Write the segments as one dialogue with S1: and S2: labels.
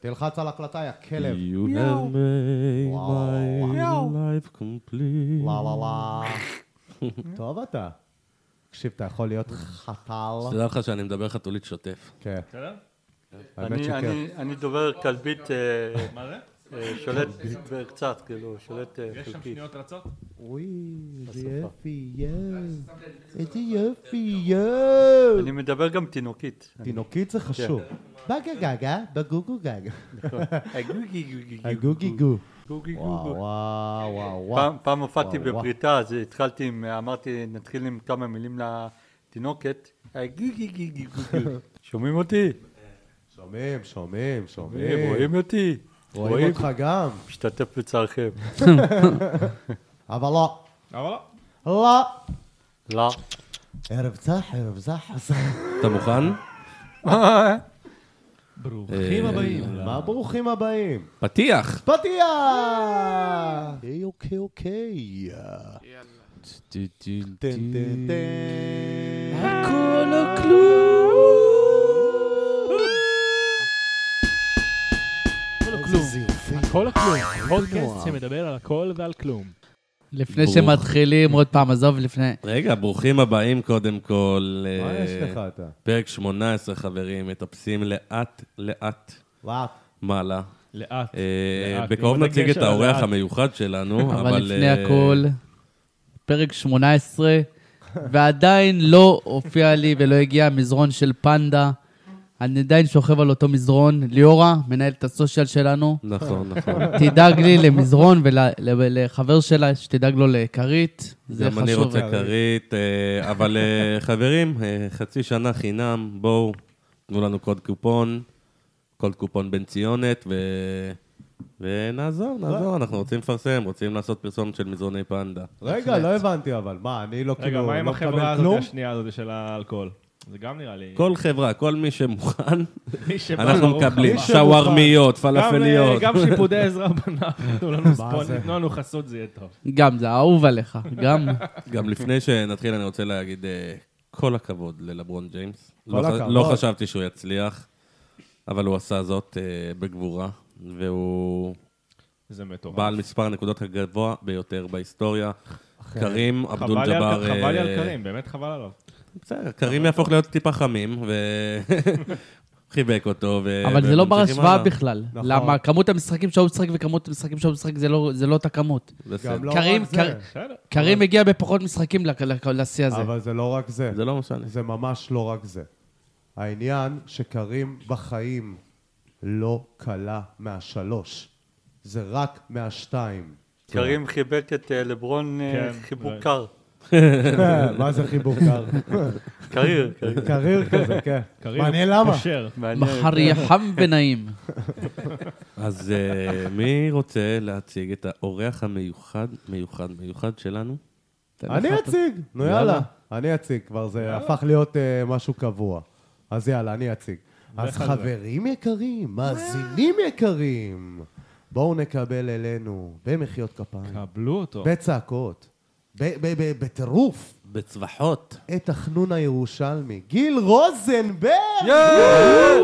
S1: תלחץ על הקלטה, יא כלב.
S2: You
S3: Meow.
S2: have made
S1: וואו.
S2: my
S3: Meow.
S2: life complete.
S1: לה לה לה. טוב אתה. תקשיב, אתה יכול להיות חתל.
S2: תדע לך שאני מדבר חתולית שוטף.
S1: כן,
S4: בסדר?
S1: האמת
S5: אני-
S1: שכן.
S5: אני- אני דובר כלבית אה,
S4: מה זה?
S5: אה, שולט קצת, כאילו, שולט אה,
S4: יש שם
S5: חלקית.
S4: שניות רצות?
S1: אוי, איזה
S5: בשפה.
S1: יופי, יואו. איזה יופי, יואו.
S5: אני מדבר גם תינוקית.
S1: תינוקית זה חשוב. בגה גגה, בגוגו גג. הגו
S5: הגוגי
S1: גיגו.
S5: גוגי
S1: וואו
S5: גוגו.
S1: וואו וואו וואו.
S5: פעם- פעם הופעתי
S1: וואו, וואו.
S5: בבריתה, אז התחלתי עם, אמרתי, נתחיל עם כמה מילים לתינוקת. הגוגי גוגי גוגו. שומעים אותי?
S1: שומעים, שומעים,
S5: אה,
S1: שומעים.
S5: רואים אותי?
S1: רואים אותך גם.
S5: משתתף בצערכם.
S1: אבל לא.
S4: אבל לא.
S1: לא.
S5: לא.
S1: ערב צח, ערב זח.
S2: אתה מוכן?
S4: ברוכים הבאים.
S1: מה ברוכים הבאים?
S2: פתיח!
S1: פתיח! אוקיי, אוקיי, אוקיי. טן טן טן. הכל או אה, כלום. איזה זיופים.
S4: כל הכלום. פודקאסט שמדבר על הכל ועל כלום.
S3: לפני שמתחילים, עוד פעם, עזוב לפני...
S2: רגע, ברוכים הבאים קודם כל.
S1: מה
S2: אה,
S1: יש לך אתה?
S2: פרק 18, חברים, מטפסים לאט-לאט
S1: וואט.
S2: מעלה.
S4: לאט.
S2: אה,
S4: לאט.
S2: בקרוב
S4: עם
S2: נציג
S4: הדגש
S2: את
S4: על
S2: האורח
S4: הלאט.
S2: המיוחד שלנו, אבל...
S3: אבל לפני
S2: אה,
S3: הכל, פרק 18, ועדיין לא הופיע לי ולא הגיע המזרון של פנדה. אני עדיין שוכב על אותו מזרון. ליאורה, מנהלת הסושיאל שלנו,
S2: נכון, נכון.
S3: תדאג לי למזרון ולחבר שלה, שתדאג לו לכרית. זה
S2: גם אני
S3: חשוב.
S2: רוצה כרית, אה, אבל אה, חברים, אה, חצי שנה חינם, בואו, תנו לנו קוד קופון, קוד קופון בן ציונת, ו... ונעזור, נעזור, אנחנו רוצים לפרסם, רוצים לעשות פרסומת של מזרוני פנדה.
S1: רגע, לא הבנתי אבל. מה, אני לא
S4: רגע,
S1: כאילו...
S4: מה עם
S1: לא מקבל
S4: החברה
S1: כלום?
S4: הזאת השנייה הזאת של האלכוהול? זה גם נראה לי...
S2: כל חברה, כל מי שמוכן,
S4: מי שבא
S2: אנחנו
S4: ברוך
S2: מקבלים
S4: הבא.
S2: שווארמיות,
S4: גם, אה,
S2: פלאפליות.
S4: גם שיפודי עזרה בנה, תנו לנו
S1: זה?
S4: ספון, תנו לנו חסות, זה יהיה טוב.
S3: גם, זה אהוב עליך, גם.
S2: גם לפני שנתחיל, אני רוצה להגיד אה, כל הכבוד ללברון ג'יימס.
S1: כל
S2: לא ח-
S1: הכבוד.
S2: לא חשבתי שהוא יצליח, אבל הוא עשה זאת אה, בגבורה, והוא...
S4: זה מטורף.
S2: בעל מספר הנקודות הגבוה ביותר בהיסטוריה. קרים אבדול
S4: חבל לי על-
S2: ג'באר...
S4: חבל לי
S2: אה,
S4: על קרים, באמת חבל עליו.
S2: בסדר, קרים יהפוך להיות טיפה חמים, ו... חיבק אותו, ו...
S3: אבל זה לא בר
S2: וממשיכים
S3: השוואה
S2: הלאה.
S3: בכלל.
S1: נכון.
S3: למה? כמות המשחקים שהוא משחק וכמות המשחקים שהוא משחק זה לא- זה לא אותה כמות.
S2: בסדר.
S1: גם לא
S3: קרים,
S1: רק זה.
S3: קר-
S4: בסדר.
S3: קרים הגיע בפחות משחקים לק- לק- לשיא הזה.
S1: אבל זה לא רק זה.
S2: זה לא משנה.
S1: זה ממש לא רק זה. העניין שקרים בחיים לא קלה מהשלוש. זה רק מהשתיים.
S5: קרים חיבק את אה, לברון אה,
S4: כן,
S5: חיבוק
S4: right.
S5: קר.
S1: כן, מה זה חיבור קר?
S5: קריר. קריר.
S1: קריר כזה, כן.
S4: קרים
S1: מעניין למה.
S4: קושר.
S5: מעניין.
S3: מחר יהיה חם ונעים.
S2: אז אה, מי רוצה להציג את האורח המיוחד, מיוחד, מיוחד שלנו?
S1: אני אציג, נו יאללה. אני אציג, כבר זה הפך להיות אה, משהו קבוע. אז יאללה, אני אציג. אז חברים יקרים, מאזינים יקרים, בואו נקבל אלינו במחיאות כפיים,
S4: קבלו אותו.
S1: בצעקות, ב- ב- ב- בטירוף,
S2: בצווחות.
S1: את החנון הירושלמי, גיל רוזנברג!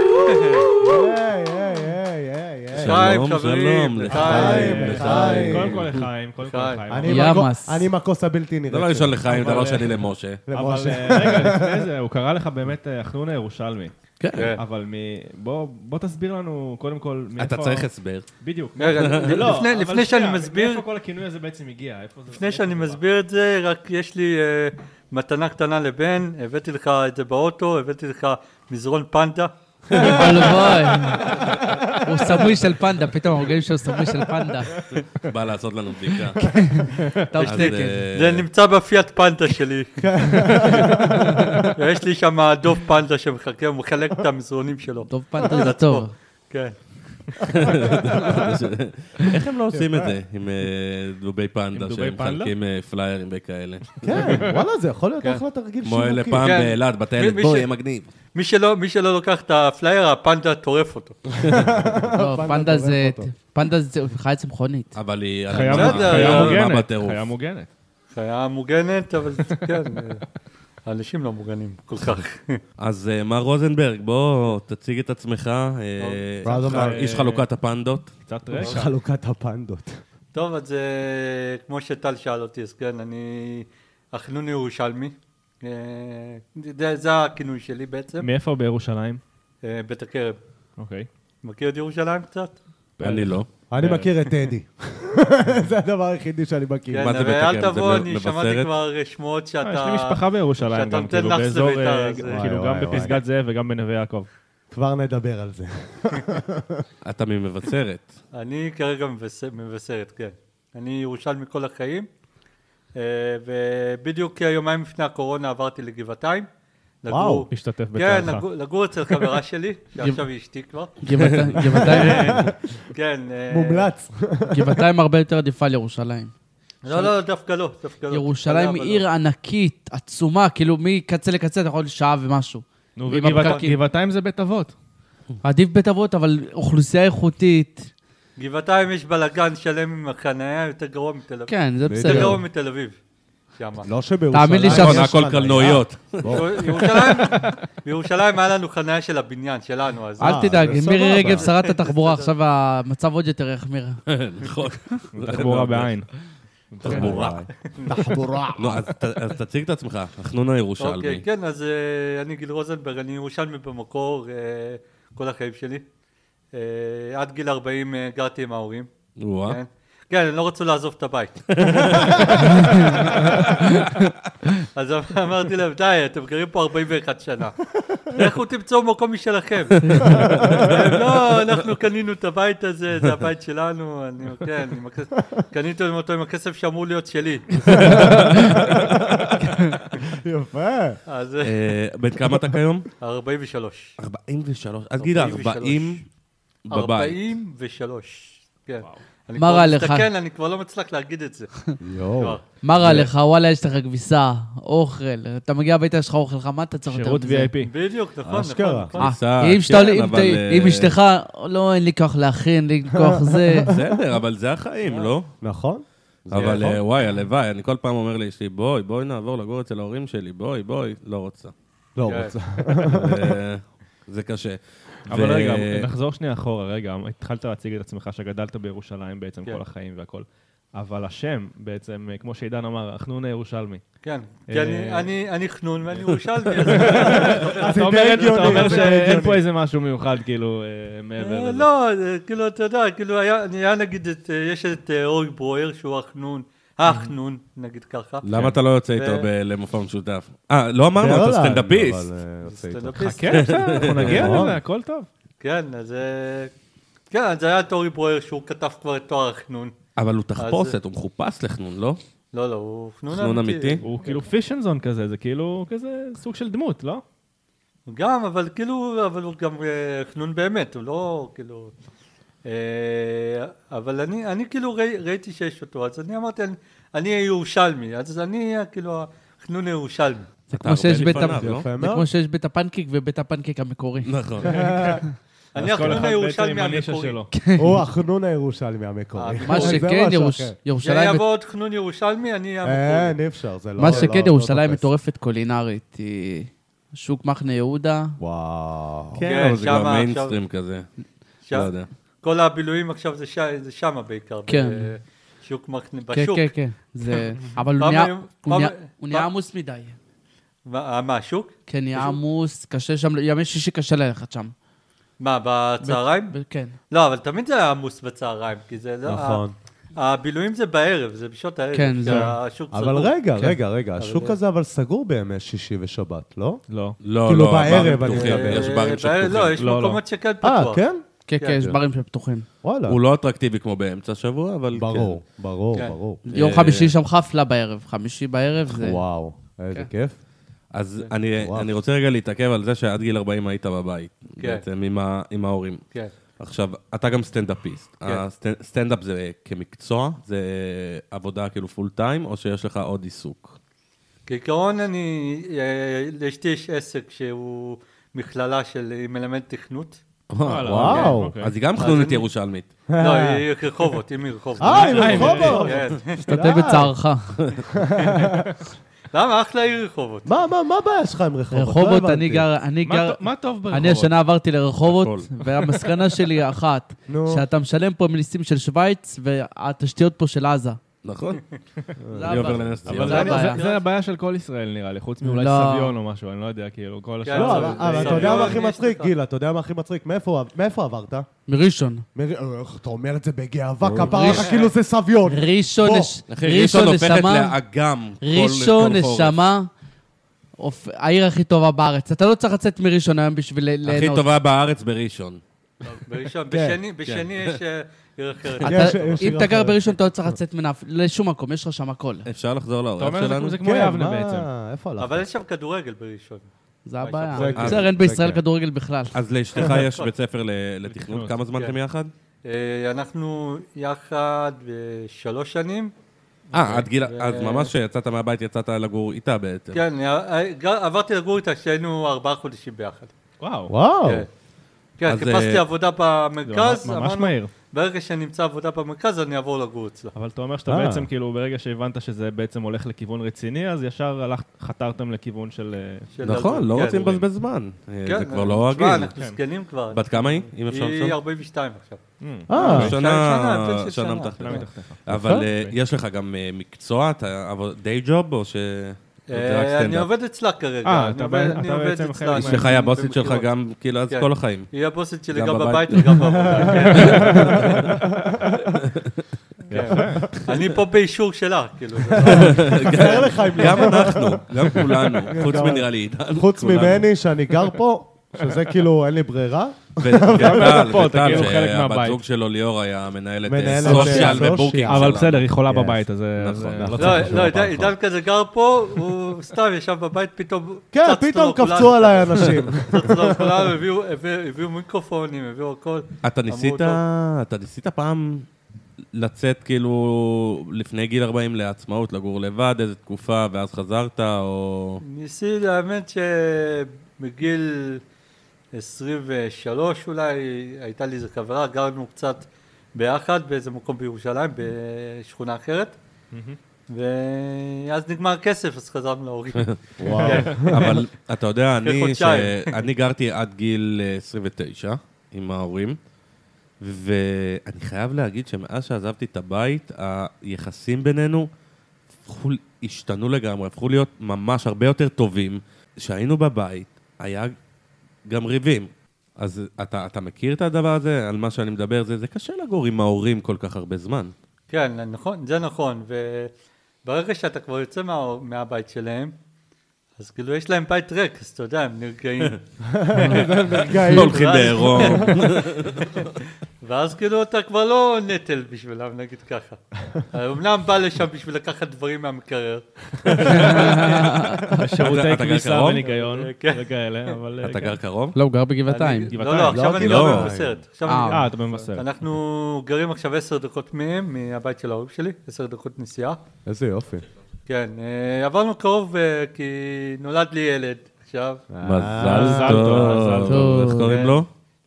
S1: היי, היי, היי, היי, היי.
S5: לחיים,
S2: שלום,
S5: חברים,
S2: שלום,
S5: לחיים,
S2: לחיים,
S1: לחיים.
S2: לחיים.
S4: קודם כל לחיים, קודם כל
S5: חיים.
S4: לחיים.
S1: אני
S3: ימאס.
S1: מהכוס- אני עם הכוס הבלתי נראית.
S2: דבר ראשון
S1: שלי.
S2: לא לחיים,
S4: אבל,
S2: דבר
S4: אה,
S2: שני למשה.
S4: אבל
S1: למשה.
S4: אה, רגע, לפני זה, הוא קרא לך באמת אה, החנון הירושלמי.
S2: כן.
S4: אבל מ... בוא, בוא תסביר לנו קודם כל מאיפה...
S2: אתה צריך הסבר.
S4: בדיוק. לא,
S5: רגע, לפני-
S4: אבל
S5: לפני
S4: שנייה,
S5: שאני מסביר,
S4: מאיפה כל הכינוי הזה בעצם הגיע? איפה זה...
S5: לפני
S4: מאיפה
S5: שאני
S4: זה בא?
S5: מסביר את זה, רק יש לי אה, מתנה קטנה לבן, הבאתי לך את זה באוטו, הבאתי לך מזרון פנדה.
S3: הלוואי. הוא סמוי של פנדה, פתאום אנחנו רואים שהוא סמוי של פנדה.
S2: בא לעשות לנו בדיקה.
S4: כן,
S3: טוב
S2: אז,
S3: תקן.
S2: אה,
S5: זה נמצא בפיאט פנדה שלי. יש לי שם דוב פנדה שמחכה, הוא מחלק את המזרונים שלו.
S3: טוב פנדה זה טוב.
S5: כן.
S2: איך הם לא
S4: כן,
S2: עושים את זה עם אה, דובי
S4: עם
S2: פנדה,
S4: דובי
S2: שהם
S4: פנדה?
S2: מחלקים אה, פליירים וכאלה?
S1: כן, וואלה, זה יכול להיות אחלה תרגיל
S2: כמו
S1: שיווקי.
S2: אלה פעם
S5: כן.
S2: באילת, בטיילת,
S5: מי- מי
S2: בוא,
S5: ש-
S2: יהיה מגניב.
S5: מי שלא- מי שלא לוקח את הפלייר, הפנדה טורף אותו.
S3: לא,
S1: פנדה
S3: פנדה זה...
S1: טורף אותו.
S3: פנדה זה חיה צמחונית.
S2: אבל היא...
S4: חיה
S5: לא
S2: על
S5: בסדר,
S2: הבמה,
S4: חיה
S2: על הבמה
S4: מוגנת,
S2: בטירוף.
S4: חיה מוגנת.
S5: חיה מוגנת, אבל כן. אה, האנשים לא מוגנים כל כך.
S2: אז אה, מר רוזנברג, בוא תציג את עצמך. אה,
S1: רוזנברג.
S2: איש חלוקת הפנדות.
S5: לא
S4: קצת
S1: יש
S4: רקע.
S1: חלוקת הפנדות.
S5: טוב, אז אה, כמו שטל שאל אותי, אז כן, אני החנון ירושלמי. אה, זה- זה הכינוי שלי בעצם,
S4: מאיפה בירושלים?
S5: אה, בית הכרם.
S4: אוקיי.
S5: מכיר את ירושלים קצת?
S4: אה,
S2: אני לא.
S1: אני מכיר את טדי. זה הדבר היחידי שאני מכיר.
S5: כן,
S2: מה זה בית
S5: ואל
S2: הכרם? זה
S5: תבוא,
S2: מ-
S5: אני שמעתי
S2: מבשרת?
S5: כבר שמועות
S4: אה, יש
S5: שאתה...
S4: לי משפחה בירושלים
S5: שאתה
S4: גם,
S5: נותן
S4: כאילו,
S5: לחץ
S4: באזור,
S5: לבית"ר,
S4: אה,
S5: אז-
S4: כאילו,
S1: וואי,
S4: גם
S1: וואי,
S4: בפסגת זאב וגם בנווה יעקב.
S1: כבר נדבר על זה.
S4: אה.
S2: אתה ממבצרת.
S5: אני כרגע מבשר- מבשרת, כן. אני ירושלמי כל החיים, אה, ובדיוק יומיים לפני הקורונה עברתי לגבעתיים.
S1: וואו,
S5: לגור-
S4: השתתף
S5: כן,
S4: בצערך.
S5: לגור- לגור אצל חברה שלי, שעכשיו היא אשתי כבר.
S3: גבעתיים- גבעתיים-
S5: כן. אה,
S1: מומלץ.
S3: גבעתיים הרבה יותר עדיפה על ירושלים.
S5: לא, לא, דווקא לא, דווקא לא.
S3: ירושלים
S5: אבל
S3: היא
S5: לא.
S3: עיר ענקית, עצומה, כאילו מקצה לקצה אתה יכול שעה ומשהו.
S4: נו,
S3: עם
S4: וגבעת-
S3: הפקקים.
S4: גבעתיים זה בית אבות.
S3: עדיף בית אבות, אבל אוכלוסייה איכותית.
S5: גבעתיים יש בלאגן שלם עם החניה, יותר גרוע מתל אביב.
S3: כן, זה
S5: יותר
S3: בסדר.
S5: גרוע מתל אביב. שמה.
S1: לא שבירושלים.
S3: תאמין לי
S1: יש
S2: נכון,
S3: שם-
S2: הכל
S1: חניה.
S2: קלנועיות.
S5: ירושלים, בירושלים היה לנו חניה של הבניין שלנו, אז...
S1: אה,
S3: אל תדאג,
S1: זה
S3: מירי
S1: סבבה.
S3: רגב, שרת התחבורה, עכשיו המצב עוד יותר יחמיר.
S2: נכון.
S4: אה. תחבורה בעין.
S2: תחבורה.
S1: תחבורה.
S2: לא, אז ת- אז תציג את עצמך, החנון הירושלמי.
S5: אוקיי, כן, אז אה, אני גיל רוזנברג, אני ירושלמי במקור אה, כל החיים שלי. אה, עד גיל 40 אה, גרתי עם ההורים.
S2: וואה.
S5: כן. כן, הם לא רצו לעזוב את הבית. אז אמרתי להם, די, אתם גרים פה 41 שנה. לכו תמצאו מקום משלכם. הם, לא, אנחנו קנינו את הבית הזה, זה הבית שלנו, אני, כן, עם הכסף- קניתם אותו עם הכסף שאמור להיות שלי.
S1: יפה.
S5: אז אה,
S2: אה, בן כמה אתה כיום?
S5: 43.
S2: 43. עד גיל 40 בבית.
S5: 43, כן. אני
S3: מה
S5: כבר
S3: רע לך?
S5: מסתכן, אני כבר לא מצליח להגיד את זה.
S1: יואו.
S5: כבר.
S3: מה רע לך? וואלה, יש לך כביסה, אוכל. אתה מגיע הביתה, יש לך אוכל חם, מה אתה צריך יותר
S4: שירות
S3: מזה?
S4: VIP.
S5: בדיוק, נכון, נכון,
S1: אשכרה.
S5: נכון.
S3: אה,
S2: כביסה,
S3: אם שאתה-
S2: כן,
S3: אם
S2: אבל,
S3: אתה-
S2: אה,
S3: אם אשתך, לא, אין לי כוח להכין, אין לי כוח זה.
S2: בסדר, אבל זה החיים, לא?
S1: נכון?
S2: אבל
S1: נכון.
S2: אה, וואי, הלוואי, אני כל פעם אומר לאשתי, בואי, בואי נעבור לגור אצל ההורים שלי, בואי, בואי, לא רוצה.
S1: לא
S5: כן.
S1: רוצה.
S2: אה, זה קשה.
S4: אבל
S2: ו-
S4: רגע, נחזור שנייה אחורה, רגע, התחלת להציג את עצמך שגדלת בירושלים בעצם
S5: כן.
S4: כל החיים והכל. אבל השם בעצם, אה, כמו שעידן אמר, החנונה ירושלמי.
S5: כן, כי
S4: אה,
S5: אני- אני- אני חנון ואני ירושלמי, אז
S4: אתה אומר- אתה אומר שאין פה איזה משהו מיוחד, כאילו, אה, מעבר
S5: אה,
S4: לזה.
S5: לא, זה כאילו, אתה יודע, כאילו, היה היה נגיד את, אה, יש את אה, אורי ברויר, שהוא החנון, החנון, נגיד ככה.
S1: כן.
S2: למה אתה לא יוצא איתו
S5: ו-
S2: ב- למופע משותף? אה, לא אמרנו, אתה סטנדאפיסט.
S1: אה,
S4: לא אה,
S5: סטנדאפיסט.
S4: חכה, בסדר, אנחנו נגיע לזה, הכל טוב.
S5: כן, אז... אה, כן, אז היה את אורי ברויר, שהוא כתב כבר את תואר החנון.
S2: אבל הוא תחפושת, הוא מחופש לחנון, לא?
S5: לא, לא, הוא
S2: חנון
S5: חנון
S2: אמיתי?
S5: אמיתי.
S4: הוא כאילו פישנזון כזה, זה כאילו כזה סוג של דמות, לא?
S5: גם, אבל כאילו, אבל הוא גם אה, חנון באמת, הוא לא כאילו... אה, אבל אני, אני כאילו ראי, ראיתי שיש אותו, אז אני אמרתי, אני, אני ירושלמי, אז אני אה, כאילו החנון הירושלמי.
S3: זה
S2: אתה
S3: כמו שיש
S2: הרבה
S3: בית
S2: לפניו,
S3: ה-
S2: לא?
S1: יפה
S3: זה
S1: מאוד.
S3: כמו שיש בית הפנקייק ובית הפנקייק המקורי.
S2: נכון.
S5: כן, אני
S4: אז
S5: החנון
S4: כל אחד בעצם עם
S5: הירושלמי
S4: הנישה
S5: המקורי.
S4: שלו.
S1: הוא החנון הירושלמי המקורי.
S5: אה,
S3: מה
S1: זה
S3: שכן,
S1: משהו
S3: ירוש-
S1: אחר.
S3: ירושלים... אה, כן.
S5: יבוא עוד חנון ירושלמי, אני המקורי.
S1: אין, אי אפשר, זה לא...
S3: מה
S1: זה לא-
S3: שכן,
S1: לא
S3: ירושלים
S1: תופס.
S3: מטורפת קולינרית. היא שוק מחנה יהודה.
S1: וואו.
S2: כן, אבל זה
S5: שמה
S2: כבר
S5: עכשיו-
S2: מיינסטרים כזה.
S5: שם-
S2: לא יודע.
S5: כל הבילויים עכשיו זה, ש... זה שמה בעיקר.
S3: כן.
S5: בשוק, מחנה-
S3: כן,
S5: בשוק.
S3: כן, כן. זה... אבל הוא
S5: פעם
S3: נהיה-
S5: היום-
S3: הוא
S5: פעם-
S3: נהיה- הוא נהיה
S5: פעם-
S3: עמוס מדי.
S5: מה, אה, מה, השוק?
S3: כן, נהיה עמוס, קשה שם, ימי שישי קשה ללכת שם.
S5: מה, בצהריים?
S3: ב- כן.
S5: לא, אבל תמיד זה היה עמוס בצהריים, כי זה לא...
S1: נכון.
S5: הבילויים זה בערב, זה בשעות הערב.
S3: כן, זה-
S5: השוק
S1: אבל
S5: סגור.
S1: רגע,
S3: כן.
S1: רגע, רגע, השוק הזה אבל סגור בימי שישי ושבת, לא?
S4: לא.
S2: לא,
S1: כאילו
S2: לא,
S1: בערב
S2: הברים
S1: אני
S2: פתוחים,
S1: מדבר.
S2: יש ברים
S5: בערב- לא, יש
S2: שפתוחים.
S4: לא, לא.
S5: מקומות שכן
S1: אה,
S5: פתוח.
S1: כן?
S3: כן,
S5: כן,
S3: כן, יש ברים שפתוחים.
S1: וואלה.
S2: הוא לא אטרקטיבי כמו באמצע השבוע, אבל כן.
S1: ברור, ברור,
S5: כן.
S1: ברור.
S3: יום חמישי שם חפלה בערב. חמישי בערב זה...
S1: וואו, איזה כיף.
S2: אז אני
S1: וואו.
S2: אני רוצה רגע להתעכב על זה שעד גיל 40 היית בבית,
S5: כן.
S2: בעצם עם ה- עם ההורים.
S5: כן.
S2: עכשיו, אתה גם סטנדאפיסט. הסטנ- סטנדאפ זה כמקצוע, זה עבודה כאילו פול טיים, או שיש לך עוד עיסוק?
S5: כעיקרון אני, אה, לאשתי יש עסק שהוא מכללה של, היא מלמדת תכנות.
S4: וואלה,
S1: וואו.
S4: אוקיי, אוקיי.
S2: אז היא גם חנונית ירושלמית.
S5: לא, היא אה, כן. רחובות, היא מרחובות.
S2: לא
S1: אה, היא מרחובות!
S5: כן.
S3: תשתתף בצערך.
S5: למה? אחלה עיר רחובות.
S1: מה, מה, מה הבעיה שלך עם רחובות? לא
S3: רחובות,
S1: הבנתי.
S3: אני גר, אני
S4: מה
S3: גר,
S4: טוב- מה טוב ברחובות?
S3: אני השנה עברתי לרחובות,
S2: הכל.
S3: והמסקנה שלי היא אחת,
S1: נו.
S3: שאתה משלם פה מיליסים של שווייץ, והתשתיות פה של עזה.
S2: נכון?
S3: זה
S2: אני עובר
S3: הבעיה.
S2: לנס
S4: אבל
S2: ציונה.
S4: זה
S3: זה
S4: הבעיה.
S3: הבעיה.
S4: זה הבעיה של כל ישראל נראה לי, חוץ מאולי
S3: לא.
S4: סביון או משהו, אני לא יודע, כאילו, כל השאר...
S1: לא,
S4: זה-
S1: אבל
S5: זה-
S1: אבל
S5: זה-
S1: אתה יודע
S5: זה-
S1: מה הכי
S5: יש
S1: מצחיק,
S5: לך.
S1: גיל, אתה יודע מה הכי מצחיק? מאיפה מאיפה עברת?
S3: מראשון.
S1: מר- איך אתה אומר את זה בגאווה, כפרה לך כאילו זה סביון.
S3: ראשון,
S1: בוא.
S3: נש-
S2: אחי, ראשון
S3: ראשון
S2: הופכת
S3: נשמה,
S2: לאגם. כל-
S3: ראשון
S2: כל חורף.
S3: נשמה, אופ- העיר הכי טובה בארץ. אתה לא צריך לצאת מראשון היום בשביל ל- ליהנות.
S2: הכי טובה בארץ בראשון.
S5: בראשון,
S1: כן.
S5: בשני, בשני יש אה, עיר אחרת.
S3: אתה-
S1: יש- יש
S3: אם
S1: עיר
S3: אתה גר
S1: אחרת.
S3: בראשון, אתה לא צריך לצאת מנף, לשום מקום, יש לך שם הכל.
S2: אפשר לחזור
S4: אתה
S2: לאורח
S4: אומר זה
S2: שלנו?
S4: כמו- זה כמו
S1: כן,
S4: יבנה
S1: מה-
S4: בעצם.
S1: איפה הלכת?
S5: אבל יש שם כדורגל בראשון.
S3: זה הבעיה.
S1: זה כן.
S3: בסדר, אין בישראל
S1: כן.
S3: כדורגל בכלל.
S2: אז לאשתך יש בית ספר ל- לתכנות, כמה זמן
S5: כן.
S2: אתם יחד?
S5: אה, אנחנו יחד אה, שלוש שנים.
S2: אה, עד גיל,
S5: ו-
S2: אז ממש כשיצאת מהבית יצאת לגור איתה בעצם.
S5: כן, אה, אה, גר- עברתי לגור איתה כשהיינו ארבעה חודשים ביחד.
S4: וואו,
S1: וואו.
S5: כן. כן,
S2: אז,
S5: חיפשתי
S2: אה,
S5: עבודה
S4: זה
S5: במרכז,
S4: ממש
S5: אמרנו,
S4: מהיר.
S5: ברגע שנמצא עבודה במרכז, אני אעבור לגור אצלה.
S4: אבל אתה אומר שאתה
S1: אה.
S4: בעצם, כאילו, ברגע שהבנת שזה בעצם הולך לכיוון רציני, אז ישר הלכת- חתרתם לכיוון של... אה,
S5: של
S2: נכון,
S5: לגור,
S2: לא
S5: כן.
S2: רוצים לבזבז זמן. אה,
S5: כן,
S2: זה כבר
S5: אה,
S2: לא
S5: תשמע,
S2: הגיל.
S5: אנחנו זקנים כבר.
S2: בת כמה היא, אם אפשר
S5: היא
S2: לשאול?
S5: 42 עכשיו.
S1: אה,
S5: שנה, הבדל
S2: שנה,
S5: של
S2: שנה
S5: שנה.
S2: מתחת.
S4: שנה מתחתיך.
S2: אבל
S1: יפה.
S2: אה, יש לך גם אה, מקצוע, דיי ג'וב, או ש... זה רק
S5: אה, אני
S2: סטנדאפ?
S5: עובד אצלה כרגע.
S4: אה,
S5: אני
S4: אתה
S5: עובד-
S4: בעצם-
S5: אני
S4: אתה
S5: עובד
S4: בעצם
S5: אצלה.
S4: חלק מה-
S2: אשתך היא הבוסית שלך
S5: במכירות.
S2: גם, כאילו, אז
S5: כן.
S2: כל החיים.
S5: היא הבוסית שלי
S2: גם
S5: גם
S2: בבית.
S5: בבית וגם בעבודה. כן. כן. אני פה באישור שלה, כאילו. זה לא-
S1: תאר לך אם
S2: כן.
S1: לא-
S2: גם אנחנו, גם כולנו, חוץ מנראה לי עידן.
S1: חוץ
S2: כולנו.
S1: ממני שאני גר פה, שזה כאילו אין לי ברירה.
S2: וטל,
S4: פה, אתה
S2: וטל,
S4: כאילו חלק
S2: שהבת
S4: מהבית.
S2: זוג שלו ליאור היה מנהלת אה,
S1: מנהלת, אה,
S2: סושיאל
S1: סושיאל.
S2: ובורקינג שלנו.
S4: אבל בסדר, היא חולה
S1: Yes.
S4: בבית, אז אה, אז,
S2: אה, נכון,
S4: אה, לא
S2: נכון.
S4: צריך
S5: לא,
S4: לשאול
S5: לא,
S4: בפעם
S5: עידן-
S4: האחרונה.
S5: עידן כזה גר פה, הוא סתם ישב בבית, פתאום
S1: כן,
S5: צצנו לו
S1: פתאום
S5: כולנו.
S1: קפצו עליי אנשים.
S5: צצנו לו כולנו, הביאו- הביאו- הביאו מיקרופונים, הביאו הכל.
S2: אתה
S5: אמרו
S2: ניסית,
S5: אותו.
S2: אתה ניסית פעם לצאת כאילו לפני גיל 40 לעצמאות, לגור לבד איזה תקופה, ואז חזרת, או...
S5: ניסי, האמת שבגיל 23 אולי, הייתה לי איזה חברה, גרנו קצת ביחד באיזה מקום בירושלים, בשכונה אחרת. ואז נגמר הכסף, אז חזרנו להורים.
S1: וואו.
S2: אבל אתה יודע, אני, ש...
S5: חודשיים.
S2: אני גרתי עד גיל אה, 29 עם ההורים, ואני חייב להגיד שמאז שעזבתי את הבית, היחסים בינינו הפכו, השתנו לגמרי, הפכו להיות ממש הרבה יותר טובים. כשהיינו בבית, היה גם ריבים. אז אתה, אתה מכיר את הדבר הזה, על מה שאני מדבר? זה, זה קשה לגור עם ההורים כל כך הרבה זמן.
S4: אה,
S5: כן, נכון, זה נכון. וברגע שאתה כבר יוצא מה, מהבית שלהם, אז כאילו יש להם בית ריק, אז אתה יודע, הם נרגעים.
S1: רגעים.
S2: לא הולכים לעירום.
S5: ואז כאילו אתה כבר לא נטל בשבילם, נגיד ככה. אמנם בא לשם בשביל לקחת דברים מהמקרר.
S2: אתה-
S4: שירותי
S2: אתה גר
S4: כביסה
S2: קרוב?
S4: וניקיון
S5: כן.
S4: וכאלה, אבל... אה,
S2: אתה
S4: כן.
S2: גר קרוב?
S3: לא, הוא גר בגבעתיים.
S5: אני- לא,
S4: גבעתיים.
S5: לא, עכשיו
S1: לא,
S5: אני
S2: לא.
S5: גר במבשרת. עכשיו אני
S3: אה,
S5: גר-
S4: אה, אתה במבשר.
S5: אנחנו גרים עכשיו עשר דקות מהם, מהבית של ההורים שלי, עשר דקות נסיעה.
S1: איזה יופי.
S5: כן, אה, עברנו קרוב אה, כי נולד לי ילד עכשיו,
S2: מזל
S4: אה, מזל טוב, מזל
S2: טוב.
S3: טוב.
S2: איך קוראים
S5: כן.
S2: לו?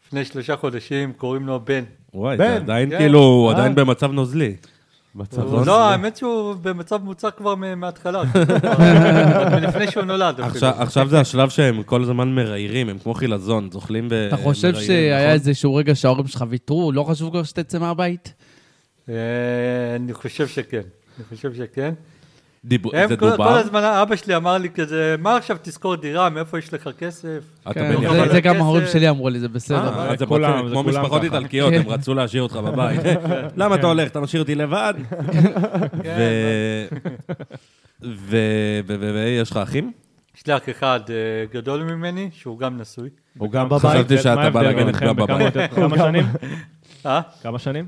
S5: לפני שלושה חודשים, קוראים לו בן.
S2: וואי,
S1: בן,
S2: זה עדיין
S5: כן.
S2: כאילו, הוא
S1: אה.
S2: עדיין במצב נוזלי.
S1: מצב
S5: הוא-
S1: לא-
S5: לא, האמת שהוא במצב מוצע כבר מ- מההתחלה, כבר אה, מלפני שהוא נולד אפילו.
S2: עכשיו- עכשיו זה השלב שהם כל הזמן מראיירים, הם כמו חילזון, זוכלים ו...
S3: אתה חושב
S2: מראיירים,
S3: שהיה
S2: נכון?
S3: איזשהו רגע שההורים שלך ויתרו? לא חשבו כבר שתצא מהבית?
S5: אה, אני חושב שכן, אני חושב שכן.
S2: דיבור-
S5: הם
S2: זה
S5: כל- כל
S2: דובר?
S5: הזמן, אבא שלי אמר לי כזה, מה עכשיו תשכור דירה, מאיפה יש לך כסף?
S2: אתה
S3: כן,
S2: בן
S3: זה-
S2: יחיד?
S5: אבל
S3: זה גם
S5: הכסף-
S3: ההורים שלי אמרו לי, זה בסדר.
S2: אה, אז הם
S4: כולם,
S2: רצו-
S4: זה
S2: כמו
S4: כולם
S2: משפחות
S4: ככה.
S2: איטלקיות, הם
S3: כן.
S2: רצו להשאיר אותך בבית. למה אתה הולך? אתה משאיר אותי לבד?
S5: כן.
S2: ו- ו- ו- ו- ויש לך אחים?
S5: יש לי אח אחד אה, גדול ממני, שהוא גם נשוי.
S1: הוא גם בבית.
S2: חשבתי
S4: מה
S2: שאתה בא
S4: ההבדל
S2: להגיד
S4: ביניכם
S2: לך
S4: בכמה-
S2: בבית.
S4: כמה שנים?
S5: אה?
S4: כמה שנים?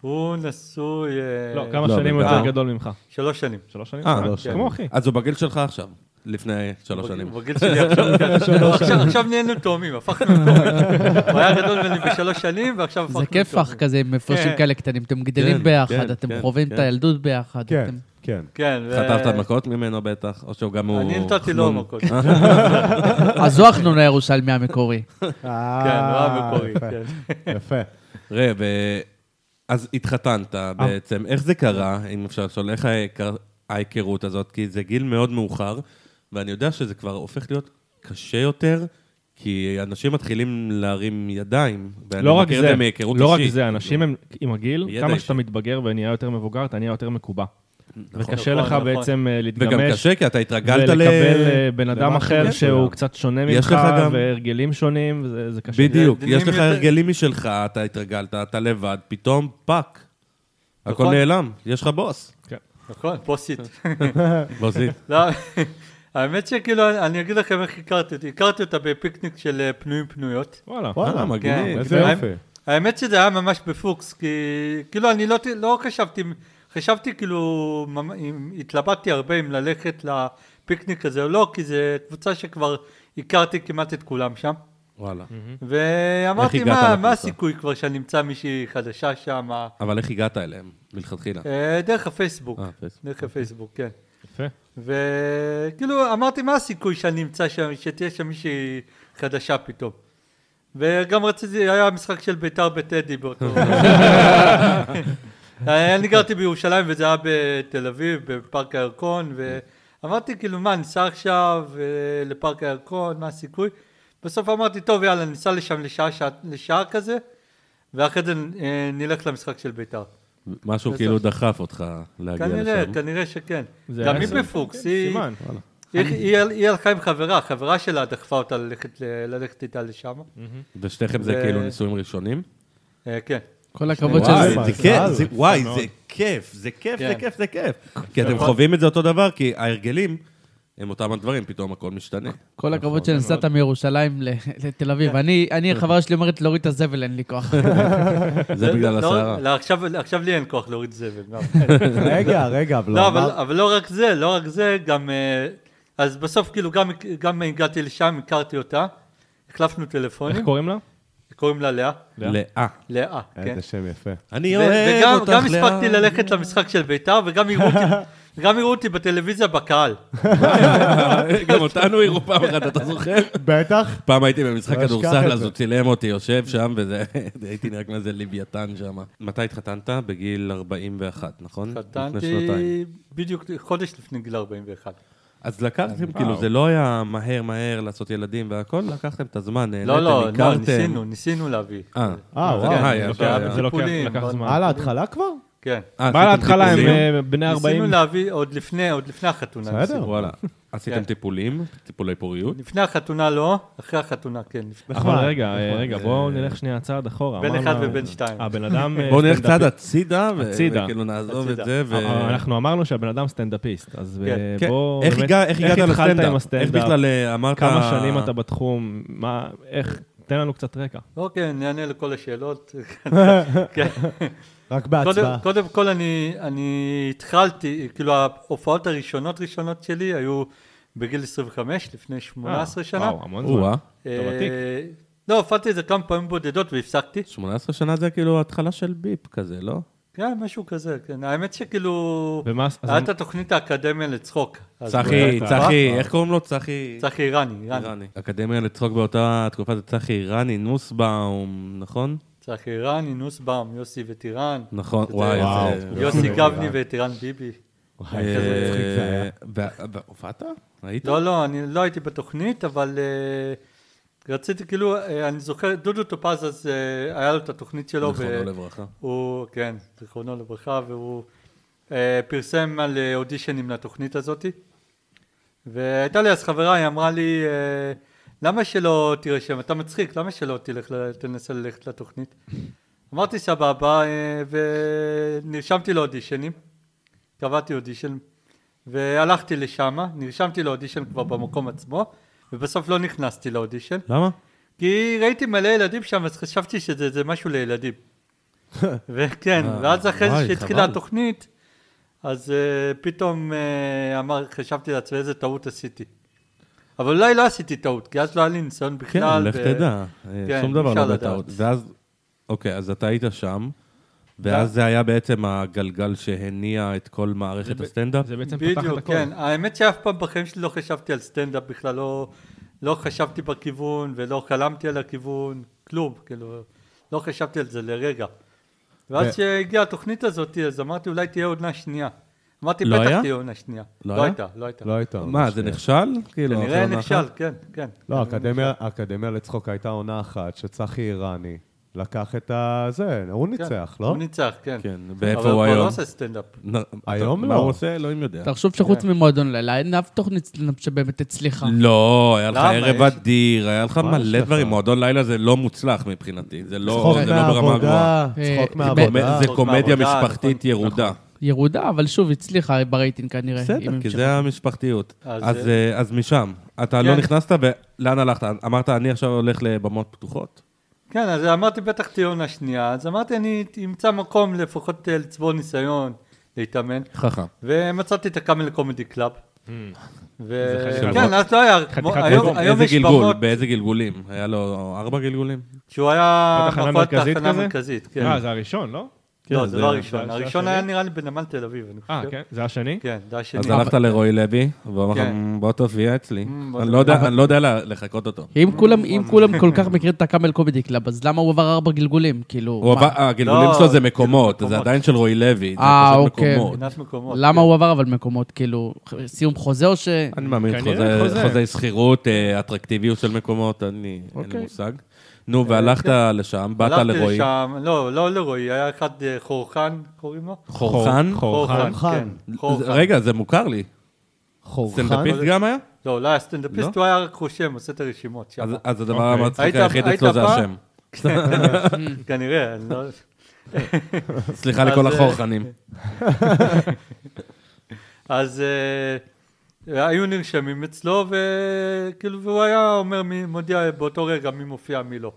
S5: הוא נשוי... אה,
S4: לא, כמה
S2: לא,
S4: שנים
S2: בן
S4: הוא יותר
S2: כמה?
S4: גדול ממך?
S5: שלוש שנים.
S4: שלוש שנים?
S2: אה,
S1: שלוש
S4: כמו אחי.
S2: אז הוא בגיל שלך עכשיו, לפני שלוש
S5: הוא-
S2: שנים.
S5: הוא בגיל שלי עכשיו. לא, עכשיו- עכשיו נהיינו תאומים, הפכנו לתאומים. הוא היה גדול ממני בשלוש שנים, ועכשיו הפכנו
S3: זה
S5: לתאומים.
S3: כיפח כזה, עם הפרשים
S5: כן.
S3: כאלה קטנים. אתם
S2: כן,
S3: גדלים ביחד,
S2: כן,
S3: אתם
S2: כן,
S3: חווים
S2: כן.
S3: את הילדות ביחד.
S1: כן,
S3: אתם-
S1: כן.
S5: כן. ו-
S2: חטפת מכות ממנו בטח, או שהוא גם הוא... אה?
S5: אני נתתי לו
S2: חנון.
S5: מכות.
S3: אז הוא החנון הירושלמי המקורי.
S5: כן, הוא היה מקורי.
S1: אה, יפה,
S5: כן.
S1: יפה.
S2: ראה,
S4: אה.
S2: ו... אז התחתנת בעצם, איך זה קרה, אם אפשר לשאול, איך ה- קר- ההיכרות הזאת, כי זה גיל מאוד מאוחר, ואני יודע שזה כבר הופך להיות קשה יותר, כי אנשים מתחילים להרים ידיים, ואני
S4: לא רק
S2: מכיר את זה
S4: זה,
S2: מהיכרות
S4: לא רק
S2: אישית.
S4: זה, אנשים הם עם הגיל,
S2: ידע
S4: כמה
S2: אישי.
S4: שאתה מתבגר ונהיה יותר מבוגר, אתה נהיה יותר מקובע. וקשה
S5: נכון,
S4: לך
S5: נכון.
S4: בעצם אה,
S2: וגם
S4: להתגמש,
S2: קשה, כי אתה התרגלת ל...
S4: ולקבל אה, בן אדם
S1: למה
S4: אחר
S1: שיש
S4: שהוא
S1: בעולם.
S4: קצת שונה
S2: יש
S4: ממך,
S2: לך גם-
S4: והרגלים שונים, וזה- זה קשה.
S2: בדיוק,
S5: זה
S2: יש לך
S5: יותר-
S2: הרגלים משלך, אתה התרגלת, אתה לבד, פתאום פאק. הכל
S5: נכון.
S2: נעלם, יש לך בוס.
S5: נכון, פוסט.
S4: כן.
S2: בוסית.
S5: לא, האמת שכאילו, אני אגיד לכם איך הכרתי אותי. הכרתי אותה בפיקניק של אה, פנויים פנויות.
S4: וואלה.
S2: אה,
S1: וואלה,
S2: מגניב.
S1: איזה
S5: כן.
S1: יופי.
S5: האמת שזה היה ממש בפוקס, כי כאילו אני לא, ת- לא חשבתי, חשבתי כאילו, ממ- אם- התלבטתי הרבה אם ללכת לפיקניק הזה או לא, כי זו קבוצה שכבר הכרתי כמעט את כולם שם.
S2: וואלה.
S5: ואמרתי,
S2: Mm-hmm. איך הגעת
S5: מה, מה
S2: לקבוצה?"
S5: הסיכוי כבר שאני אמצא מישהי חדשה שם? אה,
S2: אבל איך הגעת אליהם מלכתחילה?
S4: כן.
S5: דרך הפייסבוק.
S2: אה, פייסבוק.
S5: דרך הפייסבוק, כן.
S4: יפה.
S5: וכאילו אמרתי מה הסיכוי שאני אמצא שם, שתהיה שם מישהי חדשה פתאום. וגם רציתי, היה משחק של ביתר בטדי באותו... אני גרתי בירושלים וזה היה בתל אביב, בפארק הירקון, ואמרתי כאילו מה ניסע עכשיו אה, לפארק הירקון, מה הסיכוי? בסוף אמרתי טוב יאללה ניסע לשם לשעה, שעה, לשעה כזה, ואחרי זה אה, נלך למשחק של ביתר.
S2: משהו כאילו דחף אותך להגיע לשם.
S5: כנראה, כנראה שכן.
S4: זה
S5: גם
S4: היה
S5: היא
S4: סימן.
S5: בפוקס, היא...
S4: סימן.
S5: היא, היא, היא הלכה עם חברה, חברה שלה דחפה אותה ללכת, ל- ללכת איתה לשם.
S2: ושתיכם זה
S5: ו-
S2: כאילו נישואים ראשונים?
S5: אה, כן.
S3: כל הכבוד
S1: וואי,
S3: שזה...
S1: מה,
S2: זה
S1: זה נכון
S2: כיף,
S1: על,
S2: זה-
S1: יפה
S2: וואי,
S4: מאוד.
S2: זה כיף, זה כיף, זה
S5: כן. נכון.
S2: כיף, זה כיף.
S1: נכון.
S2: כי אתם חווים את זה אותו דבר, כי ההרגלים הם אותם הדברים, פתאום הכל משתנה.
S3: כל הכבוד שנסעת מירושלים ל- לתל
S2: כן.
S3: אביב. אני, אני, חברה שלי אומרת, להוריד את הזבל, אין לי כוח.
S2: זה בגלל
S5: לא,
S2: הסערה.
S5: לא, עכשיו, עכשיו לי אין כוח להוריד זבל. גם.
S1: רגע, רגע, אבל
S5: לא,
S1: הוא
S5: אבל,
S1: אמר...
S5: אבל לא רק זה, לא רק זה, גם... אה, אז בסוף כאילו גם, גם הגעתי לשם, הכרתי אותה, החלפנו
S4: איך
S5: טלפונים,
S4: קוראים לה?
S5: קוראים לה לאה.
S1: לא.
S2: לאה.
S5: לאה,
S2: אה,
S5: כן.
S1: איזה שם יפה.
S2: אני
S5: ו-
S2: אוהב
S5: וגם
S2: אותך,
S5: לא. גם הספקתי
S2: לאה.
S5: ללכת למשחק של ביתר, וגם יראו אותי- גם יראו אותי בטלוויזיה בקהל.
S2: גם אותנו הראו פעם אחת, אתה זוכר?
S1: בטח.
S2: פעם הייתי במשחק
S1: לא אשכח
S2: כדורסל,
S1: את
S2: אז
S1: זה.
S2: הוא צילם אותי יושב שם, וזה... הייתי נראה כמו איזה לוויתן שם. מתי התחתנת? בגיל 41, נכון? לפני שנתיים.
S5: חתנתי בדיוק חודש לפני גיל 41.
S2: אז לקחתם, כאילו, זה לא היה מהר מהר לעשות ילדים והכל, לקחתם את הזמן, נהנתם,
S5: לא, לא, לא,
S2: הכרתם.
S5: ניסינו, ניסינו להביא.
S2: אה,
S1: אה,
S2: כן,
S1: וואו.
S2: יפה,
S4: לוקח-
S2: יפה.
S4: זה לא לוקח
S5: טיפולים,
S4: לקח
S5: אבל-
S4: זמן.
S1: על ההתחלה כבר?
S5: כן.
S2: אה,
S4: מה
S2: עשיתם
S4: להתחלה הם
S2: טיפולים?
S4: אה, בני 40?
S5: ניסינו להביא עוד לפני, עוד לפני החתונה.
S1: בסדר.
S5: ניסינו.
S2: וואלה. עשיתם
S5: כן.
S2: טיפולים, טיפולי פוריות.
S5: לפני החתונה לא, אחרי החתונה כן. לפני-
S4: אבל
S2: נכון.
S1: נחמד,
S4: רגע, אה, רגע, בואו נלך שנייה צעד אחורה.
S5: בין
S4: אמרנו-
S5: אחד ובין שתיים.
S4: אה, בן אדם... אה,
S2: בואו נלך צעד
S4: סטנדאפיסט.
S2: הצידה, ו-
S4: הצידה.
S2: וכאילו נעזוב את
S5: הצידה.
S2: זה, ו...
S4: אה, אנחנו אמרנו שהבן אדם סטנדאפיסט, אז
S5: כן.
S4: אה,
S2: כן.
S4: בואו...
S2: איך
S4: באמת,
S2: הגע- איך הגעת
S4: התחלת עם
S2: לסטנדאפ? איך
S4: הסטנדאפ?
S2: בכלל אה, אמרת...
S4: כמה שנים אתה בתחום? מה, איך? תן לנו קצת רקע.
S5: אוקיי, אני אענה לכל השאלות. כן.
S1: רק
S5: קודם-
S1: בהצבעה.
S5: קודם כל אני- אני התחלתי, כאילו ההופעות הראשונות ראשונות שלי היו בגיל 25, לפני 18
S4: אה,
S5: שנה.
S4: וואו, המון זמן.
S2: או-אה,
S5: אה,
S4: אתה ותיק.
S5: לא, הופעתי את זה כמה פעמים בודדות והפסקתי.
S2: 18 שנה זה כאילו התחלה של ביפ כזה, לא?
S5: כן, משהו כזה, כן. האמת שכאילו...
S4: ומה... אז-
S5: היה את התוכנית האקדמיה לצחוק. אז-
S2: צחי,
S4: אה,
S2: צחי, איך קוראים לו? צחי...
S5: צחי איראני, איראני.
S2: איראני. אקדמיה לצחוק באותה תקופה זה צחי איראני, נוסבאום, נכון?
S5: צחי איראני, נוסבאום, יוסי וטירן.
S2: נכון,
S5: שזה-
S2: וואי,
S1: וואו.
S2: איזה-
S5: יוסי
S1: וטירן.
S5: גבני וטירן ביבי.
S1: וואי, איזה מצחיק זה היה.
S2: אה, ו- ו- הופעת? היית?
S5: לא, לא, אני לא הייתי בתוכנית, אבל אה, רציתי, כאילו, אה, אני זוכר, דודו טופז אז אה, היה לו את התוכנית שלו.
S2: זיכרונו
S5: ו-
S2: נכון, לא לברכה.
S5: הוא, כן, זיכרונו לברכה, והוא אה, פרסם על אה, אודישנים לתוכנית הזאת. והייתה לי אז חברה, היא אמרה לי, אה, למה שלא תירשם? אתה מצחיק, למה שלא תלך, ל- תנסה ללכת לתוכנית? אמרתי סבבה, אה, ונרשמתי לאודישנים, קבעתי אודישן, והלכתי לשם, נרשמתי לאודישן כבר במקום עצמו, ובסוף לא נכנסתי לאודישן,
S2: למה?
S5: כי ראיתי מלא ילדים שם, אז חשבתי שזה זה משהו לילדים. וכן,
S2: אה,
S5: ואז אחרי
S2: וואי,
S5: זה שהתחילה
S2: חבל.
S5: התוכנית, אז אה, פתאום אה, אמר, חשבתי לעצמי איזה טעות עשיתי. אבל אולי לא עשיתי טעות, כי אז לא היה לי ניסיון
S2: כן,
S5: בכלל.
S2: לך
S5: ו-
S2: תדע. אה,
S5: כן,
S2: שום דבר
S5: אפשר
S2: לא
S5: לדעת.
S2: בטעות. ואז, אוקיי, אז אתה היית שם, ואז זה היה בעצם הגלגל שהניע את כל מערכת הסטנדאפ?
S4: זה בעצם פתח את
S5: בדיוק,
S4: הכל.
S5: כן. האמת שאף פעם בחיים שלי לא חשבתי על סטנדאפ בכלל, לא, לא חשבתי בכיוון ולא חלמתי על הכיוון, כלום, כאילו, לא חשבתי על זה לרגע. ואז
S1: ו-
S5: כשהגיעה התוכנית הזאת, אז אמרתי אולי תהיה עונה שנייה. אמרתי,
S2: לא
S5: בטח
S2: היה?
S5: תהיה עונה שנייה.
S2: לא
S5: לא
S2: היה?
S5: הייתה, לא הייתה.
S1: לא הייתה.
S2: מה, זה נכשל? כאילו, אחרי
S5: כנראה
S2: עונה
S5: נכשל,
S2: אחת?
S5: כן, כן.
S1: לא, האקדמיה- האקדמיה לצחוק הייתה עונה אחת, שצחי איראני לקח את הזה, הוא
S5: כן.
S1: ניצח, לא?
S5: הוא ניצח, כן.
S2: כן, ואיפה
S5: אבל
S2: הוא
S5: כבר לא
S2: היום?
S5: עושה סטנדאפ.
S2: נ-
S1: היום
S2: מה
S1: לא.
S2: הוא עושה? אלוהים יודע.
S3: תחשוב
S2: כן.
S3: שחוץ ממועדון לילה, אין אף תוכנית סטנדאפ שבאמת הצליחה.
S2: לא, היה לך
S5: למה?
S2: ערב
S5: יש-
S2: אדיר, היה לך
S1: מה יש
S2: מלא
S1: לך?
S2: דברים. מועדון לילה זה לא מוצלח מבחינתי. זה לא
S1: צחוק
S2: זה לא ברמה
S1: מהעבודה,
S2: הגבוהה.
S1: צחוק
S3: אה,
S1: מהעבודה.
S2: זה
S5: צחוק
S2: קומדיה
S5: מהעבודה,
S2: משפחתית
S5: נכון,
S2: ירודה.
S3: ירודה, אבל שוב, הצליחה ברייטינג כנראה. אם
S2: בסדר,
S3: הם
S2: כי
S3: שם.
S2: זה המשפחתיות.
S5: אז,
S2: אז אה, אז משם. אתה לא
S5: כן.
S2: נכנסת, ולאן הלכת? אמרת, אני עכשיו הולך לבמות פתוחות?
S5: כן, אז אמרתי בטח תהיה עונה שנייה, אז אמרתי אני אמצא מקום לפחות אה, לצבור ניסיון, להתאמן,
S2: חכם.
S5: ומצאתי את הקאמל קומדי קלאב.
S4: חתיכת
S5: וכן, אז לא היה, כמו-
S4: חתיכת
S5: היום-
S4: אלבום.
S5: היום
S2: איזה
S5: יש
S2: גלגול?
S5: במות,
S2: באיזה גלגולים? היה לו ארבע גלגולים?
S5: שהוא היה
S4: בתחנה
S5: מאחורי
S4: המרכזית
S5: התחנה
S4: כזה?
S5: המרכזית, כן.
S4: אה, זה הראשון, לא?
S5: לא,
S2: כן,
S5: זה
S2: זה-
S5: לא
S4: זה-
S5: הראשון,
S4: זה
S5: הראשון
S4: השני?
S5: היה נראה לי בנמל תל אביב, אני
S4: אה,
S5: חושב.
S4: כן, זה השני?
S5: כן, זה השני.
S2: אז הלכת לרועי לוי, והוא אמר לך,
S5: כן.
S2: "מ, בוא תופיע אצלי.
S5: מ, בוא
S2: אני לא יודע- אני לא יודע לה- לחקות אותו.
S3: אם כולם, אם כולם כל כך מכירים את הקאמל קומדי קלאב, אז למה הוא עבר ארבע גלגולים? כאילו,
S2: הוא
S3: מה?
S2: עבר- הגלגולים
S5: לא,
S2: שלו זה
S5: כאילו,
S2: מקומות, זה
S5: מקומות.
S2: עדיין של רועי לוי, זה
S3: אה,
S2: פשוט
S3: אוקיי.
S2: מקומות.
S5: מבחינת מקומות.
S3: למה
S5: כן.
S3: הוא עבר אבל מקומות? כאילו, סיום חוזה או ש...
S2: אני מאמין,
S4: כנראה
S2: חוזה-
S4: חוזה.
S2: חוזה שכירות, אה, אטרקטיביות של מקומות, אני, אין לי
S3: אוקיי.
S2: מושג. נו, והלכת לשם, באת לרועי.
S5: אה, כן. הלכתי לשם, לא, לא לרועי, היה אחד אה, חורחן, קוראים לו?
S2: חורחן?
S4: חורחן.
S1: חורחן.
S5: כן, חורחן.
S2: רגע, זה מוכר לי.
S1: חורחן?
S2: סטנדאפיסט גם היה?
S5: לא, לא היה
S2: לא?
S5: סטנדאפיסט, הוא היה רק רושם, עושה את הרשימות שם.
S2: אז- אז הדבר
S4: אוקיי.
S2: המצחיק
S5: כן. היית-
S2: היחיד
S5: היית
S2: אצלו זה
S5: פעם?
S2: השם.
S5: כנראה, אני לא...
S2: סליחה
S5: אז,
S2: לכל
S5: אה,
S2: החורחנים.
S5: אז אה, היו נרשמים אצלו, וכאילו, והוא היה אומר, מי- מודיע באותו רגע מי מופיע, מי לא.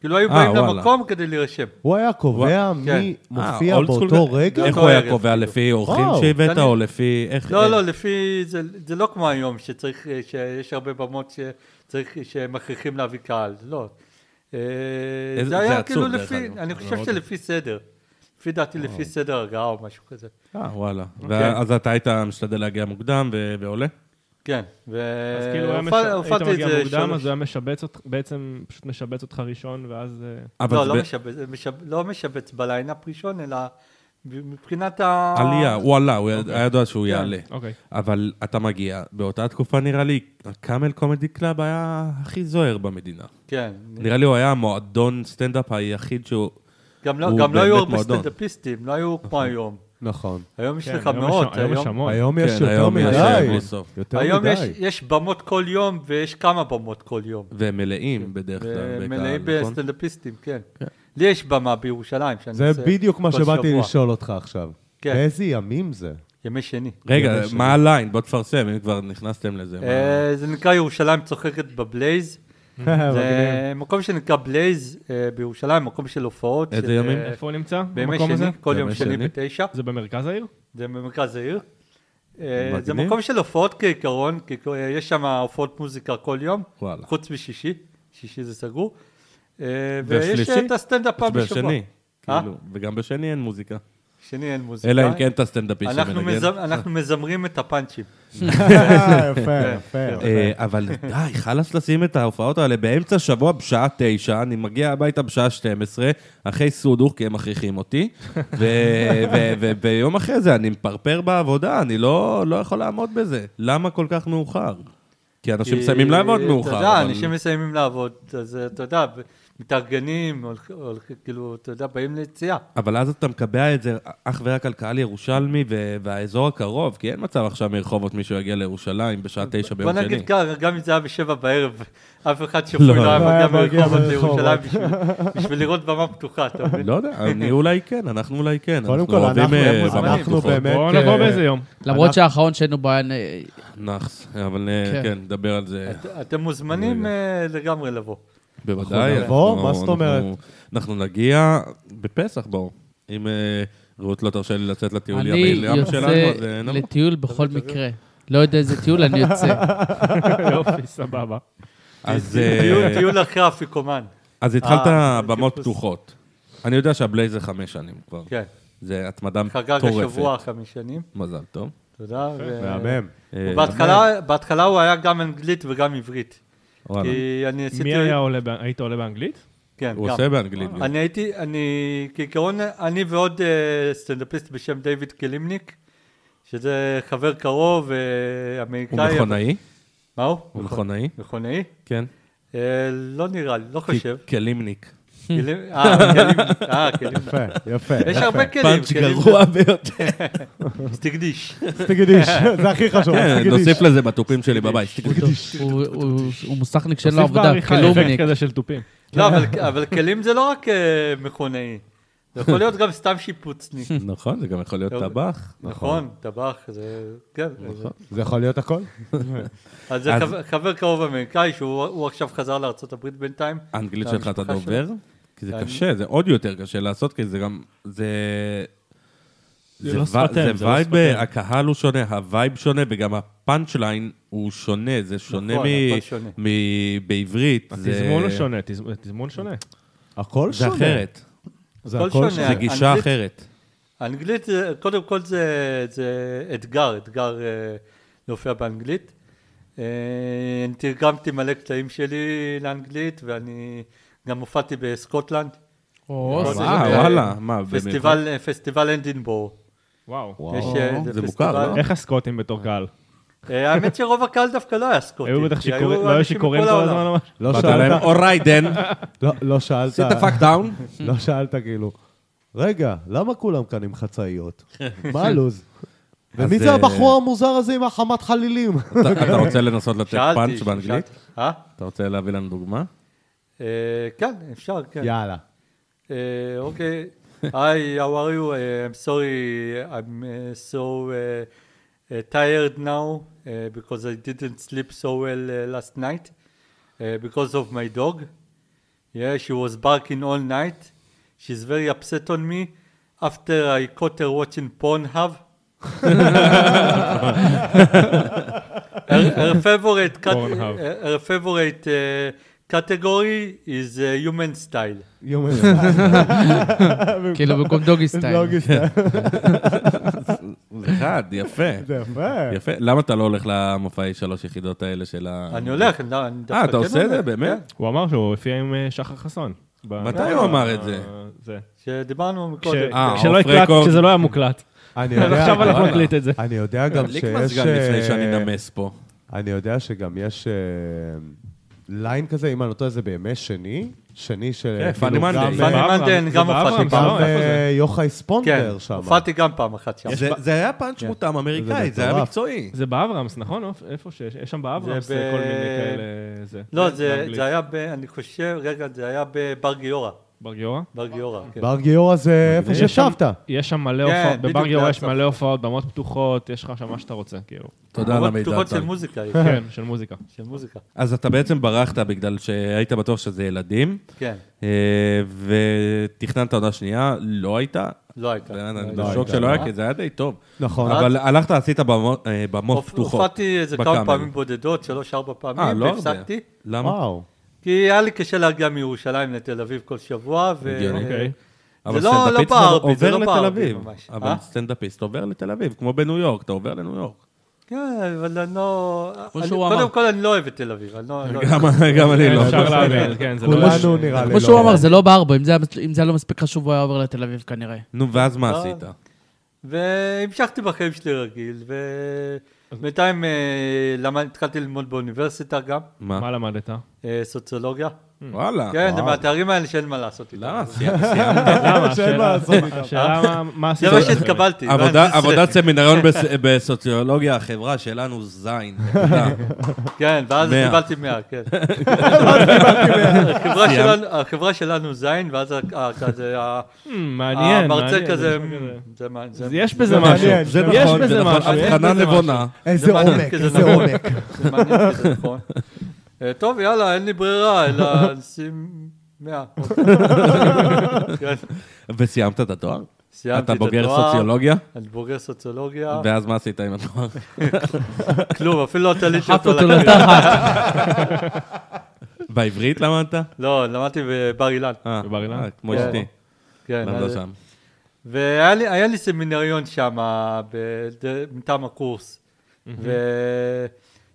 S5: כאילו, היו
S2: אה,
S5: באים
S2: וואלה.
S5: למקום כדי להירשם.
S1: הוא היה קובע
S5: כן.
S1: מי
S2: אה,
S1: מופיע
S2: אולד סקול
S1: באותו
S2: ו-
S1: רגע?
S2: איך
S5: באותו
S2: הוא היה
S5: ערב,
S2: קובע?
S5: כאילו.
S2: לפי אורחים
S1: וואו.
S2: שהבאת,
S5: אני-
S2: או לפי... איך-
S5: לא,
S2: איך-
S5: לא, לפי... זה- זה לא כמו היום, שצריך... אה, שיש הרבה במות שצריך... שמכריחים להביא קהל. לא. אה,
S2: איזה-
S5: זה
S2: זה
S5: היה
S2: עצוב,
S5: כאילו
S2: דרך
S5: לפי...
S2: אגב.
S5: אני חושב שלפי סדר. לפי דעתי, לפי סדר הגעה או משהו כזה.
S2: אה, וואלה.
S5: אוקיי.
S2: ואז אתה היית משתדל להגיע מוקדם ו- ועולה?
S5: כן. ו...
S4: אז כאילו, הוא היה מש-
S5: הופע-
S4: היית
S5: הופעתי את
S4: מגיע
S5: זה
S4: מוקדם,
S5: שלוש-
S4: אז הוא היה משבץ אותך, בעצם פשוט משבץ אותך ראשון, ואז... אה,
S2: אבל
S5: לא,
S2: זה
S5: לא
S2: ב-
S5: משבץ, משב- לא משבץ בליינאפ ראשון, אלא מבחינת ה...
S2: עלייה, הוא עלה, הוא היה- היה ידוע שהוא
S5: כן.
S2: יעלה.
S4: אוקיי.
S2: אבל אתה מגיע, באותה תקופה נראה לי, הקאמל קומדי קלאב היה הכי זוהר במדינה.
S5: כן.
S2: נראה לי הוא היה המועדון סטנדאפ היחיד שהוא...
S5: גם לא
S2: הוא
S5: גם לא היו
S2: באמת
S5: הרבה
S2: מועדון.
S5: סטנדאפיסטים, לא היו כמו היום.
S1: נכון.
S5: היום יש
S4: כן,
S5: לך
S4: היום יש-
S5: מאות.
S4: היום יש המון.
S1: היום יש
S2: כן,
S1: יותר
S2: היום יש, אה,
S1: מדי.
S2: בלי סוף.
S1: יותר
S5: היום יש,
S1: מדי.
S5: יש במות כל יום ויש כמה במות כל יום. אה,
S2: והם מלאים בדרך כלל. בקהל,
S5: מלאים
S2: נכון?
S5: בסטנדאפיסטים, כן. לי יש במה בירושלים שאני
S1: זה
S5: עושה
S1: בדיוק מה
S5: כל
S1: שבאתי
S5: שבוע.
S1: לשאול אותך עכשיו.
S5: כן.
S1: איזה ימים זה?
S5: ימי שני.
S2: רגע,
S1: ידע שלי.
S2: מה הליין? בוא תפרסם, אם כבר נכנסתם לזה. מה- אה,
S5: אה, זה נקרא ירושלים צוחקת בבלייז.
S1: כן, מגניב.
S5: זה מקום שנקרא בלייז אה, בירושלים, מקום של הופעות.
S2: איזה
S5: של,
S2: ימים?
S5: אה,
S4: איפה הוא נמצא?
S5: בימי
S4: במקום הזה?
S5: שני, כל יום
S2: בימי
S5: שני
S2: שני?
S5: בתשע.
S4: זה במרכז העיר?
S5: זה במרכז העיר. אה,
S2: מגניב.
S5: זה מקום של הופעות כעיקרון, כי כ- אה, יש שם הופעות מוזיקה כל יום,
S2: וואלה.
S5: חוץ משישי, שישי זה סגור. אה, ויש
S2: ושלישי?
S5: אה, את הסטנדאפ פעם
S2: אז
S5: בשבוע.
S2: בשני.
S5: אה?
S2: כאילו, וגם בשני אין מוזיקה.
S5: שני אין מוזיקה.
S2: אלא אם כן אה. אתה סטנדאפיסט
S5: אנחנו,
S2: שמנגן.
S5: מזמ... אנחנו מזמרים את הפאנצ'ים.
S1: אה, יפה, יפה.
S2: אה, אבל די, חלאס לשים את ההופעות האלה באמצע השבוע בשעה תשע, אני מגיע הביתה בשעה 12, אחרי סודוך, כי הם מכריחים אותי, ו- ו- וביום אחרי זה אני מפרפר בעבודה, אני לא לא יכול לעמוד בזה. למה כל כך מאוחר? כי אנשים
S5: כי-
S2: מסיימים לעבוד מאוחר.
S5: אתה יודע,
S2: אבל-
S5: אנשים מסיימים לעבוד, אז אה, אתה יודע, מתארגנים, הולכ- הולכ- כאילו, אתה יודע, באים ליציאה.
S2: אבל אז אתה מקבע את זה אך ורק על קהל ירושלמי ו- והאזור הקרוב, כי אין מצב עכשיו מרחובות מישהו יגיע לירושלים בשעה תשע
S5: בוא
S2: ביום שני.
S5: נגיד ככה, גם אם זה היה בשבע בערב, אף אחד שפוי לא היה
S1: לא היה
S5: מגיע
S1: מגיע
S5: מרחובות
S1: מרחובות.
S5: לירושלים בשביל- בשביל לראות במה פתוחה, אתה מבין?
S2: לא יודע, אני אולי כן, אנחנו אולי כן.
S1: קודם
S2: אנחנו
S1: כל,
S2: אוהבים,
S1: אנחנו-
S2: אה,
S1: אנחנו
S2: במות פתוחות.
S1: באמת-
S4: בואו
S1: אה,
S4: נבוא באיזה יום.
S3: למרות שהאחרון שהיינו בו היה... אה,
S2: נאחס, אבל אה,
S3: כן.
S2: כן, נדבר על זה
S5: את- אתם מוזמנים אה, לגמרי לבוא.
S2: בוודאי.
S1: אנחנו נבוא?
S2: אנחנו-
S1: מה זאת אומרת?
S2: אנחנו- אנחנו נגיע בפסח, בואו. אם אה, רות לא תרשה לי לצאת לטיול
S3: אני
S2: ימי לים שלנו,
S3: יוצא
S2: אז אה, נבוא.
S3: לטיול בכל מקרה. לא יודע איזה טיול, אני יוצא.
S4: יופי, סבבה.
S2: אז, אה,
S5: טיול- טיול אחרי אפיקומן,
S2: אז התחלת
S5: אה,
S2: במות
S5: טיפוס.
S2: פתוחות. אני יודע שהבלייז זה חמש שנים כבר.
S5: כן.
S2: זה התמדה
S5: חגג
S2: מטורפת.
S5: השבוע חמש שנים,
S2: מזל טוב.
S5: תודה. ו-
S1: מהמם.
S2: אה,
S5: בהתחלה- בהתחלה הוא היה גם אנגלית וגם עברית.
S2: וואלה.
S5: כי אני עשיתי...
S4: מי היה עולה, ב- היית עולה באנגלית?
S5: כן,
S2: הוא
S5: גם.
S2: עושה באנגלית. גם.
S5: אני הייתי, אני, כעיקרון, אני ועוד אה, סטנדאפיסט בשם דיוויד קלימניק, שזה חבר קרוב, אה,
S2: הוא
S5: אמריקאי.
S2: מכונאי?
S5: מה הוא?
S2: הוא מכונאי?
S5: מכונאי?
S2: כן.
S5: אה, לא נראה לי, לא חושב.
S2: כ- כלימניק.
S5: כלים- אה, כלים, אה, כלים.
S1: יפה, יפה.
S5: יש הרבה כלים.
S2: פאנץ' גרוע ביותר.
S5: סטגדיש.
S1: סטגדיש, זה הכי חשוב,
S2: כן,
S1: סטגדיש.
S2: נוסיף לזה בתופים שלי בבית.
S3: הוא- הוא- הוא מוסכניק שאין לו
S4: תוסיף
S3: עבודה, כאילו
S4: בעריכה
S3: כלומניק.
S4: אפקט כזה של תופים.
S5: לא, אבל- אבל כלים זה לא רק אה, מכונאי. זה יכול להיות גם סתם שיפוצניק.
S2: נכון, זה גם יכול להיות
S5: טוב.
S2: טבח.
S5: נכון, טבח, זה... כן. זה-
S1: זה יכול להיות הכל?
S5: אז זה
S2: נכון. אז-
S5: חבר- חבר קרוב אמריקאי, שהוא הוא עכשיו חזר לארה"ב בינתיים.
S2: האנגלית
S5: זה
S2: שלך אתה
S5: המשפחה
S2: דובר? כי זה
S5: אני-
S2: קשה, זה עוד יותר קשה לעשות, כי זה גם... זה...
S4: זה
S2: זה
S4: לא
S2: וי-
S4: שפתיים,
S2: זה
S4: זה לא
S2: וייב,
S4: שפתיים.
S2: הקהל הוא שונה, הווייב שונה, וגם הפאנצ' ליין הוא שונה, זה שונה
S5: נכון,
S2: מ-
S5: הכל שונה.
S2: מ- בעברית. זה-
S4: התזמון הוא לא שונה, תז- תזמון שונה.
S1: הכל
S2: זה
S1: שונה.
S2: אחרת,
S5: כן,
S1: זה
S5: הכל
S1: הכל
S5: שונה.
S1: שונה.
S2: זה גישה
S5: אנגלית-
S2: אחרת.
S5: אנגלית, זה- קודם כל זה, זה אתגר, אתגר אה, להופיע באנגלית. אה, אני תרגמתי מלא קטעים שלי לאנגלית, ואני גם הופעתי בסקוטלנד,
S3: או,
S5: זה-
S2: וואו,
S5: זה-
S2: אה, וואלה, מה,
S5: פסטיבל, אה, פסטיבל אנדינבור.
S4: וואו.
S5: יש, אה,
S2: זה
S5: פסטיבל-
S2: מוכר, לא?
S4: איך הסקוטים בתור קהל?
S5: אה, האמת שרוב הקהל דווקא לא היה סקוטי.
S4: היו בטח
S5: כי
S4: שיכורים, לא היו
S5: אנשים
S4: שיכורים
S5: מכל
S4: כל
S5: העולם.
S4: הזמן או משהו?
S1: לא
S2: באת
S1: שאלת,
S2: להם, אורייט דן,
S1: לא- לא שאלת,
S2: sit the fuck down.
S1: לא שאלת כאילו, רגע, למה כולם כאן עם חצאיות? מה הלו"ז? ומי
S2: אז,
S1: זה
S2: אה, כן.
S1: הבחור המוזר הזה עם החמת חלילים?
S2: אתה אתה רוצה לנסות לתת
S5: שאלתי,
S2: פאנץ'
S5: שאלתי.
S2: באנגלית?
S5: אה?
S2: אתה רוצה להביא לנו דוגמה?
S5: אה, כן, אפשר, כן.
S1: יאללה.
S5: Uh, okay. Hi, how are you? Uh, I'm sorry, I'm uh, so uh, uh, tired now uh, because I didn't sleep so well uh, last night uh, because of my dog. Yeah, she was barking all night. She's very upset on me after I caught her watching Pornhub. her, her favorite cat-
S4: Pornhub.
S5: her her favorite uh, category is uh, human style.
S1: יום לא
S3: כאילו במקום דוגי סטייל.
S1: לוגי סטייל.
S2: אחד, יפה.
S1: זה יפה.
S2: יפה. למה אתה לא הולך למופעי שלוש יחידות האלה של ה...
S5: אני הולך, אני אני דווקא
S2: אה, אתה
S5: כן
S2: עושה את זה?
S5: הולך,
S2: באמת?
S4: הוא אמר שהוא הופיע עם אה, שחר חסון. ב-
S2: מתי הוא אמר את זה?
S4: אה, זה.
S5: כן, שדיברנו
S4: כש-
S5: מקודם.
S2: אה,
S4: כשלא
S2: אוף
S4: הקלט,
S2: רקורד.
S4: כשזה לא היה מוקלט.
S1: אני
S4: אז
S1: יודע,
S4: עכשיו אנחנו
S2: וואלה.
S4: נקליט את זה.
S1: אני יודע גם שיש...
S2: תדליק מזגן לפני
S1: אה,
S2: שאני נמס פה.
S1: אני יודע שגם יש אה, ליין כזה, אם אני לא טועה, זה בימי שני, שני של...
S2: כן,
S1: כאילו,
S2: Funny
S1: גם,
S2: Monday.
S1: אה,
S5: פאני
S4: באברהם,
S5: מנדן
S4: זה
S5: גם
S4: באברהם,
S5: הופעתי
S4: זה
S5: פעם.
S1: גם
S4: לא, איפה זה?
S1: אה, יוחאי
S5: כן,
S1: ספונדר שם.
S5: הופעתי גם כן. פעם אחת שם.
S2: זה- זה היה פאנץ' מותאם אמריקאי,
S1: זה
S2: זה היה
S1: מטורף.
S2: מקצועי.
S4: זה באברהמס, נכון? אוף, איפה שיש, יש שם באברהמס
S5: זה ב-
S4: כל מיני כאלה, זה.
S5: לא, זה
S4: באנגלית.
S5: זה היה ב... אני חושב, רגע, זה היה בבר גיורא.
S4: בר גיורא?
S5: בר גיורא, כן.
S1: בר גיורא זה איפה
S4: יש שם-
S1: שישבת.
S4: יש שם מלא
S5: כן,
S4: הופעות,
S5: בדיוק
S4: בבר גיורא יש
S5: ליד
S4: מלא הופעות, במות פתוחות, יש לך שם מה שאתה רוצה, כאילו.
S2: תודה על
S5: אבל
S2: המידע.
S5: פתוחות של
S2: טל.
S5: מוזיקה, יש,
S4: כן, של מוזיקה.
S5: של מוזיקה.
S2: אז אתה בעצם ברחת בגלל שהיית בטוח שזה ילדים,
S5: כן,
S2: אה, ותכננת עונה שנייה, לא הייתה.
S5: לא הייתה. לא
S2: כן, אני
S5: הייתה.
S2: בשוק
S1: הייתה,
S2: שלא
S1: לא.
S2: היה, כי זה היה די טוב.
S1: נכון.
S2: אבל הלכת, עשית במות אה, במות
S5: הופ-
S2: פתוחות.
S5: הופעתי איזה כמה
S2: בקאמל.
S5: פעמים בודדות, שלוש-ארבע
S2: אה,
S5: פעמים,
S2: לא הרבה.
S5: והפסקתי.
S2: למה?
S1: וואו.
S5: כי היה לי קשה להגיע מירושלים לתל אביב כל שבוע, ו...
S2: הגיוני.
S4: אוקיי.
S2: אבל
S5: זה לא- לא
S2: סטנדאפיסט
S5: בער בי, זה
S2: עובר
S5: לא
S2: לתל
S5: בער בי
S2: אביב.
S5: ממש.
S2: אבל
S5: אה?
S2: סטנדאפיסט עובר לתל אביב, כמו בניו יורק, אתה עובר לניו יורק.
S5: כן, אבל אני לא...
S3: כמו
S5: אני-
S3: שהוא אמר.
S5: קודם כל, אני לא אוהב את תל אביב. אני לא... אני לא-
S2: גם גם אני לא.
S4: אפשר להבין, כן, זה לא...
S1: כולנו נראה לי
S3: כמו
S1: לא.
S3: שהוא אמר, זה לא בער בו, אם זה היה- אם זה היה לא מספיק חשוב, הוא היה עובר לתל אביב כנראה.
S2: נו, ואז מה
S5: לא.
S2: עשית?
S5: והמשכתי בחיים שלי רגיל, ובינתיים אה, למה התחלתי ללמוד באוניברסיטה גם,
S2: מה?
S4: מה למדת?
S5: אה, סוציולוגיה.
S2: וואלה. לא,
S5: כן, אה, זה
S1: וואו.
S5: מהתארים האלה שאין מה לעשות איתם.
S2: למה? סיימת.
S4: למה?
S1: שאין מה
S4: השאלה-
S1: לעשות איתם.
S4: השאלה מה- מה
S5: זה כן.
S4: עשית?
S5: מה שהתקבלתי. לא,
S2: עבודה-
S5: אני
S2: עבודת
S5: זה.
S2: סמינריון בס- בסוציולוגיה, החברה שלנו זין. נקודה.
S5: כן, ואז
S2: מאה.
S5: קיבלתי 100, כן. החברה שלנו- החברה שלנו זין, ואז ה- ה- כזה, ה-
S4: Hmm, מעניין,
S5: המרצה
S4: מעניין.
S5: כזה,
S4: זה נשמע
S5: "מ, זה מה, זה
S4: כזה.
S5: מה."
S4: יש בזה
S1: זה
S4: משהו,
S1: מעניין,
S2: זה
S1: יש
S2: נכון,
S4: בזה
S2: זה נכון.
S4: משהו, יש
S2: הבחנה
S4: בזה
S2: נבונה.
S1: איזה
S5: זה מעניין
S1: עומק,
S5: כי זה
S1: איזה
S5: נכון.
S1: עומק.
S5: זה מעניין כי זה נכון. אה, טוב, יאללה, אין לי ברירה, אלא נשים 100. כן,
S2: וסיימת את התואר?
S5: סיימתי
S2: אתה
S5: את
S2: בוגר
S5: התואר. אה.
S2: סוציולוגיה?
S5: אני בוגר סוציולוגיה,
S2: ואז מה עשית עם התואר?
S5: כלום, אפילו לא תליתי
S3: דחפת
S5: אותו
S3: אותו
S5: לקריירה.
S3: לתחת.
S2: בעברית למדת?
S5: לא, למדתי בבר אילן,
S2: אה,
S4: בבר אילן?
S2: אה, כמו
S5: כן.
S2: אשתי,
S5: כן.
S2: למדה
S5: אז-
S2: לא שם.
S5: והיה לי, היה לי סמינריון שם, מטעם הקורס, ו-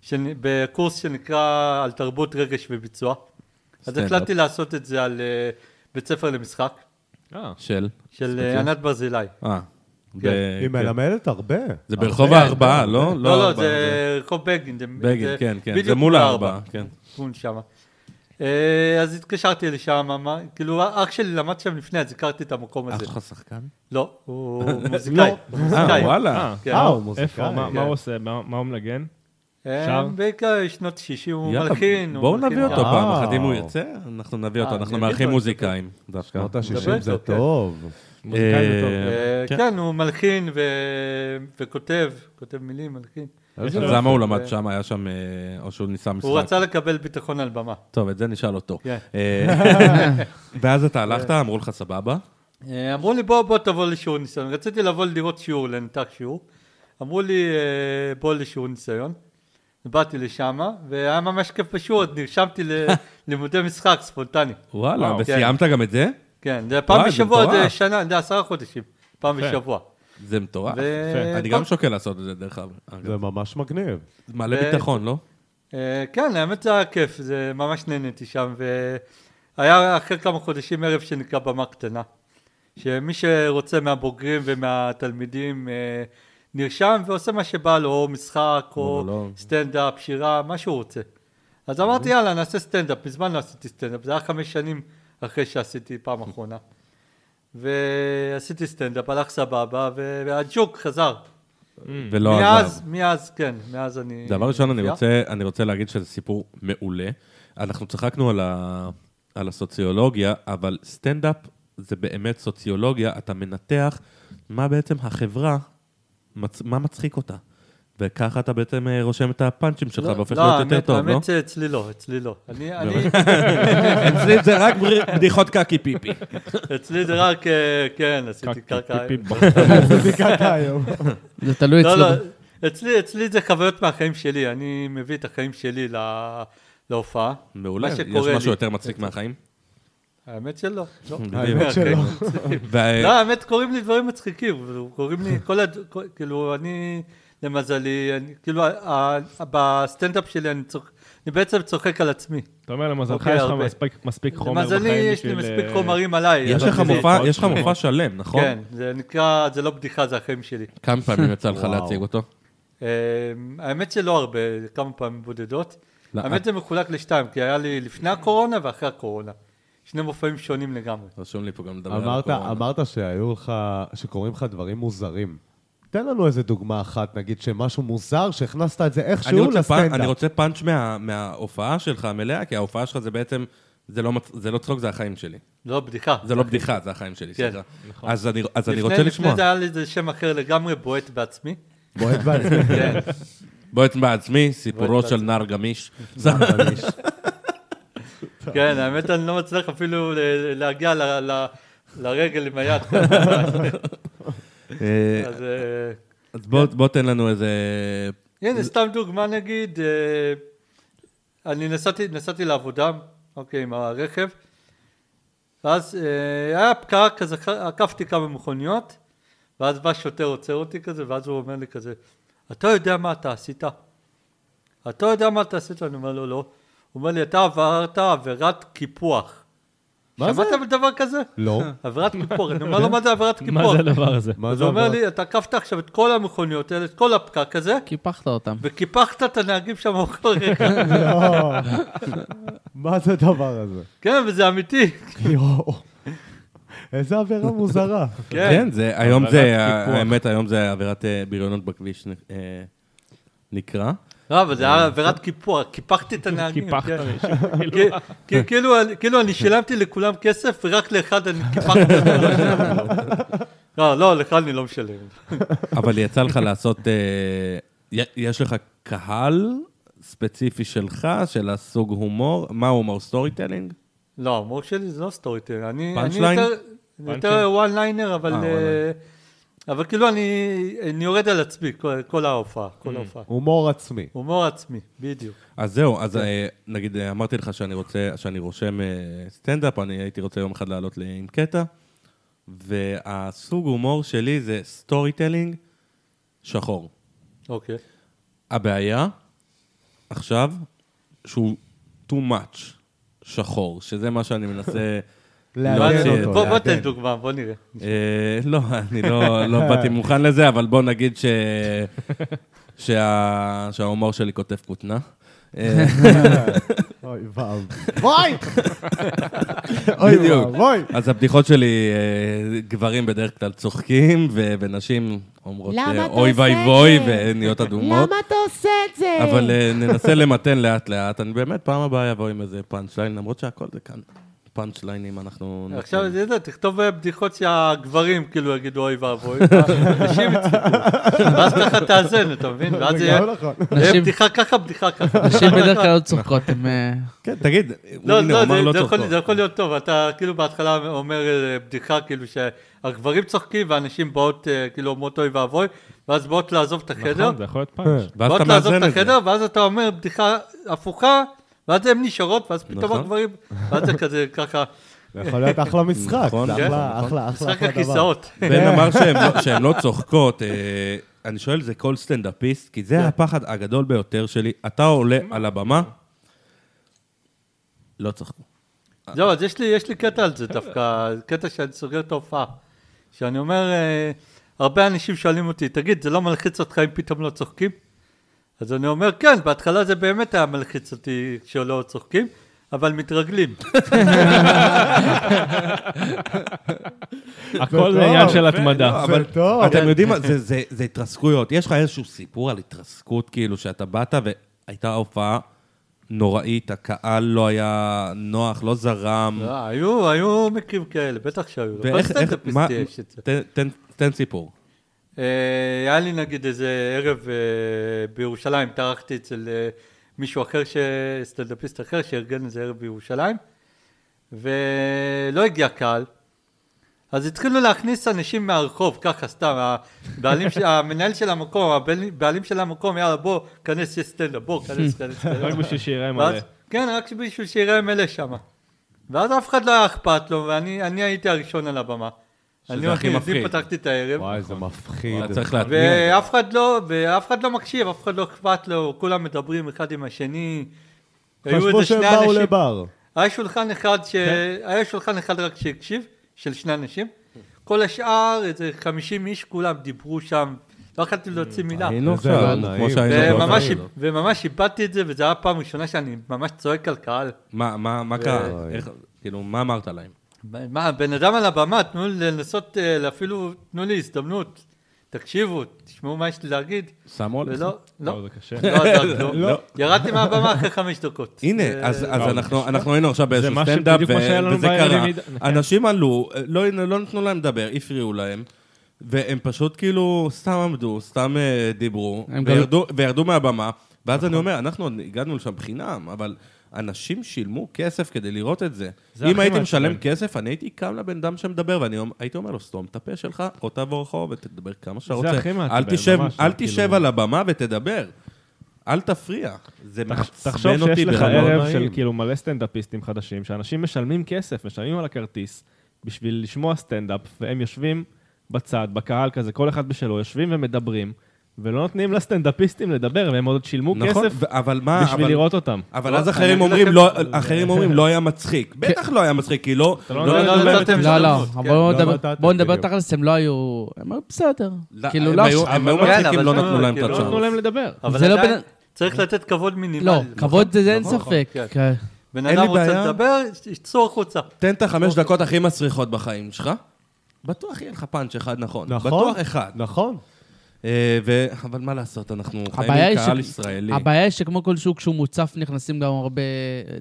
S5: שנ- בקורס שנקרא על תרבות רגש וביצוע. אז
S2: סטנדאפ.
S5: החלטתי לעשות את זה על אה, בית ספר למשחק,
S4: אה,
S2: של?
S5: של
S2: ספציפי.
S5: אה, ענת ברזילי.
S2: אה, ב-
S1: היא
S2: כן.
S1: מלמדת הרבה.
S2: זה ברחוב
S1: הרבה.
S2: הארבעה, לא?
S5: לא, לא,
S2: הארבעה,
S5: זה רחוב בגין. זה-
S2: בגין,
S5: זה
S2: כן, כן.
S5: בדיוק לא
S2: זה מול
S5: בארבע.
S2: הארבעה, כן.
S5: כיוון שמה. אה, אז התקשרתי לשם, מה- כאילו אח שלי למד שם לפני, אז הכרתי את המקום הזה.
S2: שחקן?
S5: לא, הוא מוזיקאי. הוא מוזיקאי.
S2: אה, וואלה.
S5: כן.
S1: אה, הוא מוזיקאי.
S4: איפה? מה-
S5: כן.
S4: מה הוא עושה? מה מה הוא מנגן?
S5: אה,
S4: שר?
S5: בעיקר שנות 60 הוא
S2: יאללה,
S5: מלחין. הוא
S2: בואו
S5: מלחין אה,
S2: נביא אותו
S5: גם.
S2: פעם
S1: וואו.
S2: אחת, אם הוא ירצה, אנחנו נביא אותו,
S5: אה,
S2: אנחנו
S5: אני
S2: מארחים
S5: אביא אותו.
S2: מוזיקאים דווקא.
S1: שנות
S5: מדבר
S1: ה-60 זה
S5: איתו, כן.
S1: טוב.
S4: מוזיקאי זה טוב.
S2: אה,
S5: אה,
S2: כן.
S5: כן, הוא מלחין ו- וכותב, כותב מילים, מלחין.
S1: איזה
S2: אז
S4: לו-
S2: למה הוא למד
S5: אה,
S2: שם, היה שם, אה, או שהוא ניסה משחק?
S5: הוא רצה לקבל ביטחון על במה.
S2: טוב, את זה נשאל אותו.
S5: כן.
S2: אה, ואז אתה הלכת, אמרו לך סבבה?
S5: אה, אמרו לי בוא בוא תבוא לשיעור ניסיון, רציתי לבוא לראות שיעור, לנתח שיעור, אמרו לי אה, בוא לשיעור ניסיון, באתי לשם והיה ממש כיף בשיעור, אז נרשמתי ללימודי משחק ספונטני,
S2: וואלה,
S4: וואו.
S2: וסיימת גם את זה?
S5: כן, זה פעם
S2: וואי, זה
S5: בשבוע,
S2: מטורף.
S5: זה שנה, זה עשרה חודשים, פעם
S4: יפה.
S5: בשבוע.
S2: זה מטורף.
S5: ו-
S4: יפה.
S2: אני גם שוקל לעשות את זה, דרך אגב.
S1: זה ממש מגניב.
S2: מלא
S5: ו-
S2: ביטחון, לא?
S5: אה, כן, האמת זה היה כיף, זה ממש נהניתי שם, והיה אחרי כמה חודשים ערב שנקרא במה קטנה, שמי שרוצה מהבוגרים ומהתלמידים אה, נרשם ועושה מה שבא לו, או משחק, או
S2: מונולוג. אוקיי.
S5: סטנדאפ, שירה, מה שהוא רוצה. אז אמרתי יאללה נעשה סטנדאפ, מזמן לא עשיתי סטנדאפ, זה היה חמש שנים אחרי שעשיתי פעם אחרונה. ועשיתי סטנדאפ, הלך סבבה, ו- והג'וק חזר.
S2: ולא לא עזב.
S5: מאז, מאז, כן, מאז אני...
S2: דבר ראשון, אני
S5: מופיע.
S2: רוצה, אני רוצה להגיד שזה סיפור מעולה. אנחנו צחקנו על, ה, על הסוציולוגיה, אבל סטנדאפ זה באמת סוציולוגיה, אתה מנתח מה בעצם החברה, מצ, מה מצחיק אותה. וככה אתה בעצם אה, רושם את הפאנצ'ים שלך והופך להיות יותר
S5: לא, האמת-
S2: טוב, לא?
S5: האמת שאצלי לא, אצלי לא. אני, אני,
S2: אצלי זה רק בדיחות קקי פיפי.
S5: אצלי זה רק, אה, כן, עשיתי קרקע.
S4: פיפי בו.
S1: בדיקת היום.
S3: זה תלוי
S5: לא,
S3: אצלו.
S5: לא, אצלי, אצלי זה חוויות מהחיים שלי, אני מביא את החיים שלי ל- להופעה.
S2: מעולה,
S5: מה
S2: יש
S5: שקורה לי.
S2: משהו יותר מצחיק מהחיים?
S5: האמת שלא. לא.
S1: האמת שלא.
S2: וה-
S5: לא, האמת, קוראים לי דברים מצחיקים, אבל קוראים לי כל הד... כל- כאילו, אני, למזלי, אני, כאילו, ה- ה- בסטנדאפ שלי אני צוחק, אני בעצם צוחק על עצמי.
S4: אתה אומר, למזלך
S5: אוקיי,
S4: יש לך
S5: הרבה.
S4: מספיק- מספיק חומר בחיים
S5: למזלי,
S4: בשביל...
S5: יש לי מספיק
S4: אה,
S5: חומרים עליי.
S2: יש
S5: אבל
S2: לך
S5: זה-
S2: מופע-
S4: זה-
S2: יש לך מופע שלם, נכון?
S5: כן, זה נקרא, זה לא בדיחה, זה החיים שלי.
S2: כמה פעמים יצא לך
S1: וואו.
S2: להציג אותו?
S5: אמ, האמת שלא הרבה, כמה פעמים בודדות.
S2: לא,
S5: האמת
S2: את-
S5: זה מחולק לשתיים, כי היה לי לפני הקורונה ואחרי הקורונה. שני מופעים שונים לגמרי.
S2: רשום לי פה גם לדבר על
S1: אמרת,
S2: הקורונה.
S1: אמרת שהיו לך, שקוראים לך דברים מוזרים. תן לנו איזה דוגמה אחת, נגיד, שמשהו מוזר, שהכנסת את זה
S2: אני
S1: איכשהו
S2: רוצה, פאנ... אני
S1: לסטנדאפ.
S2: רוצה פאנץ' מה... מההופעה שלך המלאה, כי ההופעה שלך זה בעצם, זה לא, מצ... זה לא צחוק, זה החיים שלי.
S5: לא בדיחה.
S2: זה לא בדיחה, זה החיים שלי,
S5: כן,
S2: סליחה. אז אני, אז אני
S5: לפני-
S2: רוצה לשמוע.
S5: לפני זה היה לי איזה שם אחר לגמרי, בועט בעצמי.
S1: בועט בעצמי.
S5: כן.
S2: בועט בעצמי, סיפורו
S5: בועט
S2: של נער גמיש.
S5: כן, האמת אני לא מצליח אפילו ל- להגיע ל- ל- לרגל עם היד.
S2: אה,
S5: אז אה,
S2: אז בוא, בוא תן לנו איזה...
S5: הנה, סתם דוגמה נגיד, אה, אני נסעתי, נסעתי לעבודה, אוקיי, עם הרכב, ואז אה, היה פקעה כזה, עקפתי כמה מכוניות, ואז בא שוטר עוצר אותי כזה, ואז הוא אומר לי כזה, אתה יודע מה אתה עשית? אתה יודע מה אתה עשית? אני אומר לו, לא. הוא אומר לי, אתה עברת עבירת קיפוח.
S1: מה זה?
S5: שמעת בדבר כזה?
S1: לא.
S5: עבירת קיפוח. אני אומר לו, מה זה עבירת קיפוח?
S4: מה זה הדבר הזה?
S1: מה
S5: אז
S1: זה
S5: הוא אומר
S1: עבר?
S5: לי, אתה עקפת עכשיו את כל המכוניות האלה, את כל הפקק הזה,
S3: קיפחת אותם.
S5: וקיפחת את הנהגים שם בכל רגע.
S1: יואו. מה זה הדבר הזה?
S5: כן, וזה אמיתי.
S2: כן.
S1: יואו. איזה עבירה מוזרה.
S5: כן.
S2: זה, היום
S4: עבירת
S2: זה,
S4: קיפוח.
S2: האמת, היום זה עבירת אה, בריונות בכביש אה, נקרא.
S5: לא, אבל זה היה עבירת קיפוח, קיפחתי את הנהגים.
S4: קיפחת
S5: כן.
S4: מישהו.
S5: כי- כי- כאילו אני- כאילו אני שילמתי לכולם כסף, ורק לאחד אני קיפחתי. לא, לא, לך אני לא משלם.
S2: אבל יצא לך לעשות, אה, י- יש לך קהל ספציפי שלך, של הסוג הומור, מה הומור? סטורי טלינג?
S5: לא, ההומור שלי זה לא סטורי טיילינג. אני אני
S2: פאנצ'ליין?
S5: יותר- אני יותר וואן ליינר, אבל...
S2: אה, וואן
S5: אה,
S2: ליינר.
S5: אבל כאילו אני אני יורד על עצמי, כל- כל ההופעה, כל ההופעה.
S1: הומור עצמי.
S5: הומור עצמי, בדיוק.
S2: אז זהו, אז אה, נגיד, אה, אמרתי לך שאני רוצה, שאני רושם אה, סטנדאפ, אני הייתי רוצה יום אחד לעלות לי עם קטע, והסוג הומור שלי זה סטורי טלינג שחור.
S5: אוקיי.
S2: הבעיה עכשיו, שהוא too much שחור, שזה מה שאני מנסה
S1: לעניין
S2: שיש.
S1: אותו.
S5: בוא בוא
S1: לעדן.
S5: תן דוגמה, בוא נראה.
S2: אה, לא, אני לא, לא באתי מוכן לזה, אבל בוא נגיד ש... שה... שההומור שלי כותב כותנה. אה,
S1: אוי ואבוי! אוי
S2: בדיוק.
S1: ואבוי!
S2: אז הבדיחות שלי, אה, גברים בדרך כלל צוחקים, ו- ונשים אומרות
S6: למה
S2: אה,
S6: אתה
S2: אוי
S6: עושה
S2: ואי
S6: את
S2: ווי,
S6: זה?
S2: ונהיות אדומות.
S6: למה אתה עושה את זה?
S2: אבל אה, ננסה למתן לאט-לאט. אני באמת, פעם הבאה אבוא עם איזה פאנצ' ליין, למרות שהכל זה כאן. פאנצ' ליינים אנחנו...
S3: נכון.
S2: נותנים.
S5: עכשיו, אתה יודע, תכתוב אה, בדיחות שהגברים כאילו יגידו אוי ואבוי, נשים יצחקו. ואז ככה תאזן, אתה מבין? ואז
S1: זה
S5: יהיה
S1: גם נכון.
S5: יהיה
S3: נשים-
S5: בדיחה ככה, בדיחה ככה.
S3: נשים בדרך כלל לא צוחקות, הם... אה,
S2: כן, תגיד,
S5: לא,
S2: הנה, הוא אמר
S5: לא,
S2: לא
S5: זה- זה יכול-
S2: צוחקות.
S5: זה יכול להיות טוב, אתה כאילו בהתחלה אומר אה, בדיחה כאילו שהגברים צוחקים והנשים באות אה, כאילו אומרות אוי ואבוי, ואז באות לעזוב את החדר,
S4: נכון, זה יכול להיות פאנץ'.
S2: ואז אתה
S5: באות לעזוב את
S2: מאזן את זה.
S5: החדר, ואז אתה אומר בדיחה הפוכה, ואז הן נשארות, ואז פתאום
S2: נכון.
S5: הגברים, ואז זה כזה ככה,
S1: זה יכול להיות אחלה משחק.
S2: נכון,
S1: זה
S2: נכון,
S1: אחלה,
S2: נכון.
S1: אחלה, אחלה,
S5: משחק
S1: אחלה דבר.
S5: הכיסאות.
S6: כן.
S2: בן אמר שהן לא- שהן לא צוחקות. אה, אני שואל, זה כל סטנדאפיסט? כי
S5: כן.
S2: זה הפחד הגדול ביותר שלי. אתה עולה על הבמה, לא צחקו.
S5: זהו, לא, אז יש לי, יש לי קטע על זה דווקא, קטע שאני סוגר את ההופעה. שאני אומר, אה, הרבה אנשים שואלים אותי, תגיד, זה לא מלחיץ אותך אם פתאום לא צוחקים? אז אני אומר, כן, בהתחלה זה באמת היה מלחיץ אותי שלא צוחקים, אבל מתרגלים.
S4: הכל
S2: לא,
S1: טוב,
S4: זה עניין של
S1: יפה,
S4: התמדה.
S1: זה טוב.
S2: אתם יודעים מה, זה- זה זה התרסקויות. יש לך איזשהו סיפור על התרסקות, כאילו, שאתה באת והייתה הופעה נוראית, הקהל לא היה נוח, לא זרם.
S5: לא, היו, היו מקרים כאלה, בטח שהיו. לכל
S2: ואיך, איך,
S5: סטנדאפיסט
S2: מה,
S5: יש את זה.
S2: תן- תן- תן סיפור.
S5: אה, היה לי נגיד איזה ערב אה, בירושלים, טרחתי אצל אה, מישהו אחר, ש... סטנדאפיסט אחר, שארגן איזה ערב בירושלים, ולא הגיע קהל. אז התחילו להכניס אנשים מהרחוב, ככה סתם, הבעלים, של- המנהל של המקום, הבעלים של המקום, יאללה בוא, כנס, יש סטנדאפ, בוא, כנס, כנס, כנס.
S2: לא.
S4: רק בשביל שיראה מלא.
S5: ואז, כן, רק בשביל שיראה מלא שם. ואז אף אחד לא היה אכפת לו, ואני אני הייתי הראשון על הבמה.
S2: שזה
S5: אני
S2: הכי
S5: הכי
S2: מפחיד.
S5: מפחיד. פתחתי את הערב.
S1: וואי, זה מפחיד.
S2: אתה צריך להתניע.
S5: ואף אחד לא, ואף אחד לא מקשיב, אף אחד לא אכפת לו, כולם מדברים אחד עם השני. היו
S1: חשבו
S5: איזה
S1: שהם
S5: שני
S1: באו כן.
S5: אנשים,
S1: לבר.
S5: היה שולחן אחד ש... היה שולחן אחד רק שהקשיב, של שני אנשים. כל השאר, איזה 50 איש, כולם דיברו שם, לא יכולתי להוציא מילה.
S2: היינו
S1: איזה
S2: עכשיו,
S1: לא
S2: כמו
S1: נעים.
S2: שהיינו.
S5: וממש,
S2: בעבר.
S5: וממש איבדתי את זה, וזו הייתה הפעם הראשונה שאני ממש צועק על קהל.
S2: מה, מה, מה קרה? איך, כאילו, מה אמרת להם?
S5: מה, בן אדם על הבמה, תנו לי לנסות, אה, אפילו תנו לי הזדמנות. תקשיבו, תשמעו מה יש לי להגיד.
S2: שמו עליך?
S5: ולא, לא.
S4: לא, זה קשה.
S5: לא עזר, לא. ירדתי מהבמה אחרי חמש דקות.
S2: הנה,
S5: אה,
S2: אז
S4: לא,
S2: אז אנחנו אנחנו היינו עכשיו באיזשהו
S4: מה ש-
S2: סטנדאפ,
S4: בדיוק מה שהיה לנו
S2: ו- וזה
S4: בערב
S2: קרה.
S4: עם עידן, כן.
S2: אנשים עלו, לא לא נתנו להם לדבר, הפריעו להם, והם פשוט כאילו סתם עמדו, סתם אה, דיברו,
S3: הם גם- נכון.
S2: וירדו- וירדו מהבמה, ואז אני אומר, אנחנו עוד הגענו לשם חינם, אבל אנשים שילמו כסף כדי לראות את זה.
S4: זה
S2: אם
S4: הכי
S2: הייתי
S4: מעצבן.
S2: משלם כסף, אני הייתי קם לבן אדם שמדבר, ואני אומר- הייתי אומר לו, סתום את הפה שלך, או תעבור אחורה ותדבר כמה שאתה
S4: זה
S2: רוצה.
S4: הכי
S2: אל
S4: מעצבן,
S2: תשב-
S4: ממש,
S2: אל
S4: זה כאילו-
S2: תשב על הבמה ותדבר. אל תפריע, זה
S4: תחש- תחשוב
S2: מעצבן אותי
S4: שיש לך
S2: ברמה לא
S4: ערב של
S2: נעים.
S4: כאילו מלא סטנדאפיסטים חדשים, שאנשים משלמים כסף, משלמים על הכרטיס, בשביל לשמוע סטנדאפ, והם יושבים בצד, בקהל כזה, כל אחד בשלו, יושבים ומדברים, ולא נותנים לסטנדאפיסטים לדבר, והם עוד שילמו
S2: נכון,
S4: כסף
S2: ו- אבל מה,
S4: בשביל
S2: אבל-
S4: לראות אותם.
S2: אבל
S5: לא,
S2: אז
S5: אני
S2: אחרים
S5: אגיד
S2: אומרים,
S5: לכם-
S2: לא- אחרים אומרים, לא היה מצחיק. בטח לא היה מצחיק, כי לא...
S4: לא
S2: לא-
S5: לא, לא,
S4: לא,
S5: לא, נתתם
S3: לא, לא,
S5: הזדמנות,
S3: אבל
S5: כן.
S3: בואו
S1: לא
S3: נדבר-
S1: נתתם,
S3: בואו נדבר
S1: בדיוק.
S3: תכלס, הם לא היו... הם היו בסדר.
S2: לא,
S3: כאילו,
S2: הם
S3: לא...
S2: היו-
S3: עכשיו-
S2: הם היו
S5: אבל-
S2: מצחיקים,
S5: כן,
S2: לא
S5: אבל-
S2: נתנו להם את
S5: כאילו,
S4: לא נתנו
S2: הצ'אנס.
S4: להם לדבר.
S5: אבל
S3: זה לא
S5: עדיין,
S3: בן-
S5: צריך לתת כבוד מינימלי.
S3: לא, כבוד זה אין
S2: נכון,
S3: ספק.
S5: כן.
S3: כן.
S5: בן
S2: אין
S5: אדם
S2: לי בעיה.
S5: רוצה לדבר, צאו החוצה.
S2: תן את החמש דקות הכי מסריחות בחיים שלך. בטוח יהיה לך פאנץ' אחד נכון.
S1: נכון.
S2: בטוח אחד.
S1: נכון.
S2: אה, ו- אבל מה לעשות, אנחנו חיים
S3: הבעיה
S2: עם
S3: היא
S2: קהל
S3: ש-
S2: ישראלי.
S3: הבעיה היא שכמו כל שוק שהוא מוצף, נכנסים גם הרבה,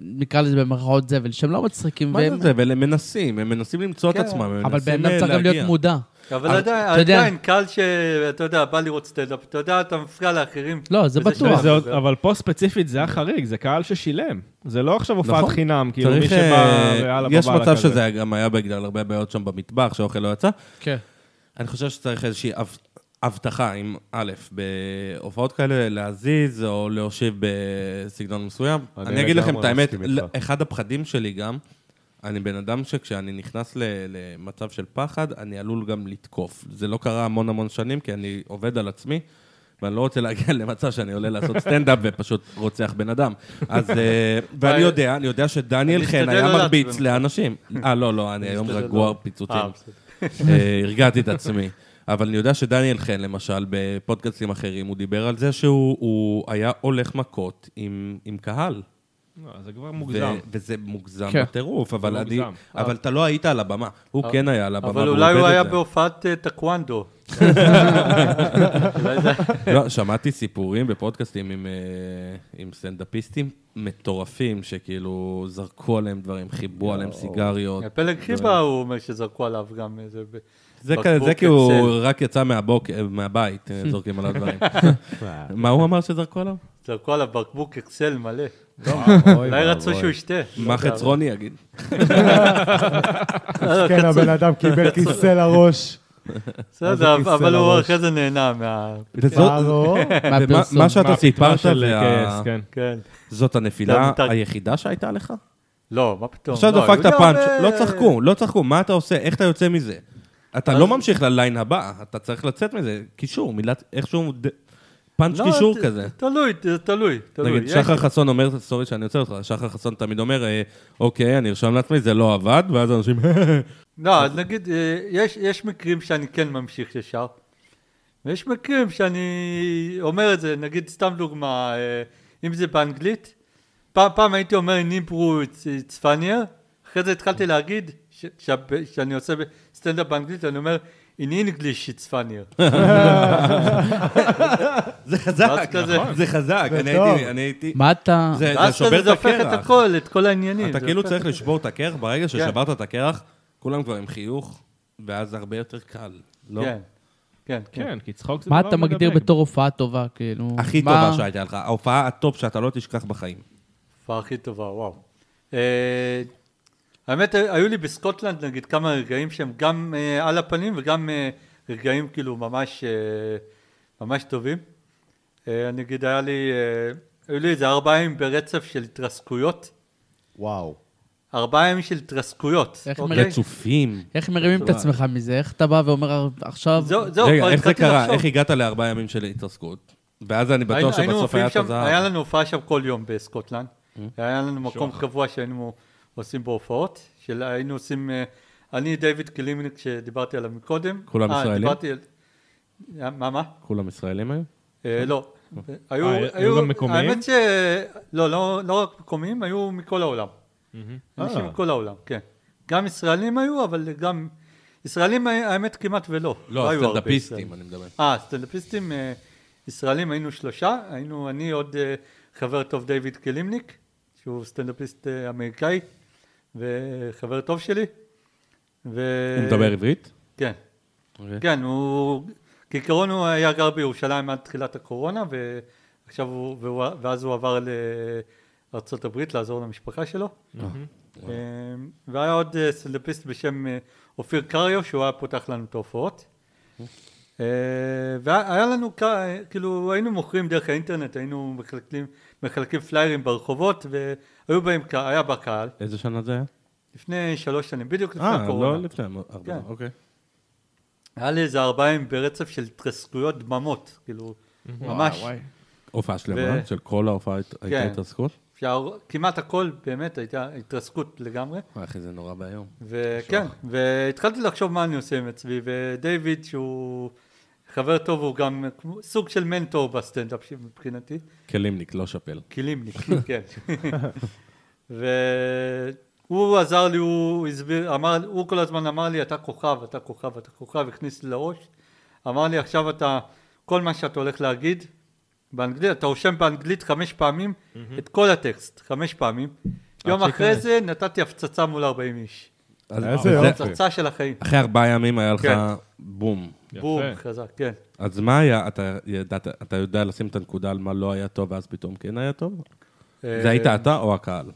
S3: נקרא לזה במרכאות זבל, שהם לא מצחיקים.
S2: מה
S3: והם-
S2: זה זה? והם מנסים, הם מנסים למצוא את
S5: כן.
S2: עצמם, הם מנסים
S3: אבל בן אדם צריך
S2: אה,
S3: גם להיות
S2: להגיע.
S3: מודע.
S5: אבל
S2: אבל-
S5: עדיין,
S3: אה, אתה יודע-
S5: עדיין, קהל שאתה יודע, בא לראות סטנדאפ, אתה יודע, אתה מפריע לאחרים.
S3: לא, זה
S5: וזה
S3: בטוח.
S5: שם.
S4: וזה עוד- אבל פה ספציפית זה היה חריג, זה קהל ששילם. זה לא עכשיו הופעת
S2: נכון.
S4: חינם, כאילו מי
S2: צריך...
S4: שבא,
S2: אה,
S4: ויאללה,
S2: יש
S4: בבאללה
S2: מצב
S4: כזה.
S2: שזה גם היה בגלל הרבה בעיות שם במטבח, שהאוכל לא יצא.
S3: כן.
S2: אני חושב שצריך איזושהי אב- הבטחה עם א', בהופעות כאלה להזיז או להושיב בסגנון מסוים.
S1: אני
S2: אני אגיד לכם את
S1: לגמרי
S2: האמת,
S1: מסכים איתך.
S2: אחד הפחדים שלי גם, אני בן אדם שכשאני נכנס ל- למצב של פחד, אני עלול גם לתקוף. זה לא קרה המון המון שנים, כי אני עובד על עצמי, ואני לא רוצה להגיע למצב שאני עולה לעשות סטנדאפ ופשוט רוצח בן אדם. אז... אה, ואני
S5: וואי.
S2: יודע, אני יודע שדניאל
S5: אני
S2: חן
S5: אשתדל
S2: היה
S5: לא
S2: מרביץ
S5: לעצבן.
S2: לאנשים. אה, לא, לא, אני היום
S5: אשתדל
S2: רגוע
S5: לא.
S2: פיצוצים.
S5: אה, בסדר.
S2: אה, הרגעתי את עצמי. אבל אני יודע שדניאל חן, למשל, בפודקאסטים אחרים, הוא דיבר על זה שהוא הוא היה הולך מכות עם, עם קהל.
S4: לא, זה כבר
S2: ו-
S4: מוגזם.
S2: וזה מוגזם
S3: כן.
S2: בטירוף, אבל,
S4: זה
S2: אני,
S4: מוגזם.
S2: אבל אתה לא היית על הבמה. הוא כן היה על הבמה,
S5: אבל
S2: והוא
S5: אולי
S2: עובד
S5: הוא
S2: את
S5: היה
S2: זה.
S5: בהופעת אה, טקוונדו. אולי זה-
S2: לא, שמעתי סיפורים בפודקאסטים עם, אה, עם סטנדאפיסטים מטורפים, שכאילו זרקו עליהם דברים, חיבו עליהם סיגריות.
S5: הפלג חיבה, הוא אומר שזרקו עליו גם איזה... ב-
S2: זה
S5: בקבוק
S2: כזה, זה כי הוא
S5: אצל.
S2: רק יצא מהבוקר, מהבית, אה, זורקים עליו דברים. מה הוא אמר שזרקו עליו?
S5: זרקו עליו בקבוק אקסל מלא.
S1: אוי
S5: אולי רצו
S1: ואבוי.
S5: שהוא ישתה. לא
S2: מה חצרוני יגיד?
S1: כן, הבן אדם קיבל כיסא לראש.
S5: בסדר,
S1: כיסא
S5: אבל הוא
S1: לראש.
S5: אחרי זה נהנה מה...
S1: וזאת...
S3: מהפרסום.
S2: מה שאתה
S4: מה,
S2: סיפרת,
S4: של
S2: וה-
S4: כעס, כן.
S5: כן.
S2: זאת הנפילה
S5: לא, מותר-
S2: היחידה שהייתה לך?
S5: לא, מה פתאום.
S2: עכשיו
S5: לא,
S2: דפקת
S5: היו
S2: פאנץ',
S5: הרבה-
S2: לא צחקו, לא צחקו, מה אתה עושה? איך אתה יוצא מזה? אתה
S5: אז-
S2: לא ממשיך לליין הבא, אתה צריך לצאת מזה. קישור, מילת, איכשהו ד- פאנץ'
S5: לא,
S2: קישור
S5: ת-
S2: כזה.
S5: תלוי, ת- תלוי, תלוי.
S2: נגיד,
S5: יש-
S2: שחר חסון אומר, סורי שאני עוצר אותך, שחר חסון תמיד אומר, אה, אוקיי, אני ארשום לעצמי, זה לא עבד, ואז אנשים,
S5: לא, אז נגיד, אה, יש, יש מקרים שאני כן ממשיך ישר, ויש מקרים שאני אומר את זה, נגיד סתם דוגמה, אה, אם זה באנגלית, פעם, פעם הייתי אומר ניברו צפניה, אחרי זה התחלתי להגיד, ש- ש- שאני עושה סטנדאפ באנגלית, אני אומר, in English it's funnier.
S2: אה, זה חזק,
S5: ואז כזה-
S2: נכון, זה חזק,
S1: זה
S2: אני
S1: טוב.
S2: הייתי, אני הייתי,
S3: מה אתה...
S2: זה זה
S5: ואז
S2: שובר
S5: כזה
S2: את
S5: זה הופך את
S2: הקרח.
S5: הכל, את כל העניינים.
S2: אתה
S5: זה כן.
S2: כאילו
S5: הופך-
S2: צריך לשבור את הקרח, ברגע ששברת את הקרח, כולם כבר עם חיוך, ואז זה הרבה יותר קל, לא?
S5: כן, כן, כן.
S4: כן, כי צחוק זה
S3: מה
S4: דבר
S3: אתה מגדיר
S4: מדבק.
S3: בתור הופעה טובה, כאילו?
S2: הכי
S3: מה-
S2: טובה שהייתה לך, ההופעה הטופ שאתה לא תשכח בחיים.
S5: ההופעה הכי טובה, וואו. אה, האמת, היו לי בסקוטלנד נגיד כמה רגעים שהם גם אה, על הפנים וגם אה, רגעים כאילו ממש, אה, ממש טובים. אה, נגיד היה לי, אה, היו לי איזה ארבעה ימים ברצף של התרסקויות.
S1: וואו.
S5: ארבעה ימים של התרסקויות.
S3: איך
S5: אוקיי?
S3: מרצ-
S2: רצופים.
S3: איך מרימים את עצמך מזה? איך אתה בא ואומר עכשיו...
S5: זהו, זהו,
S2: רגע,
S5: כבר
S2: איך זה
S5: התחלתי
S2: קרה?
S5: לחשוב.
S2: איך הגעת לארבעה ימים של התרסקות? ואז אני
S5: היינו-
S2: בטוח
S5: היינו
S2: שבסוף
S5: מופיעים
S2: היה אה,
S5: שם- היה
S2: תודה.
S5: לנו הופעה שם כל יום בסקוטלנד. היה לנו מקום קבוע שהיינו עושים בו הופעות, של- היינו עושים, אה, אני דיוויד קלימניק שדיברתי עליו מקודם.
S2: כולם
S5: אה,
S2: ישראלים?
S5: דיברתי על- אה, מה, מה?
S2: כולם ישראלים היו?
S5: אה, לא.
S4: אה, היו גם מקומיים?
S5: האמת ש... לא, לא, לא רק מקומיים, היו מכל העולם. אנשים
S4: אה.
S5: מכל העולם, כן. גם ישראלים היו, אבל גם... ישראלים, אה, האמת, כמעט ולא.
S2: לא,
S5: היו הרבה ישראלים.
S2: הסטנדאפיסטים, אני מדבר.
S5: אה, סטנדאפיסטים אה, ישראלים היינו שלושה, היינו אני עוד אה, חבר טוב דיוויד קלימניק, שהוא סטנדאפיסט אה, אמריקאי, וחבר טוב שלי. ו...
S2: הוא מדבר עברית?
S5: כן,
S2: אוקיי.
S5: כן, הוא... כעיקרון הוא היה גר בירושלים עד תחילת הקורונה, ועכשיו הוא... והוא... ואז הוא עבר לארה"ב לעזור למשפחה שלו. אה, והיה עוד אה, סטנדאפיסט בשם אה, אופיר קריו, שהוא היה פותח לנו את ההופעות. אה, והיה לנו, כ- אה, כאילו, היינו מוכרים דרך האינטרנט, היינו מחלקים, מחלקים פליירים ברחובות, והיו בהם, ק- היה בקהל,
S2: איזה שנה זה היה?
S5: לפני שלוש שנים, בדיוק לפני
S2: אה,
S5: הקורונה.
S2: לא לפני, ארבע,
S5: כן.
S2: אוקיי.
S5: היה לי איזה ארבעה ימים ברצף של התרסקויות דממות, כאילו, ממש,
S2: הופעה שלמה,
S5: ו-
S2: של כל ההופעה הת-
S5: כן.
S2: הייתה התרסקות?
S5: שהר- כמעט הכל באמת הייתה התרסקות לגמרי,
S2: וואי, אחי, זה נורא ואיום.
S5: וכן, והתחלתי לחשוב מה אני עושה עם עצמי, ודייוויד שהוא חבר טוב, הוא גם כמו- סוג של מנטור בסטנדאפ ש- מבחינתי,
S2: כלימניק, לא שפל.
S5: קילימניק, כן, והוא עזר לי, הוא הסביר, אמר, הוא כל הזמן אמר לי, אתה כוכב, אתה כוכב, אתה כוכב, הכניס לי לראש, אמר לי, עכשיו אתה, כל מה שאתה הולך להגיד, באנגלית, אתה רושם באנגלית חמש פעמים את כל הטקסט, חמש פעמים.
S2: אה,
S5: יום אחרי זה נתתי הפצצה מול 40 איש.
S2: אז-
S1: איזה
S2: וזה-
S1: יופי.
S5: הפצצה של החיים.
S2: אחרי ארבעה ימים היה לך
S5: לא? כן.
S2: בום.
S5: בום, חזק, כן.
S2: אז מה היה, אתה ידעת, אתה יודע לשים את הנקודה על מה לא היה טוב, ואז פתאום כן היה טוב?
S5: אה,
S2: זה היית אתה או
S5: לא.
S2: הקהל?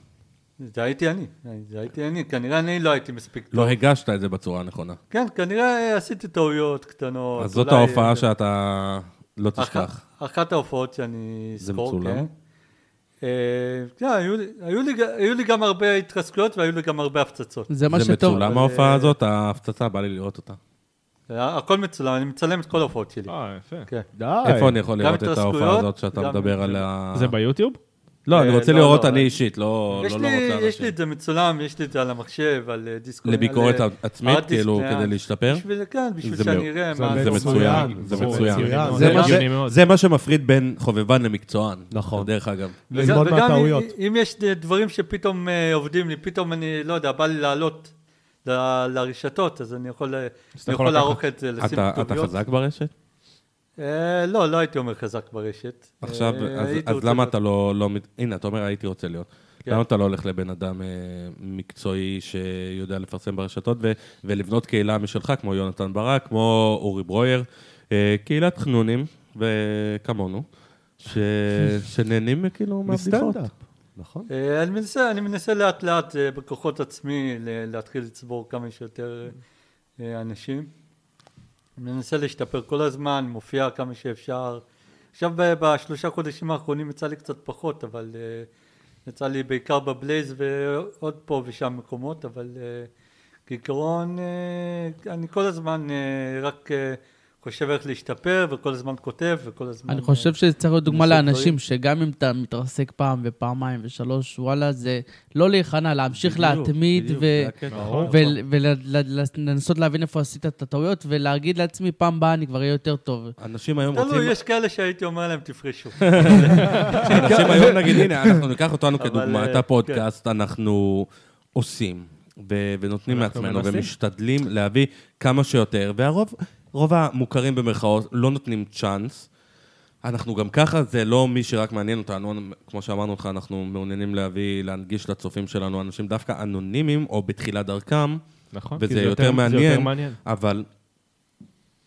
S5: זה הייתי אני, זה הייתי אני, כנראה אני לא הייתי מספיק טוב.
S2: לא הגשת את זה בצורה הנכונה.
S5: כן, כנראה עשיתי טעויות קטנות.
S2: אז זאת
S5: אולי- אה,
S2: ההופעה שאתה לא תשכח.
S5: אחת- אחת ההופעות שאני
S2: זה
S5: אזכור,
S2: מצולם?
S5: כן. אה, כן, היו לי- היו לי ג- היו לי גם הרבה התרסקויות והיו לי גם הרבה הפצצות.
S3: זה מה
S2: זה
S3: שטוב.
S2: מצולם ההופעה הזאת, ההפצצה, בא לי לראות אותה.
S5: אה, הכל מצולם, אני מצלם את כל ההופעות שלי.
S4: אה, יפה.
S5: כן.
S1: די.
S2: איפה אני יכול
S5: גם
S2: לראות את ההופעה
S5: התרסקויות,
S2: הזאת שאתה
S5: גם-
S2: מדבר עליה?
S4: זה ביוטיוב?
S2: לא, אני
S5: אה,
S2: רוצה
S5: לא,
S2: לראות
S5: לא.
S2: אני אישית, לא לא
S5: יש,
S2: להראות
S5: לי, יש
S2: לאנשים.
S5: לי את זה מצולם, יש לי את זה על המחשב, על אה, דיסק.
S2: לביקורת
S5: על, אה,
S2: עצמית,
S5: הארד דיסק,
S2: כאילו,
S5: אה,
S2: כדי להשתפר?
S5: בשביל, כן, בשביל
S2: זה
S5: שאני
S2: מאוד-
S5: אראה
S1: זה
S5: מה...
S2: זה מצוין,
S1: מצוין,
S2: זה
S1: זה
S2: מצוין.
S1: מצוין.
S2: זה
S1: זה
S2: מה ש-
S4: הגיוני מאוד.
S2: זה מה שמפריד בין חובבן למקצוען.
S1: נכון.
S2: דרך אגב.
S5: וגם-
S1: ללמוד
S5: וגם
S1: מהטעויות.
S5: אם- אם יש דברים שפתאום אה, עובדים לי, פתאום אני, לא יודע, בא לי לעלות ל- לרשתות, אז אני יכול, אה,
S4: אתה
S5: אני
S4: יכול
S5: יכול
S4: לקחת.
S5: לערוך את זה, לשים
S2: אתה
S5: כתוביות.
S2: אתה חזק ברשת?
S5: אה, לא, לא הייתי אומר חזק ברשת.
S2: עכשיו,
S5: אה,
S2: אז-
S5: הייתי
S2: אז
S5: רוצה
S2: למה
S5: להיות-
S2: אתה לא... לא מת- הנה, אתה אומר, הייתי רוצה להיות.
S5: כן.
S2: למה אתה לא הולך לבן אדם אה, מקצועי שיודע לפרסם ברשתות ו- ולבנות קהילה משלך, כמו יונתן ברק, כמו אורי ברויר, אה, קהילת חנונים, וכמונו, ש- שנהנים כאילו מהבדיחות.
S1: מסטנדאפ. נכון.
S5: אה, אני מנסה, אני מנסה לאט לאט אה, בכוחות עצמי ל- להתחיל לצבור כמה שיותר אה, אה, אנשים. אני מנסה להשתפר כל הזמן, מופיע כמה שאפשר. עכשיו ב- בשלושה חודשים האחרונים יצא לי קצת פחות, אבל אה, יצא לי בעיקר בבלייז ועוד פה ושם מקומות, אבל אה, כעיקרון אה, אני כל הזמן אה, רק אה, חושב איך להשתפר וכל הזמן כותב וכל הזמן...
S3: אני חושב שזה צריך להיות דוגמה
S5: לעשות
S3: לאנשים,
S5: דברים.
S3: שגם אם אתה מתרסק פעם ופעמיים ושלוש, וואלה, זה לא להיכנע, להמשיך להתמיד
S2: בדיוק,
S3: ו-
S2: זה הקטע.
S3: ולנסות להבין איפה עשית את הטעויות, ולהגיד לעצמי, פעם הבאה אני כבר אהיה יותר טוב.
S2: אנשים היום רוצים...
S5: תלוי, יש כאלה שהייתי אומר להם תפרשו.
S2: אנשים היום נגיד, הנה, אנחנו ניקח אותנו
S5: כן. אבל,
S2: כדוגמה,
S5: אה,
S2: את הפודקאסט אנחנו עושים, ו- ונותנים
S4: אנחנו
S2: לעצמנו,
S4: מנסים.
S2: ומשתדלים להביא כמה שיותר, והרוב, רוב המוכרים במרכאות לא נותנים צ'אנס. אנחנו גם ככה, זה לא מי שרק מעניין אותנו, כמו שאמרנו לך, אנחנו מעוניינים להביא, להנגיש לצופים שלנו אנשים דווקא אנונימיים, או בתחילת דרכם,
S4: נכון. כי
S2: וזה
S4: זה
S2: יותר
S4: זה
S2: מעניין,
S4: יותר מעניין.
S2: אבל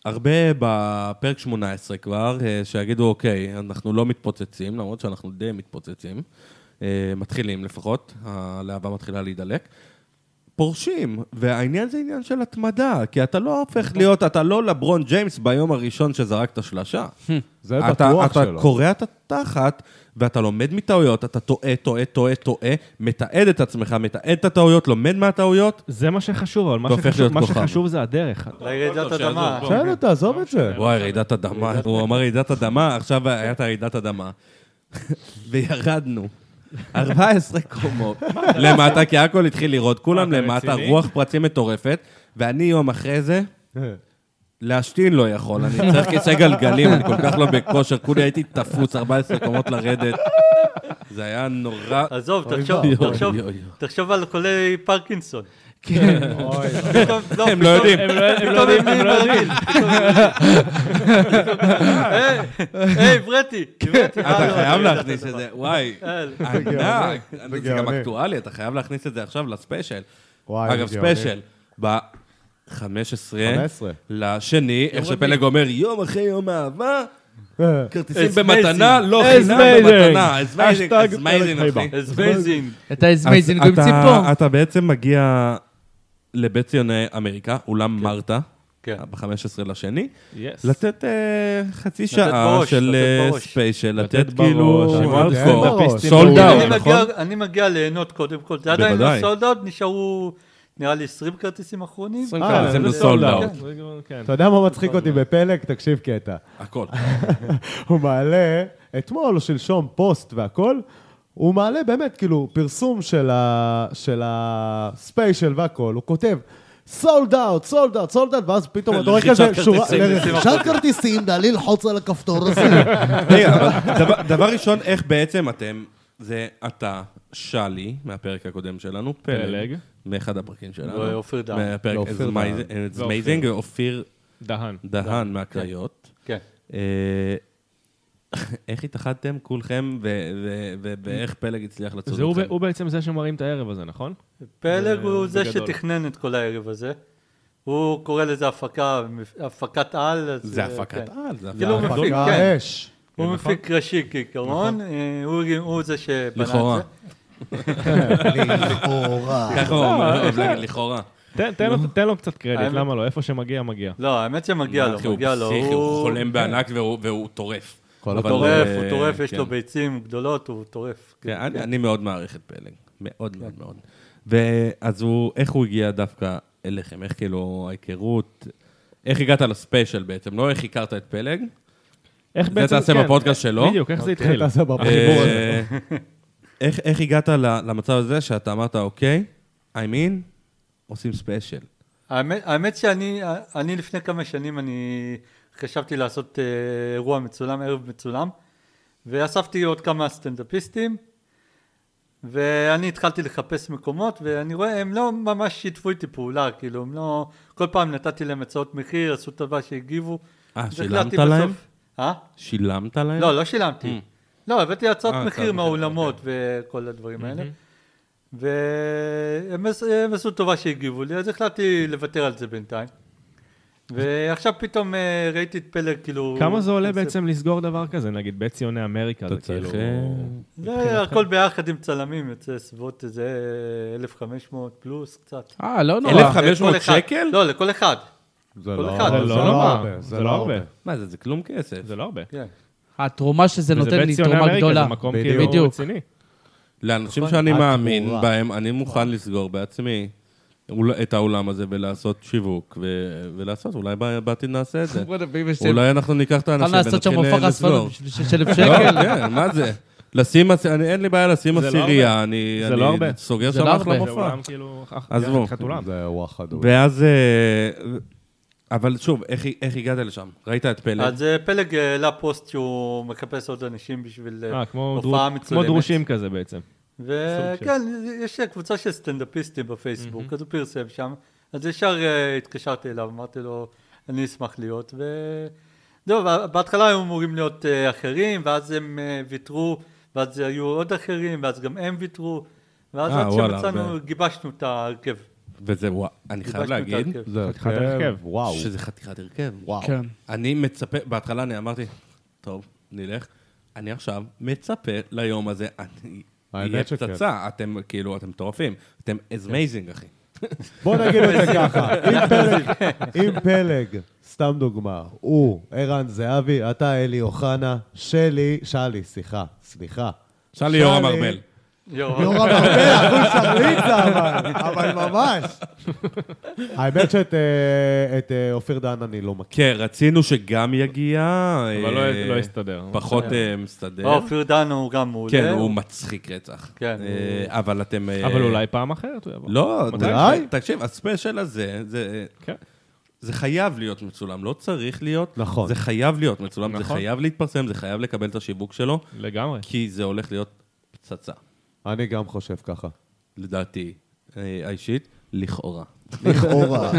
S2: הרבה בפרק 18 כבר, אה, שיגידו, אוקיי, אנחנו לא מתפוצצים, למרות שאנחנו די מתפוצצים, אה, מתחילים לפחות, הלהבה מתחילה להידלק. פורשים, והעניין זה עניין של התמדה, כי אתה לא
S4: נכון.
S2: הופך להיות, אתה לא לברון ג'יימס ביום הראשון שזרקת שלשה.
S1: זה
S2: אתה-
S1: בטוח
S2: אתה
S1: שלו.
S2: קורע את התחת, ואתה לומד מטעויות, אתה טועה, טועה, טועה, טועה, מתעד את עצמך, מתעד את הטעויות, לומד מהטעויות.
S4: זה מה שחשוב, אבל מה
S2: והופך
S4: שחשוב-
S2: להיות
S4: מה
S2: כוכב.
S4: שחשוב זה הדרך.
S5: לרעידת
S2: טוב,
S5: אדמה.
S2: שיעזוב,
S1: בסדר, תעזוב את זה.
S2: וואי, רעידת אדמה, הוא אמר רעידת אדמה, עכשיו היה את הרעידת אדמה. וירדנו. 14 קומות למטה, כי הכל התחיל לראות, כולם
S4: מה, אתה
S2: למטה,
S4: רציני?
S2: רוח פרצים מטורפת, ואני יום אחרי זה, להשתין לא יכול, אני צריך כיסא גלגלים, אני כל כך לא בכושר, כולי הייתי תפוץ 14 קומות לרדת. זה היה נורא...
S5: עזוב, תחשוב,
S2: ואבוי.
S5: תחשוב,
S2: אוי, אוי, אוי.
S5: תחשוב על חולי פרקינסון.
S3: כן.
S1: אוי,
S5: פתאום- לא,
S2: הם לא יודעים.
S4: הם לא- הם לא
S5: פתאום
S4: יודעים,
S5: הם
S4: הם לא יודעים.
S5: נהיים ברזיל. היי, אה, ברטי, ברטי.
S2: אתה חייב
S5: לא,
S2: להכניס את זה, וואי,
S5: אה,
S2: ענק,
S1: זה
S2: זה גם
S1: גאוני.
S2: אקטואלי, אתה חייב להכניס את זה עכשיו לספיישל.
S1: וואי,
S2: אגב,
S1: זה גאוני.
S2: ספיישל, אה? ב-15
S1: 15.
S2: לשני, איך שפלג אומר, יום אחרי יום אהבה,
S1: אה,
S2: כרטיסים
S5: It's
S2: במתנה,
S5: amazing.
S2: לא
S4: It's
S2: חינם
S4: amazing.
S2: במתנה. It's amazing,
S4: Hashtag
S2: it's amazing,
S4: פרק
S2: אחי.
S5: It's amazing.
S3: אתה איזמייזין
S2: אז
S3: גם
S2: אתה-
S3: ציפור.
S2: אתה בעצם מגיע לבית ציוני אמריקה, אולם מרתה,
S5: כן.
S2: ב-15 לשני,
S4: Yes.
S2: לתת אה, חצי שעה
S5: בראש,
S2: של
S5: לתת
S2: אה,
S5: בראש.
S2: ספיישל,
S4: לתת
S2: לתת
S4: בראש,
S2: כאילו...
S4: אני
S1: מאוד
S2: hardcore,
S1: אוהב את
S2: sold
S1: הספיישל.
S2: out,
S5: אני
S1: אה,
S2: נכון?
S5: מגיע- אני מגיע ליהנות קודם כל, זה עדיין לא
S2: בוודאי.
S5: סולד אאוט, נשארו נראה לי 20 כרטיסים אחרונים.
S2: 20
S1: אה,
S2: כרטיסים
S1: זה
S2: בסולד
S1: sold
S2: אאוט,
S5: out.
S4: כן.
S1: אתה יודע מה מצחיק אותי בפלג? תקשיב קטע.
S2: הכל.
S1: הוא מעלה, אתמול או שלשום, פוסט והכל, הוא מעלה באמת, כאילו, פרסום של, ה, של הספיישל והכל, הוא כותב, סולד אאוט, סולד אאוט, סולד אאוט, ואז פתאום אתה רואה
S2: לרכישת
S1: כזה,
S2: כרטיסים, כן.
S1: שורה,
S2: לשים
S1: לרכישת כרטיסים, נא ללחוץ על הכפתור הזה.
S2: רגע, אבל דבר- דבר ראשון, איך בעצם אתם, זה אתה, שלי, מהפרק הקודם שלנו, פלג,
S4: פלג.
S2: מאחד הפרקים שלנו.
S5: ואופיר דהן.
S2: מהפרק
S1: ואופיר
S2: It's
S1: דהן.
S2: Amazing- It's Amazing,
S4: ואופיר.
S2: ואופיר
S4: דהן.
S2: דהן מהקריות.
S5: כן.
S2: אה, איך התאחדתם כולכם, ו- ו- ו- ואיך פלג הצליח לצוד
S4: זה הוא ב-
S2: אתכם?
S4: הוא בעצם זה שמרים את הערב הזה, נכון?
S5: פלג
S2: אה,
S5: הוא זה
S4: בגדול.
S5: שתכנן את כל הערב הזה. הוא קורא לזה הפקה, הפקת על. אז,
S2: זה
S5: אה,
S2: הפקת
S5: כן.
S2: על, זה
S5: כאילו
S2: הפקת
S5: הוא
S2: על. אה, נכון.
S5: מפיק,
S1: הפקה
S5: כן.
S1: אש.
S5: הוא מפיק ראשי כעיקרון, אה, הוא- הוא זה שבנה את זה.
S2: לכאורה.
S1: לכאורה.
S2: ככה
S4: לא,
S2: הוא אומר, אוהב להגיד לכאורה.
S4: תן- תן
S2: לא.
S4: לו- תן לו קצת קרדיט,
S5: האמת-
S4: למה לא? איפה שמגיע, מגיע.
S5: לא, האמת שמגיע
S2: אחי,
S5: לו,
S2: הוא
S5: מגיע לו.
S2: פסיכי, הוא חולם בענק והוא- והוא טורף.
S1: כל
S2: אבל,
S5: כן. הוא טורף,
S2: אה,
S5: הוא טורף, יש
S2: כן.
S5: לו ביצים גדולות, הוא טורף.
S2: כן, אני, אני מאוד מעריך את פלג, מאוד מאוד מאוד. ואז הוא, איך הוא הגיע דווקא אליכם? איך כאילו ההיכרות, איך הגעת לספיישל בעצם, לא איך הכרת את פלג.
S4: איך
S2: זה תעשה
S4: כן,
S2: בפודקאסט שלו.
S4: בדיוק, איך זה
S1: כן,
S4: התחיל?
S1: תעשה בבוקר.
S4: החיבור
S2: אה, איך איך הגעת ל- למצב הזה שאתה אמרת, אוקיי, I'm in, עושים ספיישל.
S5: האמת, האמת שאני אני לפני כמה שנים אני חשבתי לעשות אה, אירוע מצולם, ערב מצולם, ואספתי עוד כמה סטנדאפיסטים, ואני התחלתי לחפש מקומות, ואני רואה, הם לא ממש שיתפו איתי פעולה, כאילו, הם לא... כל פעם נתתי להם הצעות מחיר, עשו טובה שהגיבו.
S2: אה,
S5: והחלטתי
S2: שילמת להם?
S5: בסוף- אה?
S2: שילמת להם?
S5: לא, לא שילמתי. לא, הבאתי הצעות
S2: אה, הצעות
S5: מחיר
S2: מחיר,
S5: מהאולמות וכל הדברים האלה. והם עש- הם עשו טובה שהגיבו לי, אז החלטתי לוותר על זה בינתיים. ועכשיו פתאום אה, ראיתי את פלג, כאילו...
S4: כמה זה עולה
S5: עושה-
S4: בעצם לסגור דבר כזה, נגיד, בית ציוני אמריקה,
S2: אתה
S4: זה
S2: צריך...
S4: כאילו...
S2: אה,
S5: זה הכל ביחד עם צלמים, יוצא סביבות איזה 1,500 פלוס קצת.
S3: אה, לא נורא.
S2: 1,500
S5: לכל אחד.
S2: שקל?
S5: לא, לכל אחד.
S1: זה
S5: כל
S1: לא
S5: אחד.
S4: זה
S1: זה
S4: לא
S1: לא
S4: נורא,
S1: הרבה.
S4: זה לא הרבה.
S2: מה זה, זה כלום כסף.
S4: זה לא הרבה.
S5: כן.
S3: התרומה שזה
S4: וזה
S3: נותן
S4: בית
S3: לי
S4: ציוני
S3: תרומה
S4: אמריקה,
S3: גדולה.
S4: זה מקום
S1: בדיוק.
S4: כאילו
S3: בדיוק.
S4: רציני.
S2: לאנשים שאני
S1: את
S2: מאמין
S1: גבורה.
S2: בהם, אני מוכן לסגור בעצמי אול- את האולם הזה ולעשות שיווק, ו- ולעשות, אולי ב- בעתיד נעשה את זה.
S3: בוא'נה, באמא שלי.
S2: אולי אנחנו ניקח את
S3: אפשר
S2: האנשים
S3: לא לעשות שם
S2: ונתחיל
S3: הופעה
S2: אה, לסגור.
S3: חשפנות בשביל 6,000
S2: לא,
S3: שקל?
S2: כן, מה זה? לשים, עש- אני- אין לי בעיה לשים
S4: זה לא
S2: עשירייה, אני
S4: זה
S2: אני
S4: לא הרבה.
S2: סוגר
S3: זה
S2: שם
S3: לא
S2: אחלה
S3: הרבה.
S4: זה
S2: מופע.
S4: אולם כאילו... אח-
S2: עזבו.
S4: יחד חתולם.
S1: זה וואחד.
S2: ואז... אה, אבל שוב, איך- איך הגעת לשם? ראית את פלד?
S5: אז אה, פלג אה, העלה פוסט שהוא מחפש עוד אנשים בשביל אה,
S4: אה, כמו
S5: הופעה
S4: דרו- כמו
S5: מצולמת.
S4: דרושים כזה בעצם. סוג
S5: וכן, יש קבוצה של סטנדאפיסטים בפייסבוק, אז הוא פרסם שם, אז ישר אה, התקשרתי אליו, אמרתי לו, אני אשמח להיות, ו... זהו, בה- בהתחלה היו אמורים להיות אה, אחרים, ואז הם אה, ויתרו, ואז היו עוד אחרים, ואז גם הם ויתרו, ואז
S2: אה,
S5: עד
S2: וואלה,
S5: שמצאנו,
S2: הרבה.
S5: גיבשנו את ההרכב.
S2: וזה, וואו, אני חייב
S5: גיבשנו את
S2: להגיד
S5: ההרכב.
S1: זה
S4: חתיכת הרכב.
S1: וואו.
S2: שזה חתיכת הרכב.
S1: וואו.
S3: כן.
S2: אני מצפה, בהתחלה אני אמרתי, טוב, נלך. אני עכשיו מצפה ליום הזה, אני...
S1: האמת
S2: יהיה
S1: שכן.
S2: פצצה, אתם כאילו, אתם מטורפים. אתם
S4: כן.
S2: אמייזינג, אחי.
S1: בוא נגיד את זה ככה, אם פלג, אם פלג, סתם דוגמה, הוא ערן זהבי, אתה אלי אוחנה, שלי, שלי, סליחה, סליחה.
S2: שאלי יורם ארבל.
S5: יורם.
S1: יורם ארבל, אחוז שרליצה, אבל, אבל ממש. האמת שאת אה, את, אה, אופיר דהן אני לא מכיר.
S2: כן, רצינו שגם יגיע.
S4: אבל
S2: אה,
S4: לא- לא הסתדר.
S2: פחות אה, מסתדר.
S5: אה, אופיר דן הוא גם מעולה.
S2: כן, הוא מצחיק רצח.
S5: כן,
S2: אה, אבל אתם... אה,
S4: אבל אולי פעם אחרת הוא יבוא.
S2: לא,
S4: מתי?
S2: אולי. תקשיב, הספיישל הזה, זה...
S4: כן.
S2: זה חייב להיות מצולם, לא צריך להיות.
S1: נכון.
S2: זה חייב להיות מצולם, זה
S4: נכון.
S2: חייב להתפרסם, זה חייב לקבל את השיווק שלו,
S4: לגמרי.
S2: כי זה הולך להיות פצצה,
S1: אני גם חושב ככה.
S2: לדעתי אה, האישית, לכאורה.
S1: לכאורה.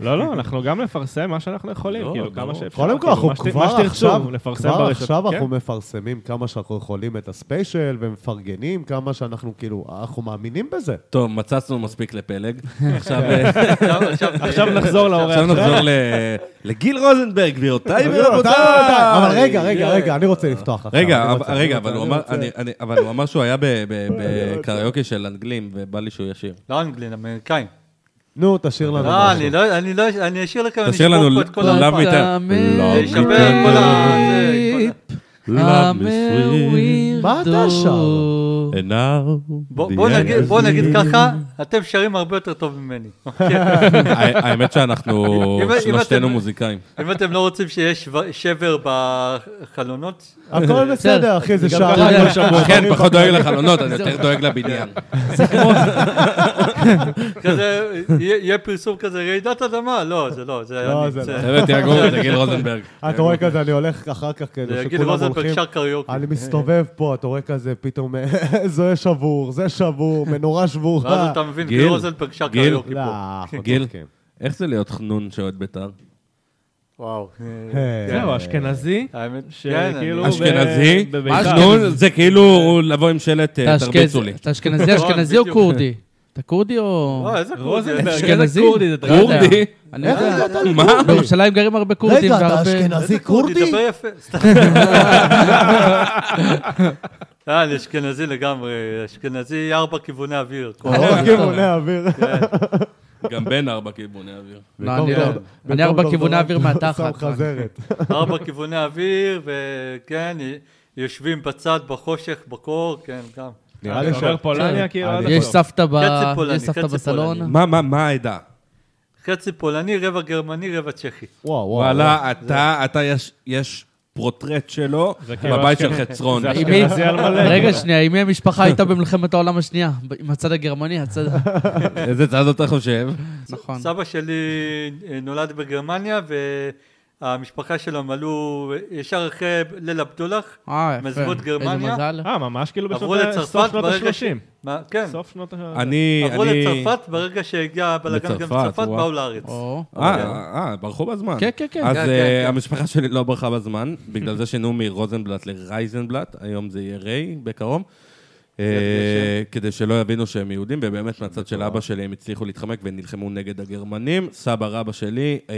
S4: לא, לא, אנחנו גם נפרסם מה שאנחנו יכולים,
S2: לא,
S4: כאילו, כמה
S2: ברור.
S4: שאפשר.
S1: קודם כל,
S4: כאילו,
S1: אנחנו
S4: מה שת-
S1: כבר
S4: מה שתרצו,
S1: עכשיו,
S4: לפרסם
S1: כבר
S4: ברשת.
S1: עכשיו
S4: כן.
S1: אנחנו מפרסמים כמה שאנחנו יכולים את הספיישל ומפרגנים כמה שאנחנו כאילו, אנחנו מאמינים בזה.
S2: טוב, מצצנו מספיק לפלג. עכשיו אה,
S4: עכשיו נחזור לאורח.
S2: עכשיו נחזור ל- לגיל רוזנברג, גבירותיי ורבותיי.
S1: אבל רגע, רגע, רגע, אני רוצה לפתוח עכשיו.
S2: רגע,
S1: אני
S2: אבל-
S1: רוצה,
S2: רגע,
S1: אני
S2: אבל הוא
S1: רוצה,
S2: אמר-
S1: אני רוצה.
S2: אני- אני- אבל הוא אמר שהוא היה ב- ב- בקריוקי של אנגלים, ובא לי שהוא ישיר.
S5: לא אנגלין, אמריקאים.
S1: נו, תשאיר לנו
S5: לא,
S1: משהו.
S5: אני לא, אני לא, אני אשאיר לכם, אני
S2: תשאיר
S5: אשבור
S2: לנו
S5: פה את כל
S1: לא,
S2: Love
S5: ה...
S2: Me Tell.
S5: זה ישפר את כל ה... זה, כל
S1: לא,
S5: ה-
S1: מה אתה שר?
S2: And now,
S5: בוא
S2: the
S5: בוא
S2: end
S5: נגיד-
S2: is
S5: בוא נגיד
S2: near.
S5: ככה, אתם שרים הרבה יותר טוב ממני. אוקיי?
S2: הא- האמת שאנחנו
S5: אם- אם
S2: שלושתנו
S5: אתם-
S2: מוזיקאים.
S5: אם אתם לא רוצים שיהיה שו- שבר בחלונות,
S1: הכל בסדר, אחי, זה
S3: גם
S1: שעריים.
S3: ככה
S1: כל שבוע.
S2: כן, פחות דואג לחלונות, אני יותר דואג לבניין.
S5: כזה, יהיה יהיה פרסום כזה רעידת אדמה, לא, זה לא, זה
S1: לא,
S5: היה
S1: זה
S5: נמצא.
S2: חבר'ה, תירגעו, זה גיל רוזנברג.
S1: אתה רואה כזה, אני הולך אחר כך
S5: זה
S1: כזה,
S5: יגיד
S1: שכולם
S5: רוזנברג
S1: הולכים.
S5: שר קריוקי.
S1: אה, אני מסתובב פה, אתה רואה כזה, פתאום, זה שבור, זה שבור, מנורה
S5: ואז
S1: שבורה.
S5: אתה מבין,
S2: גיל,
S5: גיל רוזנברג שר
S2: גיל.
S5: קריוקי
S1: לא,
S5: פה.
S1: אנחנו
S2: גיל.
S1: צוחקים.
S2: איך זה להיות חנון שאוהד בית"ר?
S5: וואו.
S1: היי.
S3: לא,
S4: זהו, אשכנזי,
S5: האמת, כן,
S4: שכאילו...
S2: כאילו-
S5: אני-
S4: ב-
S2: אשכנזי?
S4: בביתר.
S2: חנון זה כאילו לבוא עם שלט, אה,
S3: אתה
S2: תרביצו לי.
S3: אשכנז- אתה אשכנזי, אשכנזי או
S5: בדיוק.
S3: כורדי? אתה כורדי או...
S5: לא, איזה קול זה.
S4: רוזנברג, איזה
S3: אשכנזי?
S4: כורדי זה
S3: לא יודע.
S2: כורדי?
S3: אני לא יודע.
S1: איך הגעת
S2: מה?
S3: בירושלים גרים הרבה כורדים.
S1: רגע, אתה
S3: והרבה-
S1: אשכנזי
S5: איזה כורדי?
S1: כורדי?
S5: דבר יפה. סתם. אה, אני אשכנזי לגמרי, אשכנזי ארבע כיווני אוויר. כל-
S1: לא כיווני האוויר.
S2: גם בן ארבע כאילו, כיווני אוויר.
S3: לא, אני לא. אני ארבע כיווני אוויר מהתחת.
S1: שם חזרת.
S5: ארבע כיווני אוויר, וכן, י- יושבים בצד, בחושך, בקור, כן, גם.
S1: נראה לי
S4: אתה
S1: ש...
S4: אומר פולניה, כאילו... עד
S3: יש
S4: הסוף.
S3: סבתא ב-
S5: חצי פולני,
S3: יש סבתא
S5: חצי
S3: בסלון.
S5: פולני.
S2: מה, מה, מה העדה?
S5: חצי פולני, רבע גרמני, רבע צ'כי.
S1: וואו, וואו.
S2: וואלה, אתה, אתה, יש- יש פרוטרט שלו
S4: כאילו
S2: בבית של
S4: אשכנ-
S2: חצרון.
S4: זה
S3: עם מי-
S4: אשכנזי על מלא.
S3: רגע, שנייה, עם מי המשפחה הייתה במלחמת העולם השנייה? ב- עם הצד הגרמני, הצד...
S2: איזה צד אתה חושב?
S3: נכון.
S5: סבא שלי אה, נולד בגרמניה, והמשפחה שלו הם עלו אה, ישר אחרי ליל הבדולח.
S3: אה, יפה.
S5: הם עזבו את
S3: איזה
S5: גרמניה.
S3: מזל.
S4: אה, ממש כאילו
S5: עברו
S4: בשנות ה- סוף
S5: לצרפת
S4: שנות
S5: ברגע ש...
S4: ה-30.
S5: מה- כן,
S4: סוף שנות ה...
S2: אני...
S5: עברו
S2: אני-
S5: לצרפת, ברגע שהגיע הבלאגן גם
S2: לצרפת,
S5: לצרפת,
S2: וואו.
S5: באו לארץ.
S3: או.
S2: אה, אה, ברחו בזמן.
S3: כן, כן, כן.
S2: אז
S5: אוקיי. כן, כן,
S2: אה,
S5: כן.
S2: המשפחה שלי לא ברחה בזמן, בגלל זה שינו מרוזנבלט לרייזנבלט, היום זה יהיה ריי בקרוב. אה, כדי שלא יבינו שהם יהודים, ובאמת מהצד של אבא שלי הם הצליחו להתחמק ונלחמו נגד הגרמנים. סבא רבא שלי אה,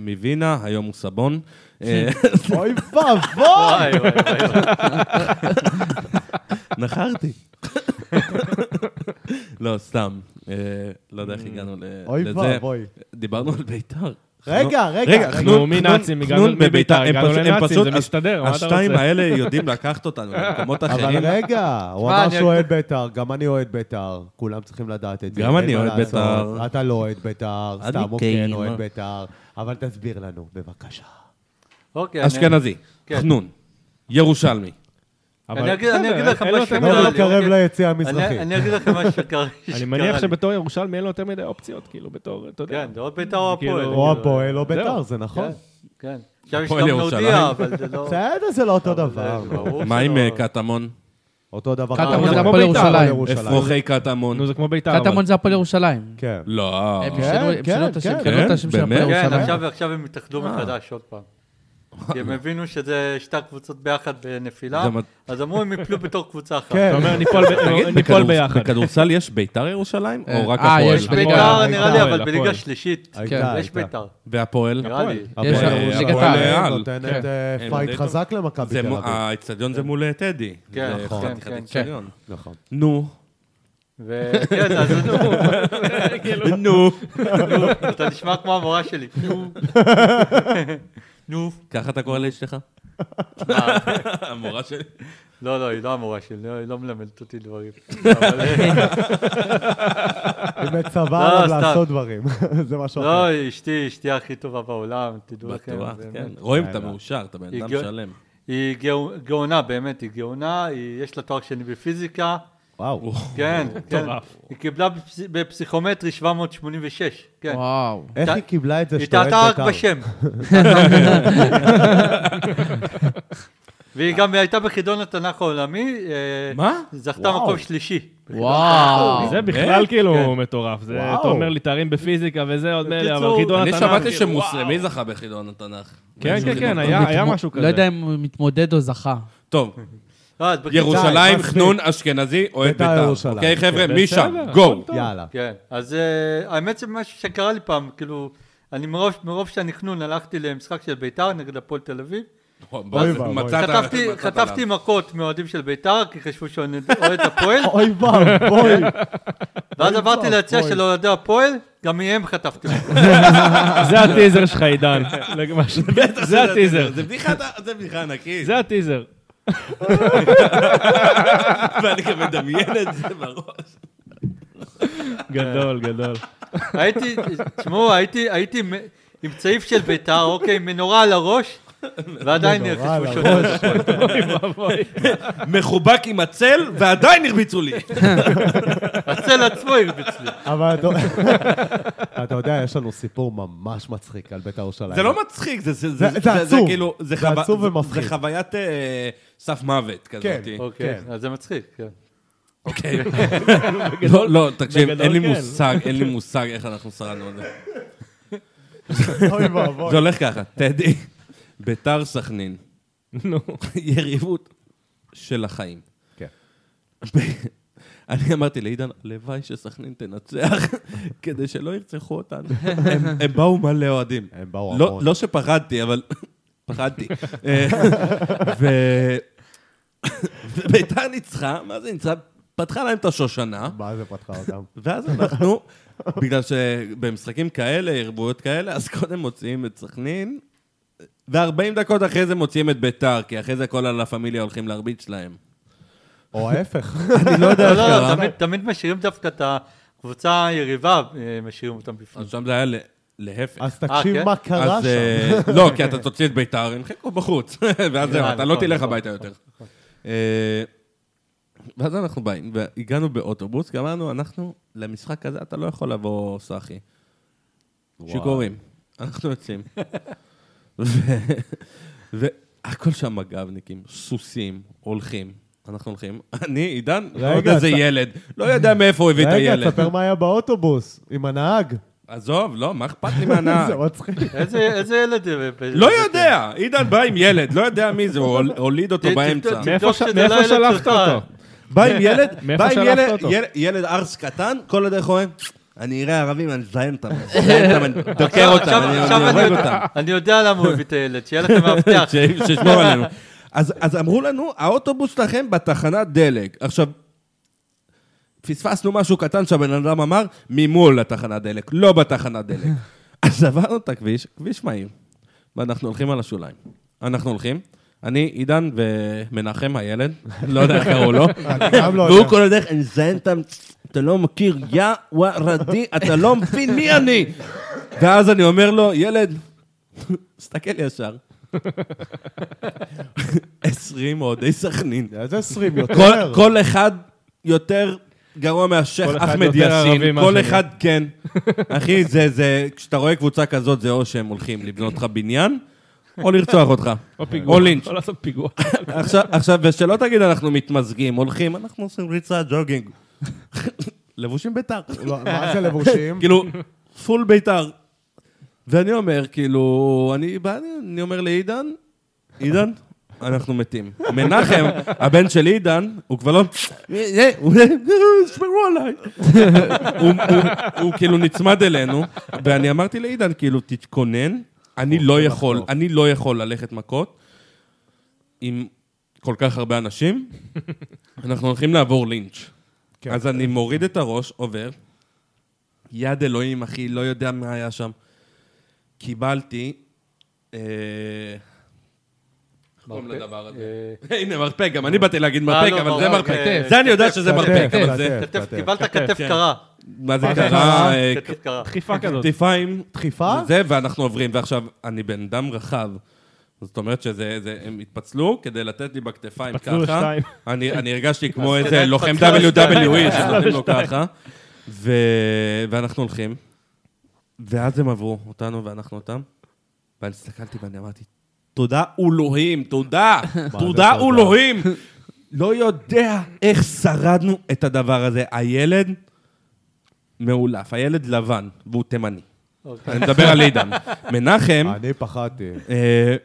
S2: מווינה, היום הוא סבון. אה,
S1: אוי ואבוי!
S5: וואי, וואי, וואי.
S2: נחרתי. לא, סתם. אה, לא יודע איך הגענו ל- לזה.
S1: אוי ואבוי.
S2: דיברנו על בית"ר.
S1: רגע, רגע,
S2: רגע,
S1: רגע.
S2: חנון,
S4: נו, מנאצים,
S2: חנון
S4: הגענו-
S2: בביתר,
S4: מביתר,
S2: הם
S4: הגענו
S2: פשוט- הם
S4: לנאצים,
S2: פשוט-
S4: זה מסתדר, מה אתה
S2: השתיים
S4: רוצה?
S2: האלה יודעים לקחת אותנו למקומות אחרים.
S1: אבל רגע, הוא
S5: תשמע,
S1: אמר
S5: אני-
S1: שהוא אוהד בית"ר, גם אני אוהד בית"ר, כולם צריכים לדעת את זה.
S2: גם
S1: אין
S2: אני
S1: מה
S2: אוהד
S1: לעשות.
S2: בית"ר.
S1: אתה לא אוהד בית"ר,
S2: אני
S1: סתם הוא
S2: כן.
S1: כן אוהד בית"ר, אבל תסביר לנו, בבקשה.
S5: אוקיי, אני-
S2: אשכנזי,
S5: כן.
S2: חנון, ירושלמי.
S4: אבל-
S5: אני אגיד- אני
S4: בסדר,
S5: אגיד לכם
S4: אין לו
S5: משהו
S4: יותר
S1: בוא
S5: נראה
S4: מדי-
S5: לי,
S1: נתקרב
S5: אוקיי.
S1: ליציע לא, המזרחי.
S5: אני- אני אגיד לכם מה שקרה שקרה לי.
S4: אני מניח שבתור ירושלמי אין לו יותר מדי אופציות, כאילו, בתור, אתה יודע.
S5: כן, זה עוד ביתר או
S4: כאילו,
S5: הפועל.
S1: או
S5: כאילו.
S1: הפועל או בית"ר,
S4: זהו.
S1: זה נכון.
S5: כן, כן. עכשיו יש
S2: הפועל
S5: גם
S2: ירושלים.
S5: נודיע, אבל זה לא...
S1: בסדר, זה לא אותו דבר.
S5: זה ברור
S2: מה עם
S5: שלא.
S2: אה, קטמון?
S1: אותו דבר.
S3: קטמון
S1: כמו
S4: זה
S1: בית"ר,
S4: הפועל ירושלים.
S2: אפרוחי קטמון.
S4: נו, זה כמו ביתר. אבל-
S3: קטמון זה הפועל ירושלים.
S1: כן.
S2: לא.
S3: הם שינו הם
S1: כן,
S3: שינו את השם,
S1: כן,
S3: שינו את
S2: כן,
S3: השם של הפועל
S2: באמת?
S5: כן,
S3: ירושלים.
S5: עכשיו עכשיו הם התאחדו מחדש עוד פעם. כי הם הבינו שזה שתי הקבוצות ביחד בנפילה,
S2: זה מת-
S5: אז אמרו הם יפלו בתור קבוצה אחת.
S1: כן.
S4: אתה אומר, ניפול ב-
S2: תגיד,
S4: ניפול
S2: בכדור-
S4: ביחד.
S2: בכדורסל יש ביתר ירושלים
S3: אה,
S2: או רק
S3: אה,
S2: הפועל?
S5: יש
S3: בליגה-
S5: ביתר נראה לי,
S4: הפועל,
S5: אבל בליגה
S4: הפועל.
S5: שלישית.
S1: הייתה,
S3: כן.
S5: יש
S1: הייתה.
S5: ביתר,
S2: והפועל?
S5: נראה לי.
S1: הפועל
S3: יש-
S1: ירושלים
S3: ליגת העל.
S1: נותנת
S3: כן.
S1: אה,
S2: הם
S1: פייט
S2: די טוב.
S1: חזק למכבי
S2: זה
S1: תל
S2: מו-
S1: אביב.
S2: האצטדיון זה מול אה, טדי.
S5: כן,
S2: זה
S5: נכון.
S2: חתיכת
S5: כן, כן,
S2: אצטדיון.
S1: נכון.
S2: נו.
S5: וכן, כן, אז נו,
S2: נו.
S5: אתה נשמע כמו המורה שלי. נו. נו.
S2: ככה אתה קורא לאשתך?
S5: מה?
S2: המורה שלי.
S5: לא, לא, היא לא המורה שלי, לא- היא לא מלמדת אותי דברים.
S2: לא,
S1: היא מצווה
S5: לא,
S1: עליו
S5: סתם.
S1: לעשות דברים. זה משהו אחר.
S5: לא, היא אשתי, אשתי הכי טובה בעולם, תדעו לכם.
S2: בטוח,
S5: באמת.
S2: כן. רואים, אתה
S1: יאללה.
S2: מאושר, אתה בן אדם
S5: הגיע-
S2: שלם.
S5: היא גאו- גאונה, באמת, היא גאונה, היא- יש לה תואר שני בפיזיקה,
S1: וואו.
S5: כן, כן.
S4: מטורף.
S5: היא קיבלה בפס- בפסיכומטרי 786, כן.
S3: וואו.
S1: איך
S5: טע-
S1: היא קיבלה את זה
S5: היא
S1: שאתה אוהד
S5: טעתה
S1: בית"ר?
S5: רק בשם. והיא גם הייתה בחידון התנ"ך העולמי, אה,
S2: מה?
S5: זכתה
S1: וואו.
S5: מקום שלישי.
S3: וואו.
S4: זה בכלל כאילו
S5: כן.
S4: מטורף. זה,
S1: וואו.
S4: אתה אומר לי תארים בפיזיקה וזה, עוד מילא, אבל
S5: בקיצור,
S4: חידון
S2: אני
S4: התנ"ך.
S2: שמעתי
S4: כאילו,
S2: שמוסלמי זכה בחידון התנ"ך.
S4: כן, כן, כן, היה-
S3: הוא
S4: היה
S3: מתמו-
S4: משהו
S3: לא
S4: כזה.
S3: יודע אם הוא מתמודד או זכה.
S2: טוב,
S5: לא, אז בקיצור-
S2: ירושלים,
S1: מספיק.
S2: חנון, אשכנזי, אוהד
S1: בית"ר
S2: בית"ר.
S1: ירושלים.
S2: אוקיי, חבר'ה,
S4: בסדר,
S2: משם,
S4: הכל
S2: גו.
S1: יאללה.
S5: כן, אז אה, האמת זה משהו שקרה לי פעם, כאילו, אני מרוב, מרוב שהנכנון הלכתי למשחק של ביתר נגד הפועל תל אביב,
S1: אוי
S2: מצאת-
S1: ואבוי.
S2: מצאת
S5: חטפתי,
S2: עליו.
S5: חטפתי מכות מאוהדים של ביתר, כי חשבו שאני אוהד הפועל,
S1: אוי ואבוי.
S5: ואז
S1: אוי
S5: עברתי ליציע
S1: ואבוי.
S5: של אוהדי הפועל, גם מהם חטפתי מכות.
S4: זה הטיזר שלך, עידן. למה ש- זה הטיזר.
S2: זה בדיחה- זה בדיחה ענקית.
S4: זה הטיזר.
S2: ואני גם מדמיין את זה בראש.
S4: גדול, גדול.
S5: הייתי, תשמעו, הייתי, הייתי עם- עם צעיף של ביתר, אוקיי, עם מנורה על הראש, ועדיין
S1: מנורה
S5: חשבו
S1: על
S5: שאני אוהד הפועל.
S2: מחובק עם הצל, ועדיין הרביצו לי.
S5: הצל עצמו הרביץ לי.
S1: אבל אתה- אתה יודע, יש לנו סיפור ממש מצחיק על בית"ר ירושלים.
S2: זה לא מצחיק, זה- זה
S1: זה-
S2: זה-
S1: זה
S2: זה- זה
S1: עצוב.
S2: כאילו,
S1: זה
S2: חו-
S1: עצוב
S2: זה-
S1: ומפחיד.
S2: זה חוויית אה, סף מוות לא,
S1: כן.
S2: כזאת.
S5: אוקיי,
S1: כן.
S5: אז זה מצחיק, כן.
S2: אוקיי. לא, לא, תקשיב,
S4: אוקיי. בגדול
S2: אין לי
S4: כן.
S2: מושג, אין לי מושג איך אנחנו שרדנו את זה.
S1: אוי
S2: זה
S1: ואבוי.
S2: הולך ככה, טדי, ביתר סכנין,
S4: נו.
S2: יריבות של החיים.
S1: כן.
S2: אני אמרתי לעידן, הלוואי שסכנין תנצח, כדי שלא ירצחו אותנו. הם- הם באו מלא אוהדים.
S1: הם באו
S2: לא-
S1: המון.
S2: לא שפחדתי, אבל פחדתי. אה, ו- וביתר ניצחה, מה זה ניצחה? פתחה להם את השושנה.
S1: מה זה פתחה אותם?
S2: ואז אנחנו, בגלל שבמשחקים כאלה, ערבויות כאלה, אז קודם מוציאים את סכנין, ו-40 דקות אחרי זה מוציאים את ביתר, כי אחרי זה כל הלה פמיליה הולכים להרביץ להם.
S1: או ההפך.
S2: אני לא יודע
S5: לא,
S2: איך
S5: לא,
S2: קרה.
S5: תמיד- תמיד משאירים דווקא את הקבוצה היריבה, אה, משאירים אותם בפנים.
S2: אז שם זה היה ל- להפך.
S1: אז תקשיב
S5: כן?
S1: מה קרה
S2: אז,
S1: שם.
S2: אה, לא, כי אתה תוציא את ביתר, הם חיכו בחוץ, ואז זהו,
S5: נכון,
S2: אתה לא תלך
S5: נכון,
S2: הביתה יותר. אה, ואז אנחנו באים, והגענו באוטובוס, כי אמרנו, אנחנו, למשחק הזה אתה לא יכול לבוא, סאחי. שיכורים. אנחנו יוצאים. ו- והכל שם מג"בניקים, סוסים, הולכים. אנחנו הולכים. אני, עידן,
S1: רגע,
S2: עוד איזה
S1: אתה-
S2: ילד, לא יודע מאיפה הוא הביא את
S1: רגע,
S2: הילד.
S1: תספר מה היה באוטובוס, עם הנהג.
S2: עזוב, לא, מה אכפת לי מהנהג?
S1: זה מצחיק.
S5: איזה איזה ילד... זה ב- ב-
S2: לא
S5: ב-
S2: יודע, עידן בא עם ילד, לא יודע מי זה, הוא הול- הוליד אותו
S5: ת-
S2: באמצע.
S5: ת- ת-
S4: מאיפה
S5: תבדוק
S4: ש-
S5: שזה
S4: מאיפה
S5: לא ילד
S4: שלפת
S5: שלך.
S4: אותו?
S2: בא עם ילד,
S4: מאיפה
S2: בא עם
S4: שלפת
S2: ילד,
S4: אותו?
S2: יל- ילד ארס קטן, כל הדרך אומר, אני אראה ערבים, אני מזיין אותם, אני מזיין אותם, אני דוקר אותם,
S5: עכשיו-
S2: אני
S5: עכשיו
S2: אני
S5: אני
S2: הורג
S5: יודע-
S2: אותם.
S5: אני יודע למה הוא הביא את הילד, שיהיה לכם מאבטח.
S2: ש- שישמור עלינו. אז אז אמרו לנו, האוטובוס שלכם בתחנת דלק. עכשיו, פספסנו משהו קטן שהבן אדם אמר, ממול לתחנת דלק, לא בתחנת דלק. אז עברנו את הכביש, כביש מהיר, ואנחנו הולכים על השוליים. אנחנו הולכים, אני, עידן ומנחם הילד, לא יודע איך קראו לו,
S1: גם לא
S2: והוא
S1: יודע.
S2: כל הדרך, אני מזיין אותם, אתה לא מכיר, יא ווארדי, אתה לא מבין מי אני. ואז אני אומר לו, ילד, תסתכל ישר. 20 אוהדי סכנין.
S1: איזה 20 אה, יותר.
S2: כל- כל אחד יותר גרוע מהשייח
S4: כל אחד
S2: אחמד
S4: יותר ערבי
S2: יאסין, כל
S4: מהשני.
S2: אחד כן. אחי, זה, זה, כשאתה רואה קבוצה כזאת, זה או שהם הולכים לבנות לך בניין, או לרצוח אותך.
S4: או פיגוע.
S2: או לינץ'.
S4: או לעשות לא, פיגוע.
S2: עכשיו, עכשיו, ושלא תגיד אנחנו מתמזגים, הולכים, אנחנו עושים ריצה, ג'וגינג. לבושים בית"ר.
S1: לא, מה זה לבושים?
S2: כאילו, פול בית"ר. ואני אומר, כאילו, אני בא, אני אומר לעידן, עידן, אנחנו מתים. מנחם, הבן של עידן, הוא כבר לא... אה, הוא- שמרו עליי. הוא- הוא- הוא כאילו נצמד אלינו, ואני אמרתי לעידן, כאילו, תתכונן, אני לא יכול, אני לא יכול ללכת מכות עם כל כך הרבה אנשים, אנחנו הולכים לעבור לינץ'.
S1: כן.
S2: אז אני מוריד את הראש, עובר, יד אלוהים, אחי, לא יודע מה היה שם. קיבלתי... אה, איך קוראים לדבר הזה? הנה, מרפק, גם אני באתי להגיד
S5: אה,
S2: מרפק,
S5: לא,
S2: אבל
S5: ברור,
S2: זה מרפק.
S5: כתף,
S2: זה אני יודע
S5: כתף,
S2: שזה
S1: כתף,
S2: מרפק, אבל
S1: כתף,
S2: זה...
S1: כתף.
S5: כתף, קיבלת כתף
S2: כן.
S5: קרה.
S2: מה זה
S1: מה זה
S5: כן.
S2: קרה?
S1: קרה?
S2: אה,
S5: כתף קרה.
S4: דחיפה כזאת.
S2: כתפיים.
S1: דחיפה?
S2: זה, ואנחנו עוברים. ועכשיו, אני בן אדם רחב. זאת אומרת שזה, זה, הם התפצלו כדי לתת לי בכתפיים ככה.
S4: התפצלו לשתיים.
S2: אני, אני הרגשתי כמו
S5: אז
S2: איזה
S5: כדאי
S2: לוחם
S5: להתפצל
S2: WWE
S5: לשתיים.
S2: שנותנים לו ככה. ו- ואנחנו הולכים, ואז הם עברו אותנו ואנחנו אותם, ואני הסתכלתי ואני אמרתי, תודה אלוהים, תודה, תודה
S1: תודה?
S2: אלוהים. לא יודע איך שרדנו את הדבר הזה. הילד מאולף, הילד לבן, והוא תימני.
S5: אוקיי.
S2: אני מדבר על עידן. מנחם...
S1: אני פחדתי.
S2: אה,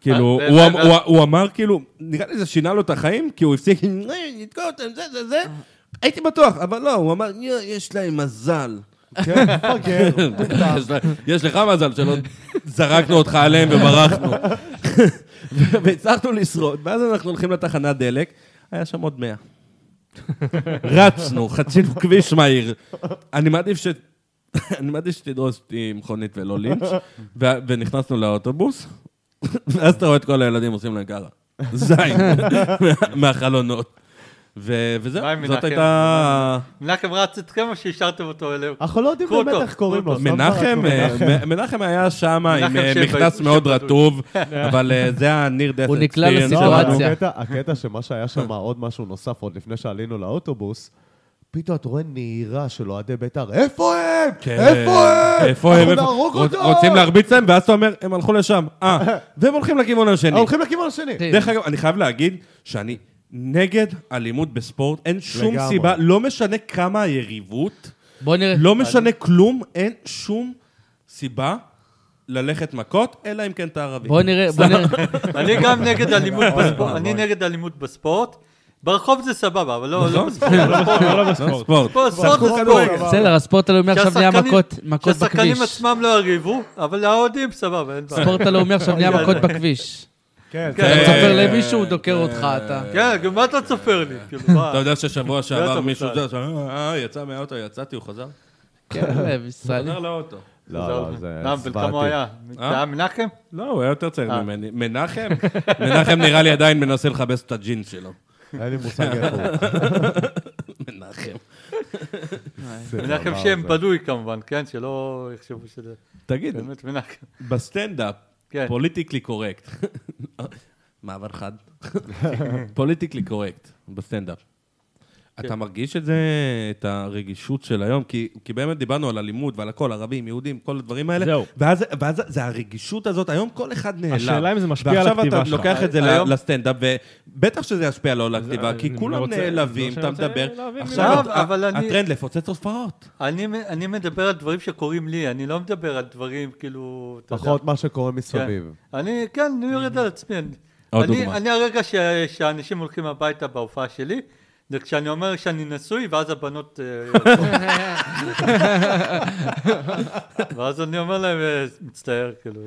S2: כאילו,
S5: אה,
S2: הוא
S5: ו-
S2: אמ-
S5: ו-
S2: הוא- הוא אמר כאילו, נראה לי זה שינה לו את החיים, כי הוא הפסיק, "אה, נתקוע אותם, זה, זה, זה. הייתי בטוח, אבל לא, הוא אמר, "יא, יש להם מזל.
S1: כן, מפגר.
S2: יש לה- יש לך מזל שלא זרקנו אותך עליהם וברחנו. ו- והצלחנו לשרוד, ואז אנחנו הולכים לתחנת דלק, היה שם עוד 100. רצנו, חצינו כביש מהיר. אני מעדיף ש... אני מעדיף שתדרוס אותי מכונית ולא לינץ', ו- ונכנסנו לאוטובוס, ואז אתה רואה את כל הילדים עושים להם ככה, זין, מה- מהחלונות. ו- וזהו,
S5: מה עם
S2: זאת
S5: מנחם?
S2: הייתה...
S5: מנחם רץ אתכם או שהשארתם אותו אליהם?
S1: אנחנו לא יודעים
S5: קחו
S1: באמת
S5: אותו,
S1: איך קוראים לו.
S5: קחו
S1: סתם
S2: מנחם,
S1: זרקנו.
S2: אה, מ- מנחם היה שם עם
S5: מנחם
S2: אה,
S5: שבע-
S2: מכנס
S5: שבע
S2: מאוד
S5: דוד.
S2: רטוב, אבל אה, זה הניר דאט
S3: הוא נקלע
S1: לא, אבל כן.
S3: סיטואציה.
S1: הקטע- הקטע שמה שהיה שם, עוד משהו נוסף, עוד לפני שעלינו לאוטובוס, פתאום אתה רואה נהירה של אוהדי בית"ר, איפה הם? איפה הם?
S2: כן. איפה הם?
S1: אנחנו
S2: איפה-
S1: נהרוג
S2: רוצ-
S1: אותם!
S2: רוצים להרביץ להם, ואז אתה אומר, הם הלכו לשם. אה, והם הולכים לכיוון השני.
S1: אה, הולכים לכיוון השני.
S3: כן.
S2: דרך אגב, אני חייב להגיד שאני נגד אלימות בספורט, אין שום
S1: לגמרי.
S2: סיבה, לא משנה כמה היריבות,
S3: בוא נראה.
S2: לא משנה כלום, אין שום סיבה ללכת מכות, אלא אם כן אתה ערבי.
S3: בוא נראה, בוא נראה.
S5: אני גם נגד אלימות בספורט, אני נגד אלימות בספורט. ברחוב זה סבבה, אבל לא לא
S2: נכון?
S5: בספורט.
S4: לא בספורט.
S2: ספורט.
S5: פה ספורט זה
S1: שחקו
S5: ספורט.
S1: כדורגל.
S3: בסדר, הספורט הלאומי עכשיו נהיה
S5: שהשחקנים-
S3: מכות מכות
S5: שהשחקנים
S3: בכביש.
S5: עצמם לא יריבו, אבל האוהדים סבבה, אין בעיה.
S3: הספורט הלאומי עכשיו נהיה מכות בכביש.
S1: כן,
S5: כן.
S3: אתה
S2: אה,
S3: צופר למישהו, הוא דוקר אותך, אתה...
S5: כן, גם מה אתה צופר לי? כאילו, מה?
S2: אתה יודע ששבוע שעבר
S5: אתה
S2: מישהו
S5: מוצא.
S2: זה, ש- אה, אה, יצא מהאוטו, יצאתי, הוא חזר?
S3: כן, לב, ישראלי.
S2: חזר לאוטו.
S1: לא, לא, זה
S5: למה, בן כמה הוא היה?
S2: אה?
S5: זה היה מנחם?
S2: לא, הוא היה יותר צעיר
S3: אה.
S2: ממני. מנחם? מנחם נראה לי עדיין מנסה לכבס את הג'ינס שלו.
S1: אין לי מושג איפה הוא.
S2: מנחם.
S1: זה
S5: מנחם
S1: דבר
S5: שם
S1: זה.
S5: בדוי כמובן, כן? שלא יחשבו שזה
S2: תגיד,
S5: באמת מנחם.
S2: בסטנדאפ,
S5: כן.
S2: פוליטיקלי קורקט. מעבר חד. פוליטיקלי קורקט, בסטנדאפ.
S5: כן.
S2: אתה מרגיש את זה, את הרגישות של היום? כי, כי באמת דיברנו על אלימות ועל הכל, ערבים, יהודים, כל הדברים האלה.
S4: זהו.
S2: ואז, ואז זה הרגישות הזאת, היום כל אחד נעלם.
S4: השאלה אם זה משפיע על הכתיבה שלך.
S2: ועכשיו אתה לוקח את זה
S5: היום-
S2: ל- לסטנדאפ, ובטח שזה ישפיע לו על הכתיבה,
S4: אני-
S2: כי
S4: אה, אני
S2: כולם
S4: רוצה-
S2: נעלבים,
S4: זה
S2: אתה
S4: מה שאני
S2: מדבר.
S4: רוצה להבין
S2: עכשיו,
S5: ממנו. אבל אני-
S2: הטרנד לפוצץ הופעות.
S5: אני מ- אני מדבר על דברים שקורים לי, אני לא מדבר על דברים כאילו... אתה יודע.
S1: פחות מה שקורה
S5: כן.
S1: מסביב.
S5: אני, כן, אני יורד על עצמי. אני-
S2: עוד
S5: אני-
S2: דוגמה.
S5: אני הרגע ש- שאנשים הולכים הביתה בהופעה שלי, זה כשאני אומר שאני נשוי, ואז הבנות... אה, ואז אני אומר להם, אה, מצטער, כאילו.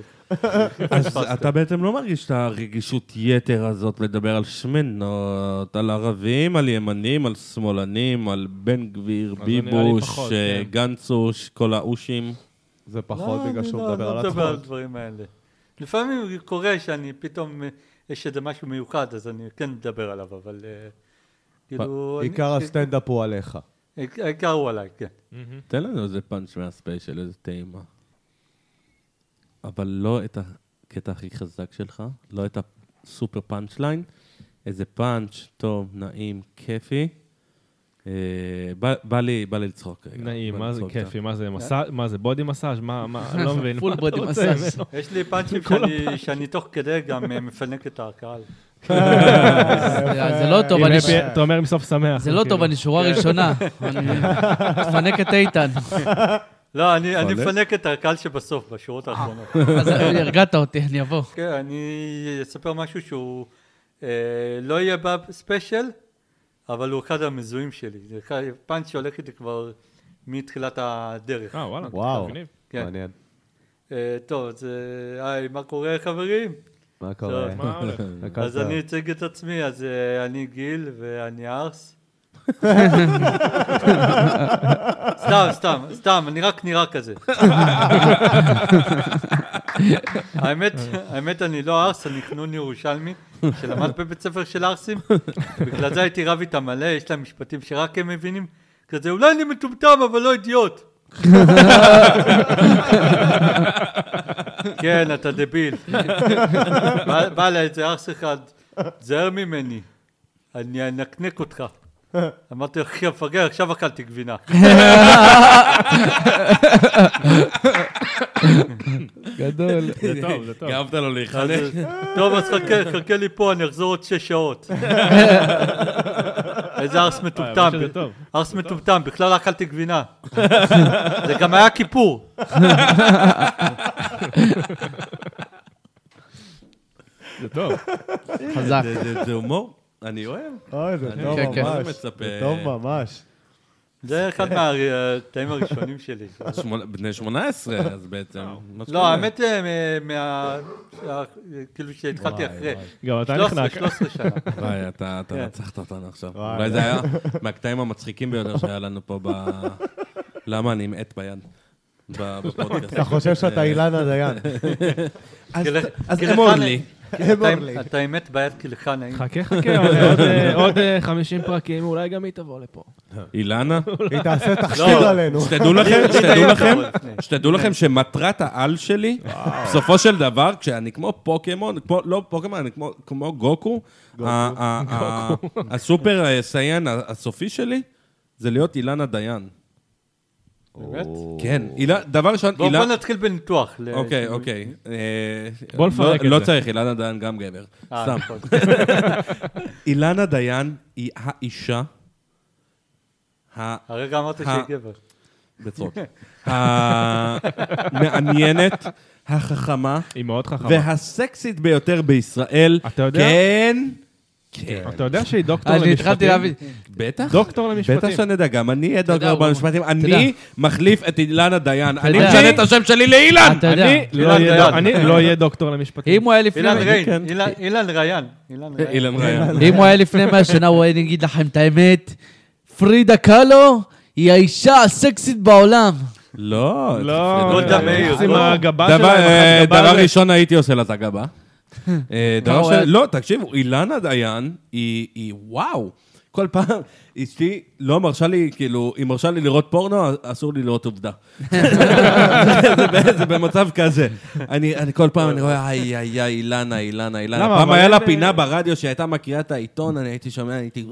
S2: אז אתה בעצם לא מרגיש את הרגישות יתר הזאת לדבר על שמנות, על ערבים, על ימנים, על שמאלנים, על בן גביר,
S4: נראה לי
S2: ביבוש,
S4: פחות,
S2: אה,
S4: כן.
S2: גנצוש, כל האושים.
S1: זה פחות
S5: לא,
S1: בגלל
S5: אני
S1: שהוא
S5: לא-
S1: מדבר
S5: לא
S1: על עצמו.
S5: מדבר על הדברים האלה. לפעמים קורה שאני פתאום, אה, יש איזה משהו מיוחד, אז אני כן מדבר עליו, אבל אה, כאילו... אני-
S1: עיקר הסטנדאפ הוא עליך.
S5: העיק- העיקר הוא עליי, כן.
S2: תן לנו איזה פאנץ' מהספיישל, איזה טעימה. אבל לא את הקטע הכי חזק שלך, לא את הסופר פאנץ' ליין, איזה פאנץ' טוב, נעים, כיפי. אה, בא, בא, לי, בא לי לצחוק רגע.
S4: נעים,
S2: בא
S4: מה
S2: לי
S4: זה
S2: לצחוק קצת.
S4: כיפי, מה זה מסאז', מה זה בודי מסאז', מה, מה, אני לא מבין.
S3: פול
S4: מה אתה
S3: בודי
S4: רוצה
S3: מסאז'.
S4: ממנו?
S5: יש לי פאנצ'ים שאני, שאני תוך כדי גם אה, מפנק את הקהל.
S3: זה זה לא טוב,
S4: עם
S3: אני ש-
S4: happy- אתה אומר עם סוף שמח. כאילו.
S3: זה לא טוב, אני שורה ראשונה. אני מפנק את איתן.
S5: לא, אני, אני
S2: פאנק?
S5: מפנק את הקהל שבסוף,
S1: אה.
S5: בשורות האחרונות.
S3: אז הרגעת אותי, אני אבוא.
S5: כן, אני אספר משהו שהוא אה, לא יהיה בספיישל, אבל הוא אחד המזוהים שלי. זה אחד- פאנץ' שהולך איתי כבר מתחילת הדרך.
S4: אה, וואלה,
S1: וואו,
S4: מגניב.
S5: כן.
S1: מעניין.
S5: אה, טוב, אז אה, היי, מה קורה חברים?
S1: מה קורה?
S5: טוב,
S4: מה הולך?
S1: הכל
S5: אז
S1: טוב.
S5: אני אציג את עצמי, אז אה, אני גיל ואני ארס. סתם, סתם, סתם, אני רק נראה כזה. האמת, האמת, אני לא ארס, אני חנון ירושלמי, שלמד בבית ספר של ארסים. בגלל זה הייתי רב איתם מלא, יש להם משפטים שרק הם מבינים. כזה, אולי אני מטומטם, אבל לא אידיוט. כן, אתה דביל. בא- בא אליי איזה ארס אחד, תזהר ממני, אני אנקנק אותך. אמרתי לו, אחי המפגר, עכשיו אכלתי גבינה.
S3: גדול.
S4: זה טוב, זה טוב.
S2: גאבת לו להיחלק.
S5: אז, טוב, אז חכה, חכה לי פה, אני אחזור עוד שש שעות. איזה ארס
S4: אה,
S5: מטומטם.
S4: האמת שזה טוב.
S5: ארס מטומטם, בכלל לא אכלתי גבינה. זה גם היה כיפור.
S4: זה טוב.
S3: חזק.
S2: זה- זה- זה הומור, אני אוהב.
S1: אוי, זה
S2: אני
S1: טוב
S3: כן, כן.
S1: ממש.
S2: לא מצפה.
S1: זה טוב ממש.
S5: זה אחד מהטעים הראשונים שלי.
S2: שמונה- בני 18, אז בעצם. מה
S5: לא,
S2: שקורה.
S5: האמת, אה, מה... מה- כאילו שהתחלתי אחרי.
S4: גם אתה
S5: 13,
S4: נחנק.
S5: 13 שנה.
S2: וואי, אתה אתה
S5: כן.
S2: רצחת אותנו עכשיו.
S1: וואי.
S2: אולי זה היה מהקטעים המצחיקים ביותר שהיה לנו פה ב... למה אני עם עט ביד? ב- בפודקאסט.
S1: אתה חושב שאתה אילנה דיין.
S2: אז
S5: כאילו,
S2: הם עוד
S5: כאן-
S2: לי.
S1: הם
S5: אתה-
S2: אוקיי.
S1: אורלי.
S5: אתה אמת בעיית כלך נעים.
S4: חכה, חכה, עוד- עוד, אה, עוד אה, 50 פרקים, אולי גם היא תבוא לפה.
S3: אה,
S2: אילנה,
S1: היא
S5: לא,
S1: תעשה תחקיר עלינו.
S2: שתדעו לכם, שתדעו
S5: היית
S2: לכם,
S5: פה לפני.
S2: שתדעו
S4: כן.
S2: לכם שמטרת העל שלי, בסופו של דבר, כשאני כמו פוקימון, כמו- לא פוקימון, אני כמו- כמו גוקו, ה- ה- ה- הסופר אה, סייאן ה- הסופי שלי, זה להיות אילנה דיין.
S5: באמת?
S2: כן, אילה- דבר ראשון,
S5: בוא
S2: אילנה...
S5: בוא נתחיל בניתוח. ל-
S2: אוקיי, אוקיי. אה,
S4: בוא
S2: לא-
S4: נפרק את
S2: לא
S4: זה.
S2: צריך, אילנה דיין גם גבר.
S5: אה,
S2: סתם.
S5: נכון.
S2: אילנה דיין היא האישה, ה-
S5: הרגע אמרת
S2: אה,
S5: שהיא גבר.
S2: בצחוק, המעניינת, החכמה
S4: היא מאוד חכמה.
S2: והסקסית ביותר בישראל.
S4: אתה יודע?
S2: כן. כן.
S4: אתה יודע שהיא דוקטור
S3: אני
S4: למשפטים?
S3: התחלתי להבין.
S2: בטח.
S4: דוקטור
S2: בטח
S4: למשפטים.
S2: שאני יודע, גם אני אהיה
S3: יודע,
S2: דוקטור
S3: הוא-
S2: במשפטים.
S3: יודע.
S2: אני מחליף את אילנה דיין. אני
S3: יודע.
S2: משנה את השם שלי לאילן!
S3: אתה יודע,
S4: אני לא
S5: אילן
S4: אהיה דוק-
S5: דיין.
S4: אני לא אהיה דוקטור למשפטים.
S3: אם הוא היה לפני...
S5: אילן ריין,
S2: כן.
S5: אילן- אילן ריין. אילן ריין.
S2: אילן ריין.
S3: אם הוא היה לפני 100 שנה, הוא היה נגיד לכם את האמת, פרידה קלו היא האישה הסקסית בעולם.
S2: לא.
S4: לא,
S5: גולדה מאיר,
S4: יחס עם
S5: לא.
S4: הגבה
S2: דבר, אה,
S4: שלהם.
S2: דבר ראשון הייתי עושה לה את הגבה. אה, דבר
S3: מה, הוא
S2: שני,
S3: היה-
S2: לא, תקשיבו, אילנה דיין היא היא- וואו. כל פעם, אשתי לא מרשה לי, כאילו, היא מרשה לי לראות פורנו, אסור לי לראות עובדה. זה ב- זה במצב כזה. אני אני כל פעם, אני רואה, איי, איי, איי, אילנה, אילנה, אילנה.
S4: למה?
S2: פעם
S4: אבל
S2: היה לה
S4: אין-
S2: פינה ברדיו שהייתה מקריאה את העיתון, אני הייתי שומע, אני הייתי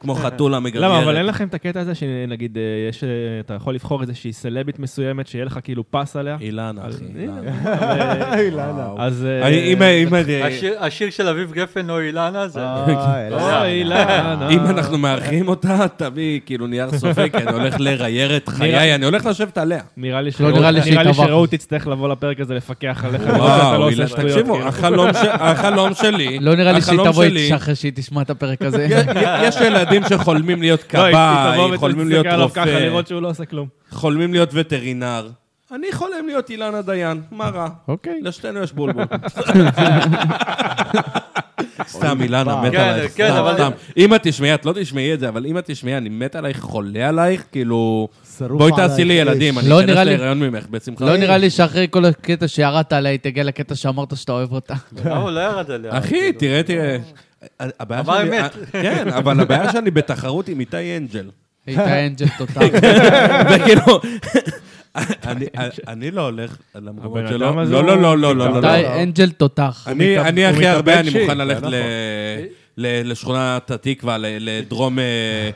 S2: כמו חתולה מגרגרת.
S4: למה, אבל אין לכם את הקטע הזה שנגיד, אה, יש, אה, אתה יכול לבחור איזושהי סלבית מסוימת, שיהיה לך כאילו פס עליה?
S2: אילנה, אחי.
S4: הנה.
S2: אילנה.
S1: אילנה.
S2: וואו.
S4: אז... אה,
S2: אני- אם- אם-
S5: השיר- השיר של אביב גפן או אילנה זה...
S1: אה, אילנה.
S5: לא.
S4: אוי, אה, אילנה.
S2: אם אנחנו מארחים אותה, תביא כאילו נייר סופג, כי אני הולך לרייר את חיי, אני הולך לשבת עליה.
S4: נראה לי
S3: לא
S4: שראו-
S3: נראה לי שהיא
S4: נראה לי
S3: טבחת.
S4: שראו תצטרך לבוא לפרק הזה לפקח עליך. לראות שאתה לא
S2: וואו,
S4: עושה
S2: אילן,
S4: שטויות,
S2: תקשיבו,
S4: כאילו.
S2: החלום ש- החלום שלי,
S3: לא נראה לי שהיא
S2: החלום
S3: תבוא
S2: שלי- כן.
S3: איתי אחרי שהיא תשמע את הפרק הזה.
S2: יש ילדים שחולמים להיות
S4: לא,
S2: כבאי, חולמים
S4: תבוא ותסתכל
S2: להיות
S4: עליו ככה,
S2: רופא,
S4: לראות שהוא לא עושה כלום.
S2: חולמים להיות וטרינר. אני חולם להיות אילנה דיין, מה רע?
S3: אוקיי.
S2: לשתינו יש בולבול. סתם, אילנה, מת
S5: כן,
S2: עלייך,
S5: כן,
S2: סתם,
S5: אבל-
S2: סתם. אם את תשמעי, את לא תשמעי את זה, אבל אם את תשמעי, אני מת עלייך, חולה עלייך, כאילו...
S1: שרוף
S2: בואי
S1: עלייך,
S2: תעשי לי
S1: איש.
S2: ילדים, אני
S3: לא
S2: אכנס
S3: נראה לי-
S2: להיריון ממך, בשמחה.
S3: לא נראה לי שאחרי כל הקטע שירדת עליה, היא תגיע לקטע שאמרת שאתה אוהב אותה.
S5: למה הוא לא ירד עליה?
S2: אוקיי. אחי, תראה, תראה. הבעיה
S5: אמר
S2: שלי...
S5: אמת.
S2: כן, אבל הבעיה שאני בתחרות עם איתי אנג'ל.
S3: הייתה אנג'ל טוטאל.
S2: כן,
S5: כן.
S2: וכאילו... אני- אני לא הולך למקומות
S4: הבן
S2: שלו.
S4: אדם הזה
S2: לא,
S4: הוא-
S2: לא, לא, לא, לא, לא.
S3: הייתה
S2: לא.
S3: אנג'ל תותח.
S2: אני
S4: מתאבד-
S2: אני
S4: הוא
S2: הכי הרבה, אני
S4: מתאבד
S2: מוכן
S4: שיט,
S2: ללכת
S4: זה
S2: ל- נכון. ל- לשכונת התקווה, ל- לדרום אה,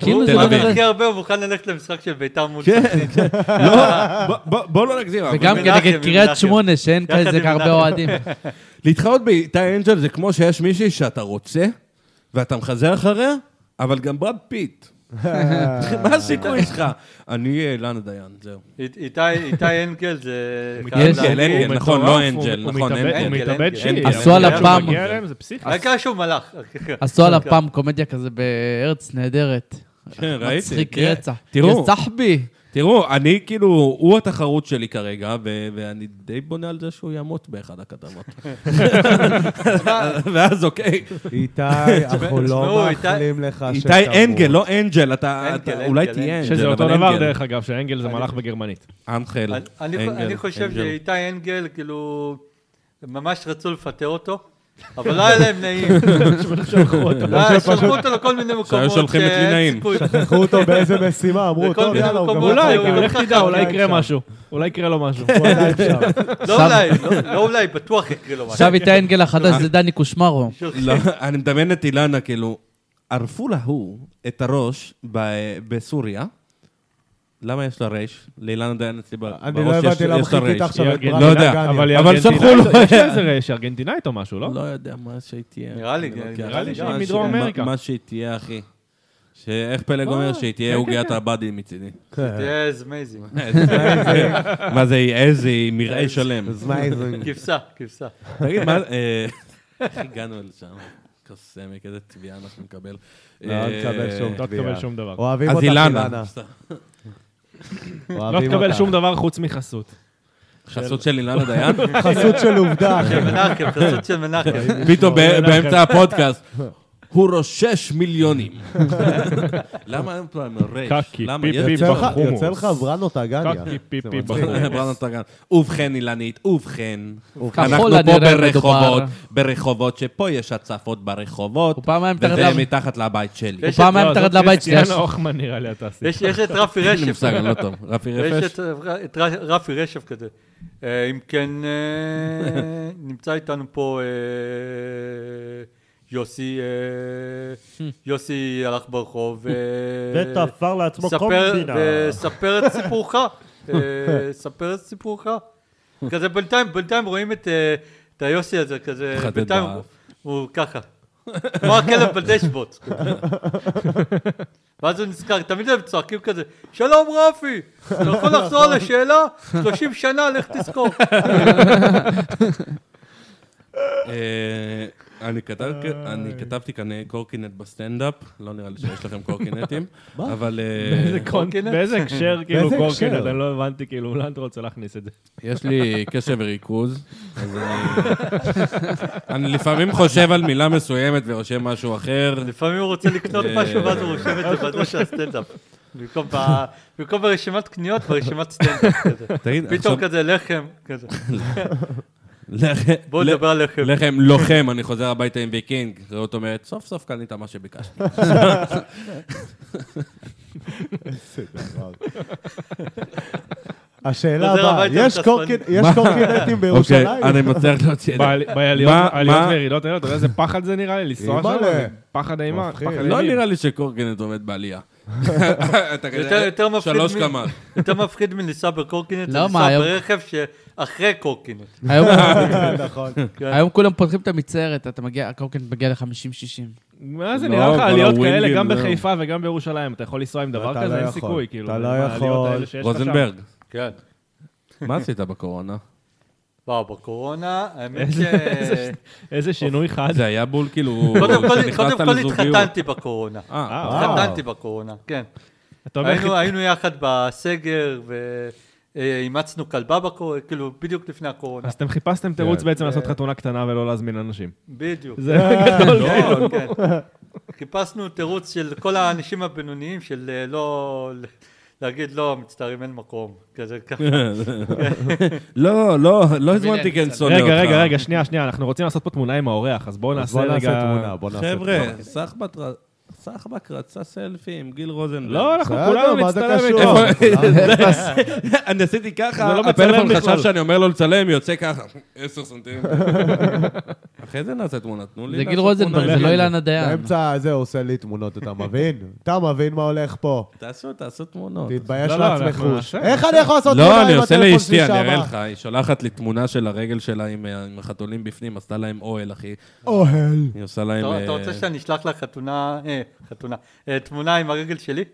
S3: כאילו
S2: תל
S4: לא
S3: זה-
S2: אביב. כן.
S5: הכי הרבה הוא מוכן ללכת למשחק של ביתר מול... סכנין.
S2: לא, בוא- בוא- בוא לא נגזים. אבל-
S3: וגם
S5: מנחם,
S3: כנגד
S5: עם
S3: קריית
S5: מנחם.
S3: שמונה, שאין
S5: יחד
S3: כזה
S5: עם
S3: הרבה
S5: מנחם.
S3: אוהדים.
S2: להתחרות באיתי אנג'ל זה כמו שיש מישהי שאתה רוצה, ואתה מחזר אחריה, אבל גם ברד פיט. מה הסיכוי שלך? אני אה, לנה דיין, זהו.
S5: אית- איתי- איתי אנגל זה...
S2: כן,
S3: מתאבד,
S5: חייב
S2: אנגל,
S5: להגיד.
S2: אנגל. נכון,
S4: מטורף,
S2: לא אנג'ל,
S4: הוא-
S2: נכון,
S4: הוא מתאבד-
S2: אנגל.
S4: הוא מתאבד
S5: אנגל,
S4: שיט.
S5: אנגל.
S3: עשו עליו
S4: כשהוא
S3: פעם-
S2: כן,
S4: מגיע אליהם זה פסיכי.
S5: העיקר שהוא מלאך. כן.
S3: עשו עליו פעם קומדיה כזה בארץ נהדרת.
S2: כן, ראיתי.
S3: מצחיק
S2: כן.
S3: רצח.
S2: תראו,
S3: יא סחבי.
S2: תראו, אני כאילו, הוא התחרות שלי כרגע, ו- ואני די בונה על זה שהוא ימות באחד הכתבות. ואז אוקיי,
S1: איתי, אנחנו לא
S5: תשמעו, איתי-
S1: מאחלים לך שתמות.
S2: איתי אנגל, לא אנג'ל, אתה
S5: אנגל,
S2: אתה- אולי
S5: אנגל,
S2: תהיה
S5: אנגל.
S2: אנגל,
S4: שזה אותו
S2: אבל
S4: דבר,
S2: אנגל.
S4: דרך אגב, שאנגל זה מלאך בגרמנית.
S2: אנחל,
S5: אני- אני-
S2: אנגל,
S5: אני חושב
S2: אנגל.
S5: שאיתי אנגל, כאילו, ממש רצו לפטר אותו, אבל לא היה להם נעים. אה, שלחו אותו לכל מיני מקומות. אה,
S2: שהיו שולחים את
S5: שאין
S2: לינאים.
S5: סיכוי.
S1: לקחו אותו באיזה משימה, אמרו,
S5: בכל
S1: טוב,
S5: מיני
S1: יאללה, הוא גמור.
S5: מקומות,
S4: אולי,
S5: הוא
S4: כאילו,
S5: גם
S4: לך
S5: ככה,
S4: תדע, אולי
S1: עדיין
S4: יקרה
S1: שם.
S4: משהו. אולי יקרה לו משהו.
S1: הוא עדיין שם.
S5: לא אולי, לא- לא אולי, בטוח יקרה לו משהו.
S3: עכשיו איתי אנגל החדש
S4: אה.
S3: זה דני קושמרו.
S2: לא, אני מדמיין את אילנה, כאילו, ערפו להוא את הראש ב- בסוריה. למה יש לה רייש? לאילנה דיין אצלי ב- בראש יש
S1: אני לא הבנתי למה
S2: יש לה
S1: חיכית
S2: רייש.
S1: עכשיו את
S4: היא ארגנטינאית,
S1: ברק
S2: לא יודע,
S1: גני.
S4: אבל היא
S2: אבל
S4: ארגנטינאית,
S2: שלחו לו-
S4: יש לה איזה רעש ארגנטינאית או משהו, לא?
S2: לא יודע מה שהיא תהיה.
S5: נראה לי,
S2: אני לא מכיר.
S5: נראה לי
S2: מה
S5: שהיא
S2: ש-
S4: מדרום
S2: מה-
S4: אמריקה.
S2: מה שהיא תהיה, אחי. שאיך פלג אומר שהיא תהיה
S4: כן,
S2: עוגיית
S4: כן.
S2: הבאדי מצידי.
S1: כן.
S5: זה אמייזינג.
S2: מה זה, היא עז, היא מרעה שלם.
S1: אז מה איזה...
S5: כבשה, כבשה.
S2: תגיד, מה... אה, איך הגענו לשם? קוסמיק, איזה תביעה אנחנו נקבל. אה,
S1: לא תקבל שום
S4: לא
S1: תביעה.
S4: תקבל שום דבר.
S1: אוהבים
S2: אז
S1: אותך,
S2: אילנה.
S1: אילנה.
S4: לא תקבל שום דבר חוץ מחסות.
S2: חסות של אילנה דיין?
S1: חסות של עובדה.
S5: של מנחם, חסות של מנחם.
S2: פתאום ב-
S4: אילנה,
S2: באמצע הפודקאסט. הוא רושש מיליונים. למה אין פה עם רייש?
S4: קקי,
S2: למה?
S4: פיפי,
S2: יש-
S1: יוצא לך-
S4: בחומוס.
S1: יוצא לך ברנו טגניה.
S4: קקי, פיפי,
S1: זה מצחיק.
S4: בחומוס.
S2: ברנד טגן. ובכן, אילנית, ובכן. אנחנו
S3: ככל
S2: פה
S3: הנראה
S2: ברחובות,
S3: מדובר.
S2: ברחובות שפה יש הצפות ברחובות,
S3: הוא פעמיים מתחת
S2: וזה
S3: לב-
S2: מתחת לבית שלי.
S3: הוא
S5: יש
S3: פעם
S5: את-
S3: היה
S4: לא,
S3: מתחת
S4: זאת
S3: לבית שלי.
S4: קריסטיאנה הוכמן נראה לי התעשי.
S5: יש יש את רפי
S2: אין לי
S5: רשף.
S2: מושג, אני לא טוב. רפי
S5: יש
S2: רפש?
S5: את את ר- רפי רשף כזה. אה, אם כן, אה, נמצא איתנו פה אה, יוסי, אה, יוסי הלך ברחוב. אה,
S6: ותפר לעצמו
S5: ספר-
S6: קומבינה.
S5: וספר את סיפורך. אה, ספר את סיפורך. כזה בינתיים, בינתיים רואים את אה, את היוסי הזה, כזה,
S2: חטאת
S5: בינתיים
S2: באף.
S5: הוא- הוא ככה. כמו הכלב בדשבוט. ואז הוא נזכר, תמיד הם צועקים כזה, שלום רפי, אתה יכול לחזור על השאלה? 30 שנה, לך תזכור.
S2: אה, אני כתב- אני כתבתי כאן אה, קורקינט בסטנדאפ, לא נראה לי שיש לכם קורקינטים, אבל אה,
S4: באיזה קונ-
S5: קורקינט?
S4: באיזה הקשר, כאילו,
S1: באיזה
S4: קורקינט,
S1: הקשר?
S4: אני לא הבנתי, כאילו, לאן אתה רוצה להכניס את זה?
S2: יש לי קשב וריכוז, אז אני- אני לפעמים חושב על מילה מסוימת ורושם משהו אחר.
S5: לפעמים הוא רוצה לקנות משהו, ואז הוא רושם את זה בראש של הסטנדאפ. במקום ב- במקום ברשימת קניות, ברשימת סטנדאפ כזה.
S2: תגיד, עכשיו-
S5: פתאום כזה לחם, כזה.
S2: לחם-
S5: בואו נדבר על לחם.
S2: לחם לוחם, אני חוזר הביתה עם ויקינג, רעות אומרת, סוף סוף קנית מה שביקשתי.
S1: איזה דבר. השאלה
S5: חוזר
S1: הבאה,
S5: הביתה
S1: יש
S5: מתעצבן.
S1: קורקינ- יש
S2: מה?
S1: קורקינטים
S2: אוקיי,
S1: בירושלים?
S2: אני מצליח להוציא את זה.
S4: בעליות
S2: מה-
S4: עליות
S2: מה-
S4: וירידות האלה, אתה יודע איזה פחד זה נראה לי? לנסוע
S1: אימא'לה.
S4: שם? זה פחד אימה,
S1: מפחיד.
S4: פחד
S1: לא
S2: לא
S4: אימים.
S2: נראה לי שקורקינט עומד בעלייה. אתה כנראה
S5: יותר- יותר מפחיד
S2: אה, שלוש
S5: מ-
S2: קמ"ש.
S5: יותר מפחיד מלנסוע בקורקינט, זה
S3: לא, מה,
S5: לנסוע
S3: היום-
S5: ברכב שאחרי קורקינט. כן.
S3: היום-
S1: נכון.
S3: היום כולם פותחים את המצערת, אתה מגיע, הקורקינט מגיע ל-50-60.
S4: מה זה
S2: לא,
S4: נראה לך
S2: כל
S4: עליות כאלה,
S2: הווינגים,
S4: גם
S2: לא.
S4: בחיפה וגם בירושלים? אתה יכול לנסוע עם דבר
S1: אתה
S4: כזה?
S1: לא
S4: אין
S1: יכול.
S4: סיכוי, כאילו.
S1: אתה לא
S4: עם העליות
S1: יכול.
S4: האלה שיש לך שם.
S2: רוזנברג,
S5: כן.
S2: מה עשית בקורונה?
S5: וואו, בקורונה, האמת ש...
S4: איזה- איזה- איזה שינוי חד.
S2: אה, זה היה בול כאילו...
S5: קודם כל-
S2: כשנכנסת
S5: קודם כל
S2: לזוגיות.
S5: התחתנתי בקורונה.
S2: אה,
S4: אה,
S1: וואו.
S5: התחתנתי בקורונה, כן.
S4: אתה אומר,
S5: היינו, היינו יחד בסגר ואימצנו כלבה בקורונה, כאילו בדיוק לפני הקורונה.
S4: אז אתם חיפשתם תירוץ
S2: כן.
S4: בעצם לעשות חתונה קטנה ולא להזמין אנשים.
S5: בדיוק.
S4: זה גדול.
S5: לא, כן. חיפשנו תירוץ של כל האנשים הבינוניים של אה, לא... להגיד לא, מצטערים, אין מקום. כזה ככה.
S2: לא, לא, לא הזמנתי
S3: רגע,
S2: כן שונא אותך.
S4: רגע, רגע, רגע, שנייה, שנייה, אנחנו רוצים לעשות פה תמונה עם האורח, אז בואו
S1: אז
S4: נעשה
S1: בוא
S4: רגע...
S1: נעשה תמונה, בוא נעשה תמונה.
S2: חבר'ה, סחבק ר- סחבק רצה סלפי עם גיל רוזנברג.
S4: לא, אנחנו
S1: בסדר,
S4: כולנו
S1: מה זה
S4: נצטלם
S1: קשור?
S4: איתו.
S2: לא, אני עשיתי
S4: זה לא
S2: ככה,
S4: מצלם
S2: הפלאפון
S4: בכלל.
S2: חשב שאני אומר לו לצלם, יוצא ככה, עשר סנטימטר. אחרי זה נעשה תמונה, תנו לי
S3: זה גיל
S2: לעשות
S3: רוזנברג,
S2: תמונה.
S3: זה לא אילנה דיין.
S1: באמצע הזה הוא עושה לי תמונות, אתה מבין? אתה מבין מה הולך פה?
S2: תעשו, תעשו תמונות.
S1: תתבייש
S4: לא, לא,
S1: לעצמך.
S4: אנחנו נעשה,
S1: איך אני יכול לעשות תמונה
S2: לא,
S1: עם
S2: אני עושה
S1: הטלפון
S2: לאשתי,
S1: שלי
S2: אני אראה
S1: שמה?
S2: לך, היא שולחת לי תמונה של הרגל שלה עם אה, עם החתולים בפנים, עשתה להם אוהל, אחי.
S1: אוהל.
S2: היא עושה להם...
S5: אתה אתה
S2: אה,
S5: רוצה שאני אשלח לך חתונה, אה, חתונה, אה, תמונה עם הרגל שלי?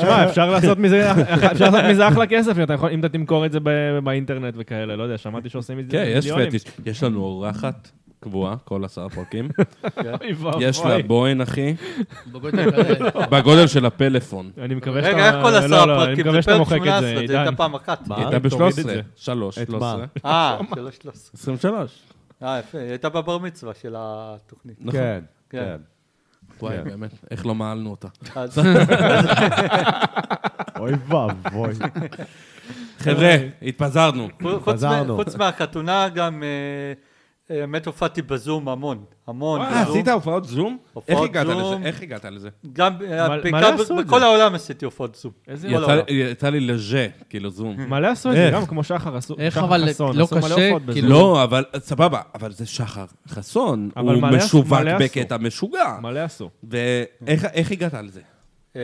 S4: שמע, אפשר לעשות מזה- אפשר לעשות מזה אחלה כסף, אם אתה יכול- אם אתה תמכור את זה ב- באינטרנט וכאלה, לא יודע, שמעתי שעושים את זה
S2: כן, יש
S4: מיליונים.
S2: פטיש. יש לנו אורחת קבועה, כל עשרה פרקים.
S4: אוי ואבוי.
S2: יש לה בוהן, אחי, בגודל של הפלאפון.
S4: אני מקווה שאתה...
S5: רגע, איך כל
S4: לא,
S5: עשרה
S4: לא, אני
S5: פרקים?
S4: מקווה
S5: זה
S4: שאתה
S5: פרק
S4: מוחק את
S5: 18,
S4: זה,
S5: זה
S4: עידן.
S5: הייתה פעם אחת.
S2: היא הייתה
S4: תוריד את
S2: ב-13,
S4: זה.
S2: 3,
S1: את
S2: 13.
S1: מה?
S5: אה, שלוש, שלוש.
S2: 23.
S5: אה, יפה, היא הייתה בבר מצווה של התוכנית.
S2: נכון.
S1: כן,
S5: כן.
S1: כן.
S2: וואי, באמת, איך לא מעלנו אותה.
S5: אז-
S1: אוי ואבוי.
S2: חבר'ה, התפזרנו.
S5: חוץ מ-
S1: חזרנו.
S5: חוץ מהחתונה גם, אה, אה, האמת הופעתי בזום המון, המון
S2: אה,
S5: בזום.
S2: עשית הופעות זום? איך
S5: הופעות
S2: הגעת
S5: זום.
S2: לזה? איך הגעת לזה?
S5: גם, אה,
S4: מה- מה
S5: בעיקר
S4: לא
S5: ב-
S4: עשו את
S5: בכל
S4: זה?
S5: העולם עשיתי הופעות זום.
S4: איזה
S5: כל
S2: יצא-
S5: העולם.
S2: יצא לי לז'ה, כאילו זום.
S4: מלא עשו את זה,
S2: איך?
S4: גם כמו שחר עשו,
S3: איך
S4: שחר
S3: אבל
S4: חסון,
S3: לא
S4: עשו מלא
S3: קשה?
S4: הופעות בזה.
S3: כאילו-
S2: לא, אבל סבבה, אבל זה שחר חסון.
S4: אבל
S2: הוא
S4: מלא עשו-
S2: משווק
S4: מלא עשו.
S2: בקטע משוגע.
S4: מלא עשו.
S2: ואיך איך הגעת על זה?
S5: אה,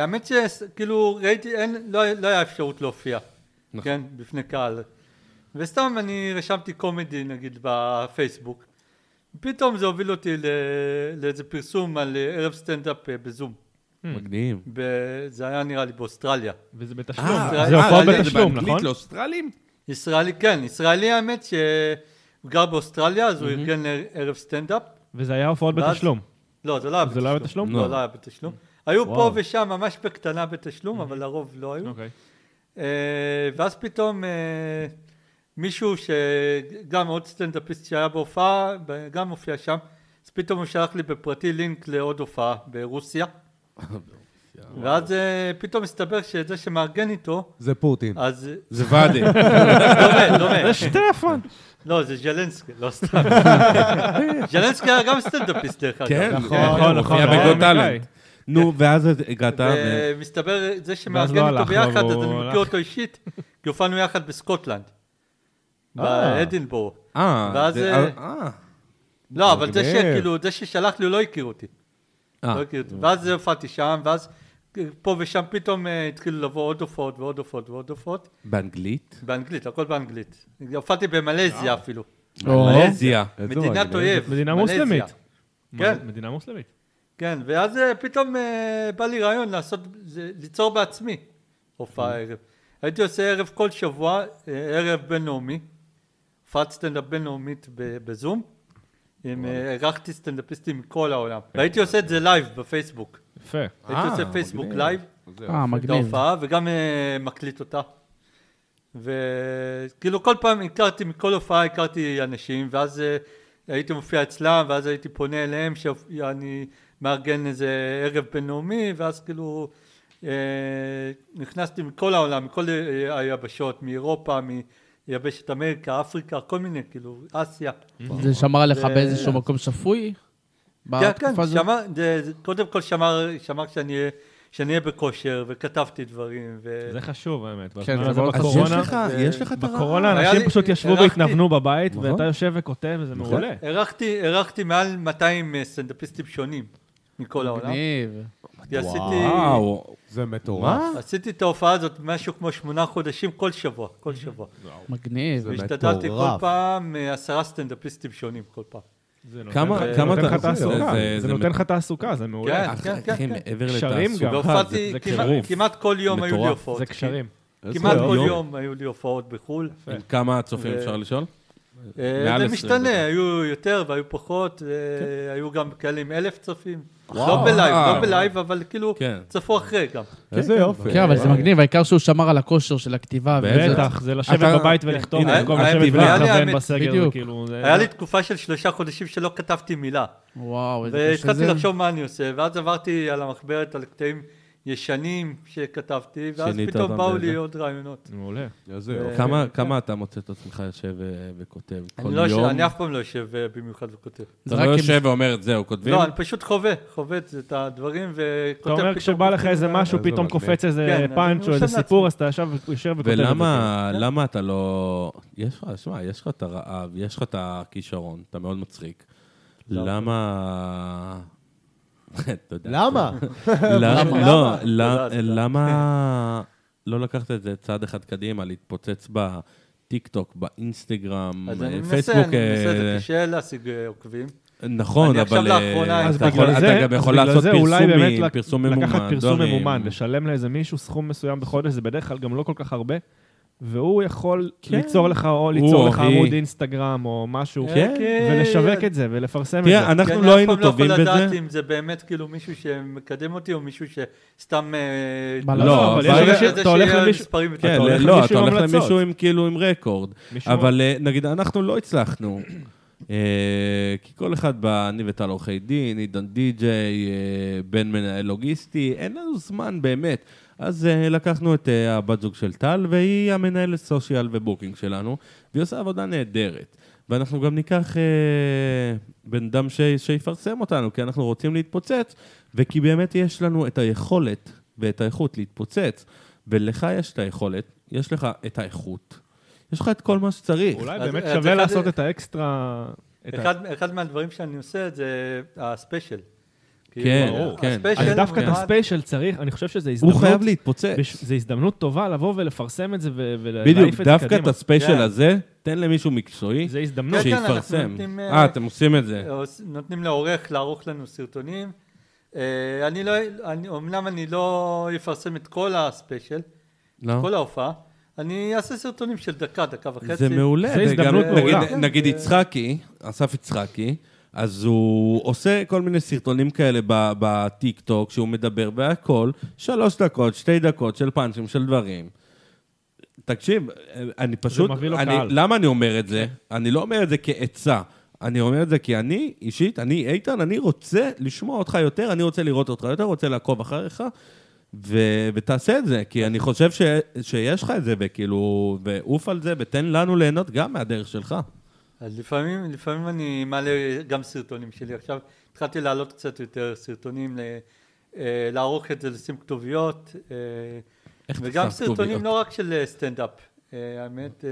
S5: האמת שכאילו ראיתי, אין, לא לא היה אפשרות להופיע,
S2: נכון.
S5: כן, בפני קהל. וסתם אני רשמתי קומדי נגיד בפייסבוק. פתאום זה הוביל אותי ל- לאיזה פרסום על אה, ערב סטנדאפ אה, בזום.
S2: מגניב.
S5: ב- זה היה נראה לי באוסטרליה.
S4: וזה
S2: אה,
S4: בתשלום.
S5: אוסטרליה-
S4: זה הופעות
S5: אה, זה
S4: בתשלום,
S2: באנגלית
S4: נכון?
S2: לאוסטרלים?
S5: ישראלי, כן, ישראלי האמת שהוא גר באוסטרליה, אז הוא ארגן ערב סטנדאפ.
S4: וזה היה הופעות
S5: ואז-
S4: בתשלום.
S5: לא, זה לא היה בתשלום.
S4: זה לא היה בתשלום?
S5: לא,
S2: לא.
S5: לא היה בתשלום. היו פה ושם ממש בקטנה בתשלום, אבל לרוב לא היו.
S4: אוקיי.
S5: אה, ואז פתאום אה, מישהו שגם עוד סטנדאפיסט שהיה בהופעה, ב- גם הופיע שם, אז פתאום הוא שלח לי בפרטי לינק לעוד הופעה ברוסיה. ואז אה, פתאום הסתבר שזה שמארגן איתו,
S1: זה פוטין.
S5: אז אה,
S2: זה ואדי.
S5: כן, דומה, דומה.
S4: שטפן!
S5: לא, זה ז'לנסקי, לא סתם. ז'לנסקי היה גם סטנדאפיסט דרך אגב.
S2: כן,
S1: נכון,
S2: הוא
S4: נכון,
S2: היה
S4: נכון,
S2: בגוד
S4: אמריקאי.
S2: טאלנט. נו, ואז הגעת, ו-
S5: ומסתבר, זה
S4: לא
S5: שמארגן איתו
S4: הלך לו,
S5: ביחד, אז
S4: והוא
S5: אני מכיר
S4: הלך.
S5: אותו אישית, כי הופענו יחד בסקוטלנד.
S1: אה.
S5: באדינבורו.
S2: אה,
S5: ואז,
S2: זה-
S5: אה,
S2: אה,
S5: לא, אבל זה
S1: מגניב.
S5: שכאילו, זה ששלח לי הוא לא הכיר אותי. לא
S2: אה,
S5: הכיר אותי. ואז הופעתי שם, ואז פה ושם פתאום אה, התחילו לבוא עוד הופעות ועוד הופעות ועוד הופעות.
S2: באנגלית?
S5: באנגלית, הכל באנגלית. הופעתי במלזיה אפילו.
S3: או.
S2: מלזיה.
S1: אה, איזה
S5: מדינת
S1: מגניב.
S5: אויב.
S4: מדינה
S5: מלזיה.
S4: מוסלמית.
S5: כן.
S4: מדינה מוסלמית.
S5: כן, ואז אה, פתאום אה, בא לי רעיון לעשות, זה- ליצור בעצמי הופעה
S2: אוקיי.
S5: ערב. הייתי עושה ערב כל שבוע, אה, ערב בינלאומי, הופעת סטנדאפ בינלאומית ב- בזום, עם, אה, אירחתי סטנדאפיסטים מכל העולם, והייתי עושה את זה לייב בפייסבוק,
S4: יפה.
S5: הייתי
S2: אוקיי. אה,
S5: עושה פייסבוק
S2: מגניב.
S5: לייב,
S3: אה,
S5: את
S3: מגניב.
S5: ההופעה, וגם אה, מקליט אותה. וכאילו כל פעם הכרתי, מכל הופעה הכרתי אנשים, ואז אה, הייתי מופיע אצלם, ואז הייתי פונה אליהם, שאני מארגן איזה ערב בינלאומי, ואז כאילו אה, נכנסתי מכל העולם, מכל אה, היבשות, מאירופה, מיבשת אמריקה, אפריקה, כל מיני, כאילו, אסיה.
S3: זה שמר עליך
S5: זה-
S3: באיזשהו מקום שפוי?
S5: כן,
S3: בתקופה
S5: כן,
S3: הזאת?
S5: שמע, זה- זה- קודם כל שמר, שמר שאני אהיה- שאני אהיה בכושר, וכתבתי דברים, ו...
S4: זה חשוב האמת.
S3: כן,
S4: בזמן
S3: זה מאוד
S4: הזה
S2: אז יש
S3: חשוב.
S4: בקורונה,
S2: לך, יש לך את הרעב.
S4: בקורונה
S5: היה
S4: אנשים
S5: לי- נכון.
S4: פשוט ישבו
S5: הרחתי.
S4: והתנוונו בבית,
S2: נכון.
S4: ואתה יושב וכותב, וזה מעולה.
S5: אירחתי, אירחתי מעל 200 סטנדאפיסטים שונים מכל העולם.
S3: מגניב.
S5: כי עשיתי,
S2: וואו,
S1: זה מטורף.
S5: עשיתי את ההופעה הזאת משהו כמו שמונה חודשים כל שבוע, כל שבוע.
S3: מגניב.
S1: זה
S5: והשתדלתי כל
S1: מטורף.
S5: פעם אה, עשרה סטנדאפיסטים שונים כל פעם.
S4: זה נותן
S2: כמה-
S4: לך-
S2: כמה
S4: זה נותן
S2: אתה-
S4: לך תעסוקה,
S2: זה- זה-
S4: זה
S2: זה
S4: נותן לך תעסוקה, זה מעולה.
S5: כן,
S2: אחי,
S5: כן,
S2: אחי,
S5: כן.
S2: מעבר
S4: קשרים גם.
S2: לתעסוקה.
S5: והופעתי
S4: זה
S5: כמעט-
S2: טירוף.
S5: כמעט כל יום היו לי
S2: מטורף.
S5: הופעות.
S4: זה קשרים.
S5: כמעט כל
S2: יום.
S5: יום היו לי הופעות בחו"ל.
S4: כן.
S2: עם כמה הצופים
S5: ו-
S2: אפשר לשאול?
S5: אה,
S2: מעל
S5: זה
S2: 20 בטח.
S5: משתנה, היו יותר והיו פחות, אה, היו גם כאלה עם אלף צופים. לא
S2: וואו.
S5: בלייב, לא בלייב, אבל כאילו
S2: כן.
S5: צפו אחרי גם.
S1: איזה יופי.
S3: כן, אבל זה מגניב, העיקר שהוא שמר על הכושר של הכתיבה. וזה-
S4: בטח, זה
S2: אתה-
S4: לשבת בבית ולכתוב,
S5: הנה,
S4: במקום
S5: היה-
S4: לשבת
S5: היה לי
S4: ולכוון
S5: האמת.
S4: בסגר, זה
S3: בדיוק.
S4: כאילו... זה-
S5: היה לי תקופה של שלושה חודשים שלא כתבתי מילה.
S3: וואו, איזה קשה
S5: והתחלתי
S3: זה.
S5: לחשוב מה אני עושה, ואז עברתי על המחברת, על קטעים ישנים שכתבתי, ואז
S2: שינית
S5: פתאום
S2: אותם
S5: באו
S2: באיזה?
S5: לי עוד רעיונות.
S4: מעולה.
S2: כן.
S1: איזה
S5: אה,
S1: יופי.
S2: כמה- כמה אתה מוצא את עצמך יושב אה, וכותב כל
S5: אני לא יושב-
S2: יום?
S5: אני אף פעם לא יושב אה, במיוחד וכותב.
S2: אתה
S3: זה רק
S2: לא
S3: עם-
S2: יושב ואומר, זהו, כותבים?
S5: לא, אני פשוט חווה, חווה את- את הדברים
S4: אתה
S5: וכותב
S4: אומר, כשבא לך איזה משהו,
S1: זה
S4: פתאום
S1: מגניב.
S4: קופץ
S5: אה, כן,
S4: איזה
S5: אני
S4: פאנץ' או
S5: רושם
S4: איזה
S5: לעצמי.
S4: סיפור, אז אתה ישב יושב וכותב את זה. כן.
S2: ולמה
S5: כן.
S2: למה אתה לא... יש לך, שמע, יש לך את הרעב, יש לך את הכישרון, אתה מאוד מצחיק.
S5: לא
S2: למה... אתה יודע.
S1: למה?
S2: למה? לא,
S5: למה?
S2: ל- למה לא לקחת את זה צעד אחד קדימה, להתפוצץ בטיקטוק, באינסטגרם,
S5: אז אני
S2: אה,
S5: מנסה,
S2: פייסבוק?
S5: אני מנסה,
S2: אה,
S5: זה קשה להשיג אה, עוקבים.
S2: נכון,
S5: אני עכשיו
S2: אבל... אה,
S5: לאחרונה-
S4: אז
S2: אתה
S4: בגלל
S2: יכול-
S4: זה,
S2: אתה גם יכול
S4: אז בגלל
S2: לעשות
S4: זה אולי באמת
S2: פרסומים,
S4: לק-
S2: פרסום ממומן.
S4: לקחת פרסום
S2: דברים.
S4: ממומן, לשלם לאיזה מישהו סכום מסוים בחודש, זה בדרך כלל גם לא כל כך הרבה, והוא יכול
S2: כן.
S4: ליצור לך או ליצור
S2: או
S4: לך
S2: היא.
S4: עמוד אינסטגרם או משהו,
S2: כן,
S5: אוקיי,
S4: ולשווק את זה ולפרסם את זה.
S2: תראה, אנחנו
S5: כי
S2: לא היינו
S5: אני
S2: טובים
S5: אף פעם לא יכול לדעת
S2: בזה.
S5: אם זה באמת כאילו מישהו שמקדם אותי, או מישהו שסתם... אה,
S3: מה,
S2: לא,
S4: אבל
S2: אבל-
S4: יש אנשים-
S5: זה
S4: אתה הולך
S5: שיהיה
S4: למישהו,
S5: מספרים יותר
S2: כן,
S4: אתה
S5: טובים.
S4: הולך
S2: לא,
S4: למישהו
S2: אתה
S4: עם
S2: הולך
S4: המלצות.
S2: למישהו עם כאילו עם רקורד.
S4: מישהו-
S2: אבל אה, נגיד, אנחנו לא הצלחנו, אה, כי כל אחד בא, אני וטל עורכי דין, עידן די-ג'יי, אה, בן מנהל לוגיסטי, אין לנו זמן באמת. אז אה, לקחנו את אה, הבת זוג של טל, והיא המנהלת סושיאל ובוקינג שלנו, והיא עושה עבודה נהדרת. ואנחנו גם ניקח אה, בן אדם ש- שיפרסם אותנו, כי אנחנו רוצים להתפוצץ, וכי באמת יש לנו את היכולת ואת האיכות להתפוצץ. ולך יש את היכולת, יש לך את האיכות, יש לך את כל מה שצריך.
S4: אולי
S5: אז-
S4: באמת
S5: אז
S4: שווה
S5: אחד-
S4: לעשות את האקסטרה... את ה-
S5: אחד, אחד מהדברים שאני עושה זה הספיישל.
S2: כן,
S5: כאילו,
S2: ברור, כן.
S5: הספיישל
S4: אז דווקא את
S5: נועד-
S4: הספיישל צריך, אני חושב שזה הזדמנות.
S2: הוא חייב להתפוצץ.
S4: בש- זה הזדמנות טובה לבוא ולפרסם את זה ו- ולהעיף את זה קדימה.
S2: בדיוק, דווקא את הספיישל
S5: כן.
S2: הזה, תן למישהו מקצועי
S4: זה הזדמנות.
S5: כן, כן, אנחנו
S2: שיפרסם.
S5: נותנים, אה,
S2: אה, אתם עושים את זה.
S5: עוש- נותנים לעורך לערוך לנו סרטונים. אה, אני לא, אני, אמנם אני לא אפרסם את כל הספיישל,
S2: לא?
S5: כל ההופעה, אני אעשה סרטונים של דקה, דקה וחצי.
S2: זה מעולה.
S4: זה
S2: וגם
S4: הזדמנות
S2: נגיד-
S4: מעולה.
S2: נגיד יצחקי, אסף יצחקי, אז הוא עושה כל מיני סרטונים כאלה ב- בטיקטוק, שהוא מדבר בהכל, שלוש דקות, שתי דקות של פאנצ'ים, של דברים. תקשיב, אני פשוט...
S4: מביא לו
S2: אני,
S4: קהל.
S2: למה אני אומר את זה? אני לא אומר את זה כעצה. אני אומר את זה כי אני, אישית, אני, איתן, אני רוצה לשמוע אותך יותר, אני רוצה לראות אותך יותר, רוצה לעקוב אחריך, ו- ותעשה את זה, כי אני חושב ש- שיש לך את זה, וכאילו, ועוף על זה, ותן לנו ליהנות גם מהדרך שלך.
S5: אז לפעמים, לפעמים אני מעלה גם סרטונים שלי. עכשיו התחלתי להעלות קצת יותר סרטונים, ל- אה, לערוך את זה, לשים כתוביות. אה,
S2: איך אתה
S5: וגם
S2: שם כתוביות?
S5: סרטונים לא רק של אה, סטנדאפ. אה, האמת, אה,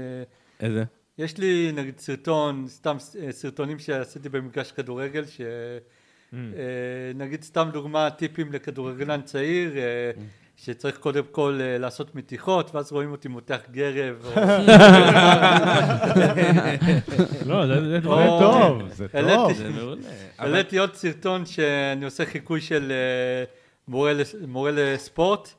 S2: איזה?
S5: יש לי נגיד סרטון, סתם אה, סרטונים שעשיתי במגרש כדורגל, ש...
S2: Mm.
S5: אה, נגיד סתם דוגמה, טיפים לכדורגלן צעיר, אה,
S2: Mm.
S5: שצריך קודם כל אה, לעשות מתיחות, ואז רואים אותי מותח גרב, או
S4: לא, זה- זה
S5: או-
S4: דברים טוב.
S1: זה טוב.
S5: העליתי-
S2: זה מעולה. אבל-
S5: העליתי עוד סרטון שאני עושה חיקוי של אה, מורה לס- מורה לספורט,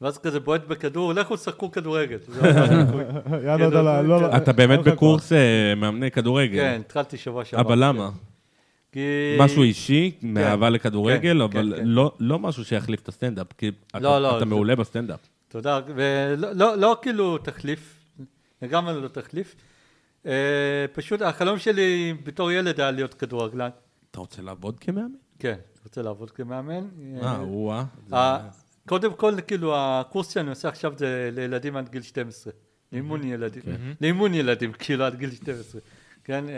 S5: ואז כזה בועט בכדור, לכו שחקו כדורגל. זה לא היה חיקוי.
S1: יאללה, יאללה, לא, לא.
S2: אתה באמת
S1: אין לך כוח.
S2: בקורס אה, מאמני כדורגל.
S5: כן, התחלתי שבוע שעבר.
S2: אבל למה?
S5: כי-
S2: משהו אישי, מאהבה לכדורגל,
S5: כן,
S2: אבל
S5: כן.
S2: לא- לא משהו שיחליף את הסטנדאפ, כי אתה-
S5: לא, לא,
S2: אתה
S5: זה-
S2: מעולה בסטנדאפ.
S5: תודה, ולא לא, לא כאילו תחליף, לגמרי לא תחליף. אה, פשוט החלום שלי בתור ילד היה להיות כדורגלן.
S2: אתה רוצה לעבוד כמאמן?
S5: כן, רוצה לעבוד כמאמן.
S2: אה, וואה.
S5: אה, קודם כל, כאילו, הקורס שאני עושה עכשיו זה לילדים עד גיל 12.
S2: אוקיי.
S5: לאימון ילדים. לאימון ילדים, כאילו, עד גיל 12. כן, אה,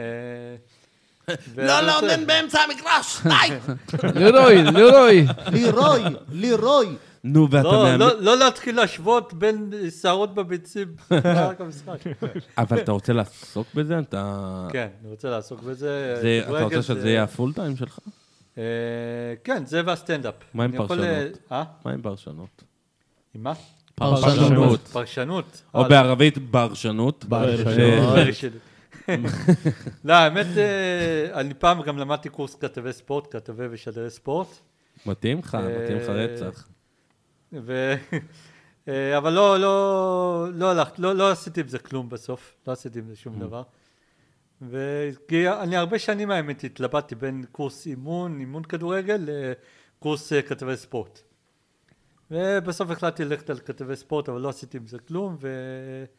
S2: לא, לא, מן באמצע המגרש, די!
S3: לירוי, לירוי.
S1: לירוי, לירוי.
S2: נו, ואתה
S5: לא,
S2: מאמן...
S5: לא- לא להתחיל להשוות בין שערות בביצים. רק המשחק.
S2: אבל אתה רוצה לעסוק בזה? אתה...
S5: כן, אני רוצה לעסוק בזה.
S2: זה- אתה
S5: כדורגל
S2: רוצה שזה יהיה הפול טיים שלך?
S5: אה, כן, זה והסטנדאפ.
S2: מה עם
S5: אני יכול, אה,
S2: פרשנות?
S5: אה?
S2: מה עם פרשנות?
S5: עם מה?
S3: פרשנות.
S5: פרשנות.
S2: או
S5: אה,
S2: בערבית, ברשנות. אה,
S1: ברשנות.
S5: פרק שלי. לא, האמת, אה, אני פעם גם למדתי קורס כתבי ספורט, כתבי ושדרי ספורט,
S2: מתאים לך, מתאים לך
S5: אה,
S2: רצח.
S5: ו... אה, אבל לא, לא, לא הלכת, לא, לא עשיתי עם זה כלום בסוף, לא עשיתי עם זה שום דבר. ו... כי אני הרבה שנים האמת התלבטתי בין קורס אימון, אימון כדורגל, לקורס אה, כתבי ספורט. ובסוף החלטתי ללכת על כתבי ספורט, אבל לא עשיתי עם זה כלום, ו...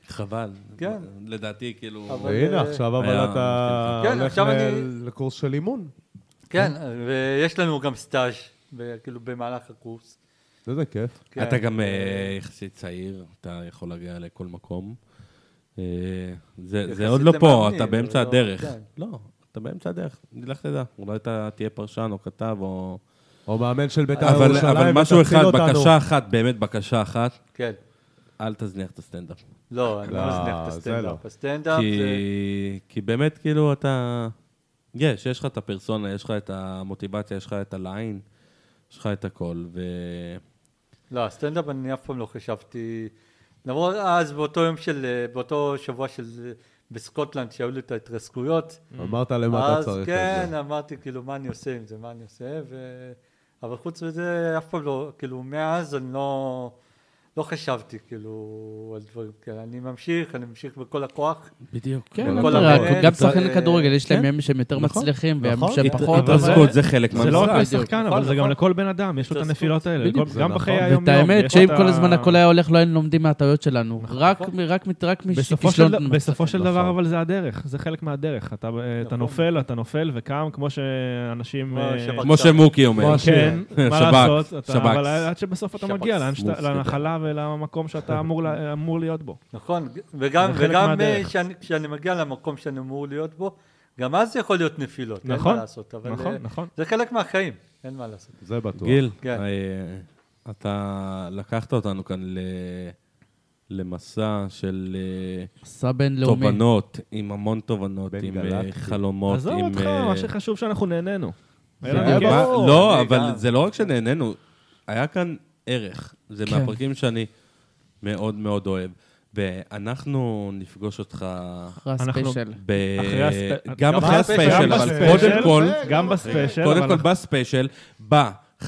S2: חבל.
S5: כן.
S2: לדעתי, כאילו...
S5: אבל-
S1: והנה,
S5: אה,
S1: עכשיו אבל
S2: היה-
S1: אתה
S5: כן,
S1: הולך
S5: עכשיו
S1: ל-
S5: אני-
S1: לקורס של אימון.
S5: כן, ויש לנו גם סטאז' ב- כאילו במהלך הקורס.
S1: איזה כיף.
S5: כן.
S2: אתה גם אה, יחסית צעיר, אתה יכול להגיע לכל מקום. אה, זה זה
S5: יחסית
S2: עוד לא פה,
S5: למאמנים,
S2: אתה באמצע
S5: אבל לא-
S2: הדרך.
S5: כן.
S2: לא, אתה באמצע הדרך, לך תדע. אולי אתה תהיה פרשן או כתב או...
S1: או מאמן של בית"ר
S2: אבל
S1: ירושלים,
S2: אבל משהו
S1: ותתחיל
S2: אחד,
S1: אותנו.
S2: בקשה אחת, באמת בקשה אחת,
S5: כן.
S2: אל תזניח את הסטנדאפ.
S5: לא, אני לא
S1: לא,
S5: מזניח את
S1: זה
S5: הסטנדאפ.
S1: לא.
S5: הסטנדאפ
S2: כי-
S5: זה...
S2: כי באמת, כאילו, אתה... יש, יש לך את הפרסונה, יש לך את המוטיבציה, יש לך את הליין, יש לך את הכל, ו...
S5: לא, הסטנדאפ אני אף פעם לא חשבתי... למרות אז באותו יום של... אה, באותו שבוע של... אה, בסקוטלנד שהיו לי את ההתרסקויות.
S1: אמרת למה אתה
S5: אז
S1: צריך את
S5: כן,
S1: זה.
S5: אמרתי כאילו מה אני עושה עם זה, מה אני עושה, ו... אבל חוץ מזה אף פעם לא, כאילו מאז אני לא... לא חשבתי כאילו על דברים כאלה, אני ממשיך, אני ממשיך בכל הכוח.
S2: בדיוק.
S3: כן,
S5: כל
S3: אין ברירה,
S5: המאמן,
S3: גם
S5: זה-
S3: שחקני כדורגל, יש להם
S2: כן.
S3: ימים שהם יותר
S2: נכון,
S3: מצליחים, וימים
S1: נכון.
S3: שהם
S1: הת-
S3: פחות, אבל...
S2: התרסקות זה חלק
S4: זה לא רק
S2: מהמשחק.
S4: לשחקן,
S5: נכון,
S4: אבל זה גם
S5: נכון.
S4: לכל בן אדם, יש לו את
S5: התרסקות.
S4: הנפילות האלה,
S3: בדיוק.
S4: לכל- גם
S1: זה
S4: בחיי
S1: נכון.
S4: היום-יום.
S3: ואת האמת,
S4: יש
S3: שאם
S4: את
S3: כל
S4: ה- נכון.
S3: הזמן הכל היה הולך, לא היינו לומדים מהטעויות שלנו. רק רק מת- רק
S4: בסופו של-
S3: מכישלון.
S4: בסופו של
S1: נכון.
S4: דבר, אבל זה הדרך, זה חלק מהדרך. אתה- אה, אתה
S5: נכון.
S4: נופל, אתה נופל וקם, כמו שאנשים...
S5: כמו
S4: אה,
S5: שב"כ.
S2: כמו שמוקי אומר.
S4: כן, מה
S2: שב"כ,
S4: לעשות, אתה-
S2: שב"כ.
S4: אבל עד שבסוף אתה מגיע לאן שאתה-
S2: מופס,
S4: לנחלה ולמקום שאתה אמור לה- אמור להיות בו.
S5: נכון, וגם,
S4: זה חלק
S5: וגם אה,
S4: מהדרך.
S5: שאני, כשאני מגיע למקום שאני אמור להיות בו, גם אז יכול להיות נפילות, אין
S4: נכון,
S5: מה לעשות, אבל
S4: נכון,
S5: אה,
S4: נכון.
S5: זה חלק מהחיים, אין מה לעשות.
S1: זה בטוח.
S2: גיל,
S5: כן.
S2: אה, אתה לקחת אותנו כאן ל- למסע של אה,
S3: מסע בינלאומי.
S2: תובנות, עם המון תובנות,
S1: בין
S2: עם אה,
S1: גלקטי.
S2: חלומות.
S4: עזוב
S2: עם,
S4: אותך,
S2: אה,
S4: מה שחשוב שאנחנו נהנינו. היה
S1: זה
S4: לנו
S1: היה
S4: כיף.
S1: ברור.
S2: מה- לא,
S5: אני
S2: אבל
S5: גם.
S2: זה לא רק שנהנינו, היה כאן ערך. זה
S3: כן.
S2: מהפרקים שאני מאוד מאוד אוהב. ואנחנו נפגוש אותך
S3: אחרי
S4: אנחנו-
S3: הספיישל.
S2: ב...
S4: אחרי הספ-
S2: גם
S5: גם
S2: אחרי
S5: בספיישל,
S2: הספיישל,
S4: גם
S2: אבל
S4: בספיישל.
S2: קודם כל,
S4: גם בספיישל,
S2: קודם כל
S4: כן, אבל
S2: בספיישל, ב-15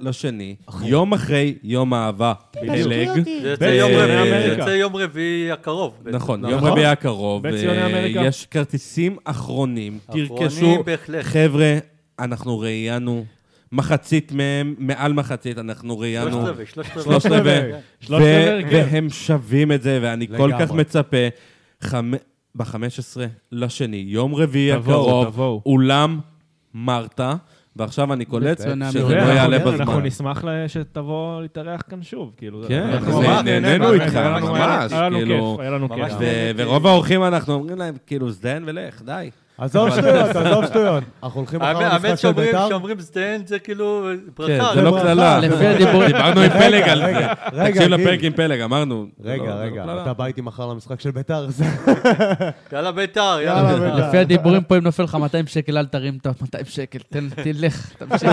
S2: לשני, יום אחרי יום האהבה, פלג.
S5: זה יוצא
S4: בציוני
S5: יום רביעי- זה
S4: אמריקה.
S5: יוצא יום רביעי הקרוב. בעצם.
S2: נכון,
S4: נכון.
S2: יום רביעי הקרוב.
S4: בציוני
S2: אה,
S4: אמריקה.
S2: יש כרטיסים אחרונים,
S5: אחרונים,
S2: תרכשו.
S5: בהחלט.
S2: חבר'ה, אנחנו ראיינו מחצית מהם, מעל מחצית, אנחנו
S5: שלושת
S2: ראיינו.
S5: רבעי, שלושת רבעי.
S2: שלושת רבעי.
S5: כן.
S4: שלושת רבעי,
S2: ו-
S4: כן.
S2: והם שווים את זה, ואני כל
S1: לגמרי.
S2: כך מצפה. חמ- ב-15 לשני, יום רביעי
S4: תבואו,
S2: הקרוב,
S4: תבואו.
S2: אולם מרתה, ועכשיו אני קולט
S3: בציוני
S2: שזה
S3: אמריקה.
S2: לא
S4: אנחנו-
S2: יעלה
S4: כן, אנחנו
S2: בזמן.
S4: נשמח לה- שתבוא להתארח כאן שוב, כאילו. זה-
S2: כן,
S4: אנחנו
S2: זה-
S4: ממש-
S2: נהנינו
S4: ממש-
S2: איתך,
S4: היה לנו-
S2: ממש,
S4: היה לנו
S2: כאילו-
S4: כיף, היה לנו
S5: ממש
S4: כיף.
S5: נהנינו.
S2: ו- ורוב האורחים אנחנו אומרים להם, כאילו, זדיין ולך, די.
S1: עזוב שטויות, עזוב שטויות. אנחנו הולכים
S5: האמת-
S1: אחר המשחק
S5: האמת
S1: של
S5: שאומרים,
S1: בית"ר.
S5: שאומרים זדיין זה כאילו
S2: כן,
S5: ברכה.
S2: זה לא קללה.
S3: לפי הדיבורים-
S2: דיברנו עם פלג על
S1: רגע,
S2: זה.
S1: רגע,
S2: תקשיב
S1: גיל.
S2: לפרק עם פלג, אמרנו. לא,
S1: רגע,
S2: זה לא
S1: רגע,
S2: קללה.
S1: אתה בא איתי מחר למשחק של בית"ר? זה-
S5: יאללה ביתר,
S1: יאללה,
S4: אה,
S5: יאללה.
S1: בית"ר.
S3: לפי הדיבורים פה, אם נופל לך 200 שקל, אל תרים את ה-200 שקל, תן, תלך, תמשיך.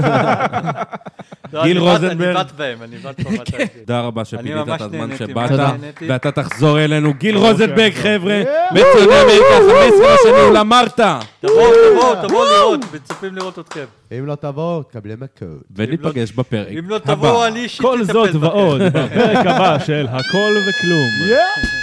S5: לא,
S2: גיל
S5: אני בט-
S2: רוזנברג. כן.
S5: אני בת בהם, אני בת בהם.
S2: תודה רבה שפינית את
S5: ממש
S2: הזמן
S5: נהניתי,
S2: שבאת,
S5: ממש נהניתי.
S2: ואתה תחזור אלינו. גיל רוזנברג, חבר'ה, מצוין אמריקה, 15 השני, אולם מרתה.
S5: תבואו, תבואו, תבואו לראות, מצפים לראות אתכם.
S1: אם לא תבואו, תקבלי מכות.
S2: וניפגש בפרק הבא.
S5: אם לא תבואו, לא אני אישית
S4: כל
S5: אטפל
S4: זאת
S5: בכם.
S4: ועוד, בפרק הבא של הכל וכלום.
S1: יאה!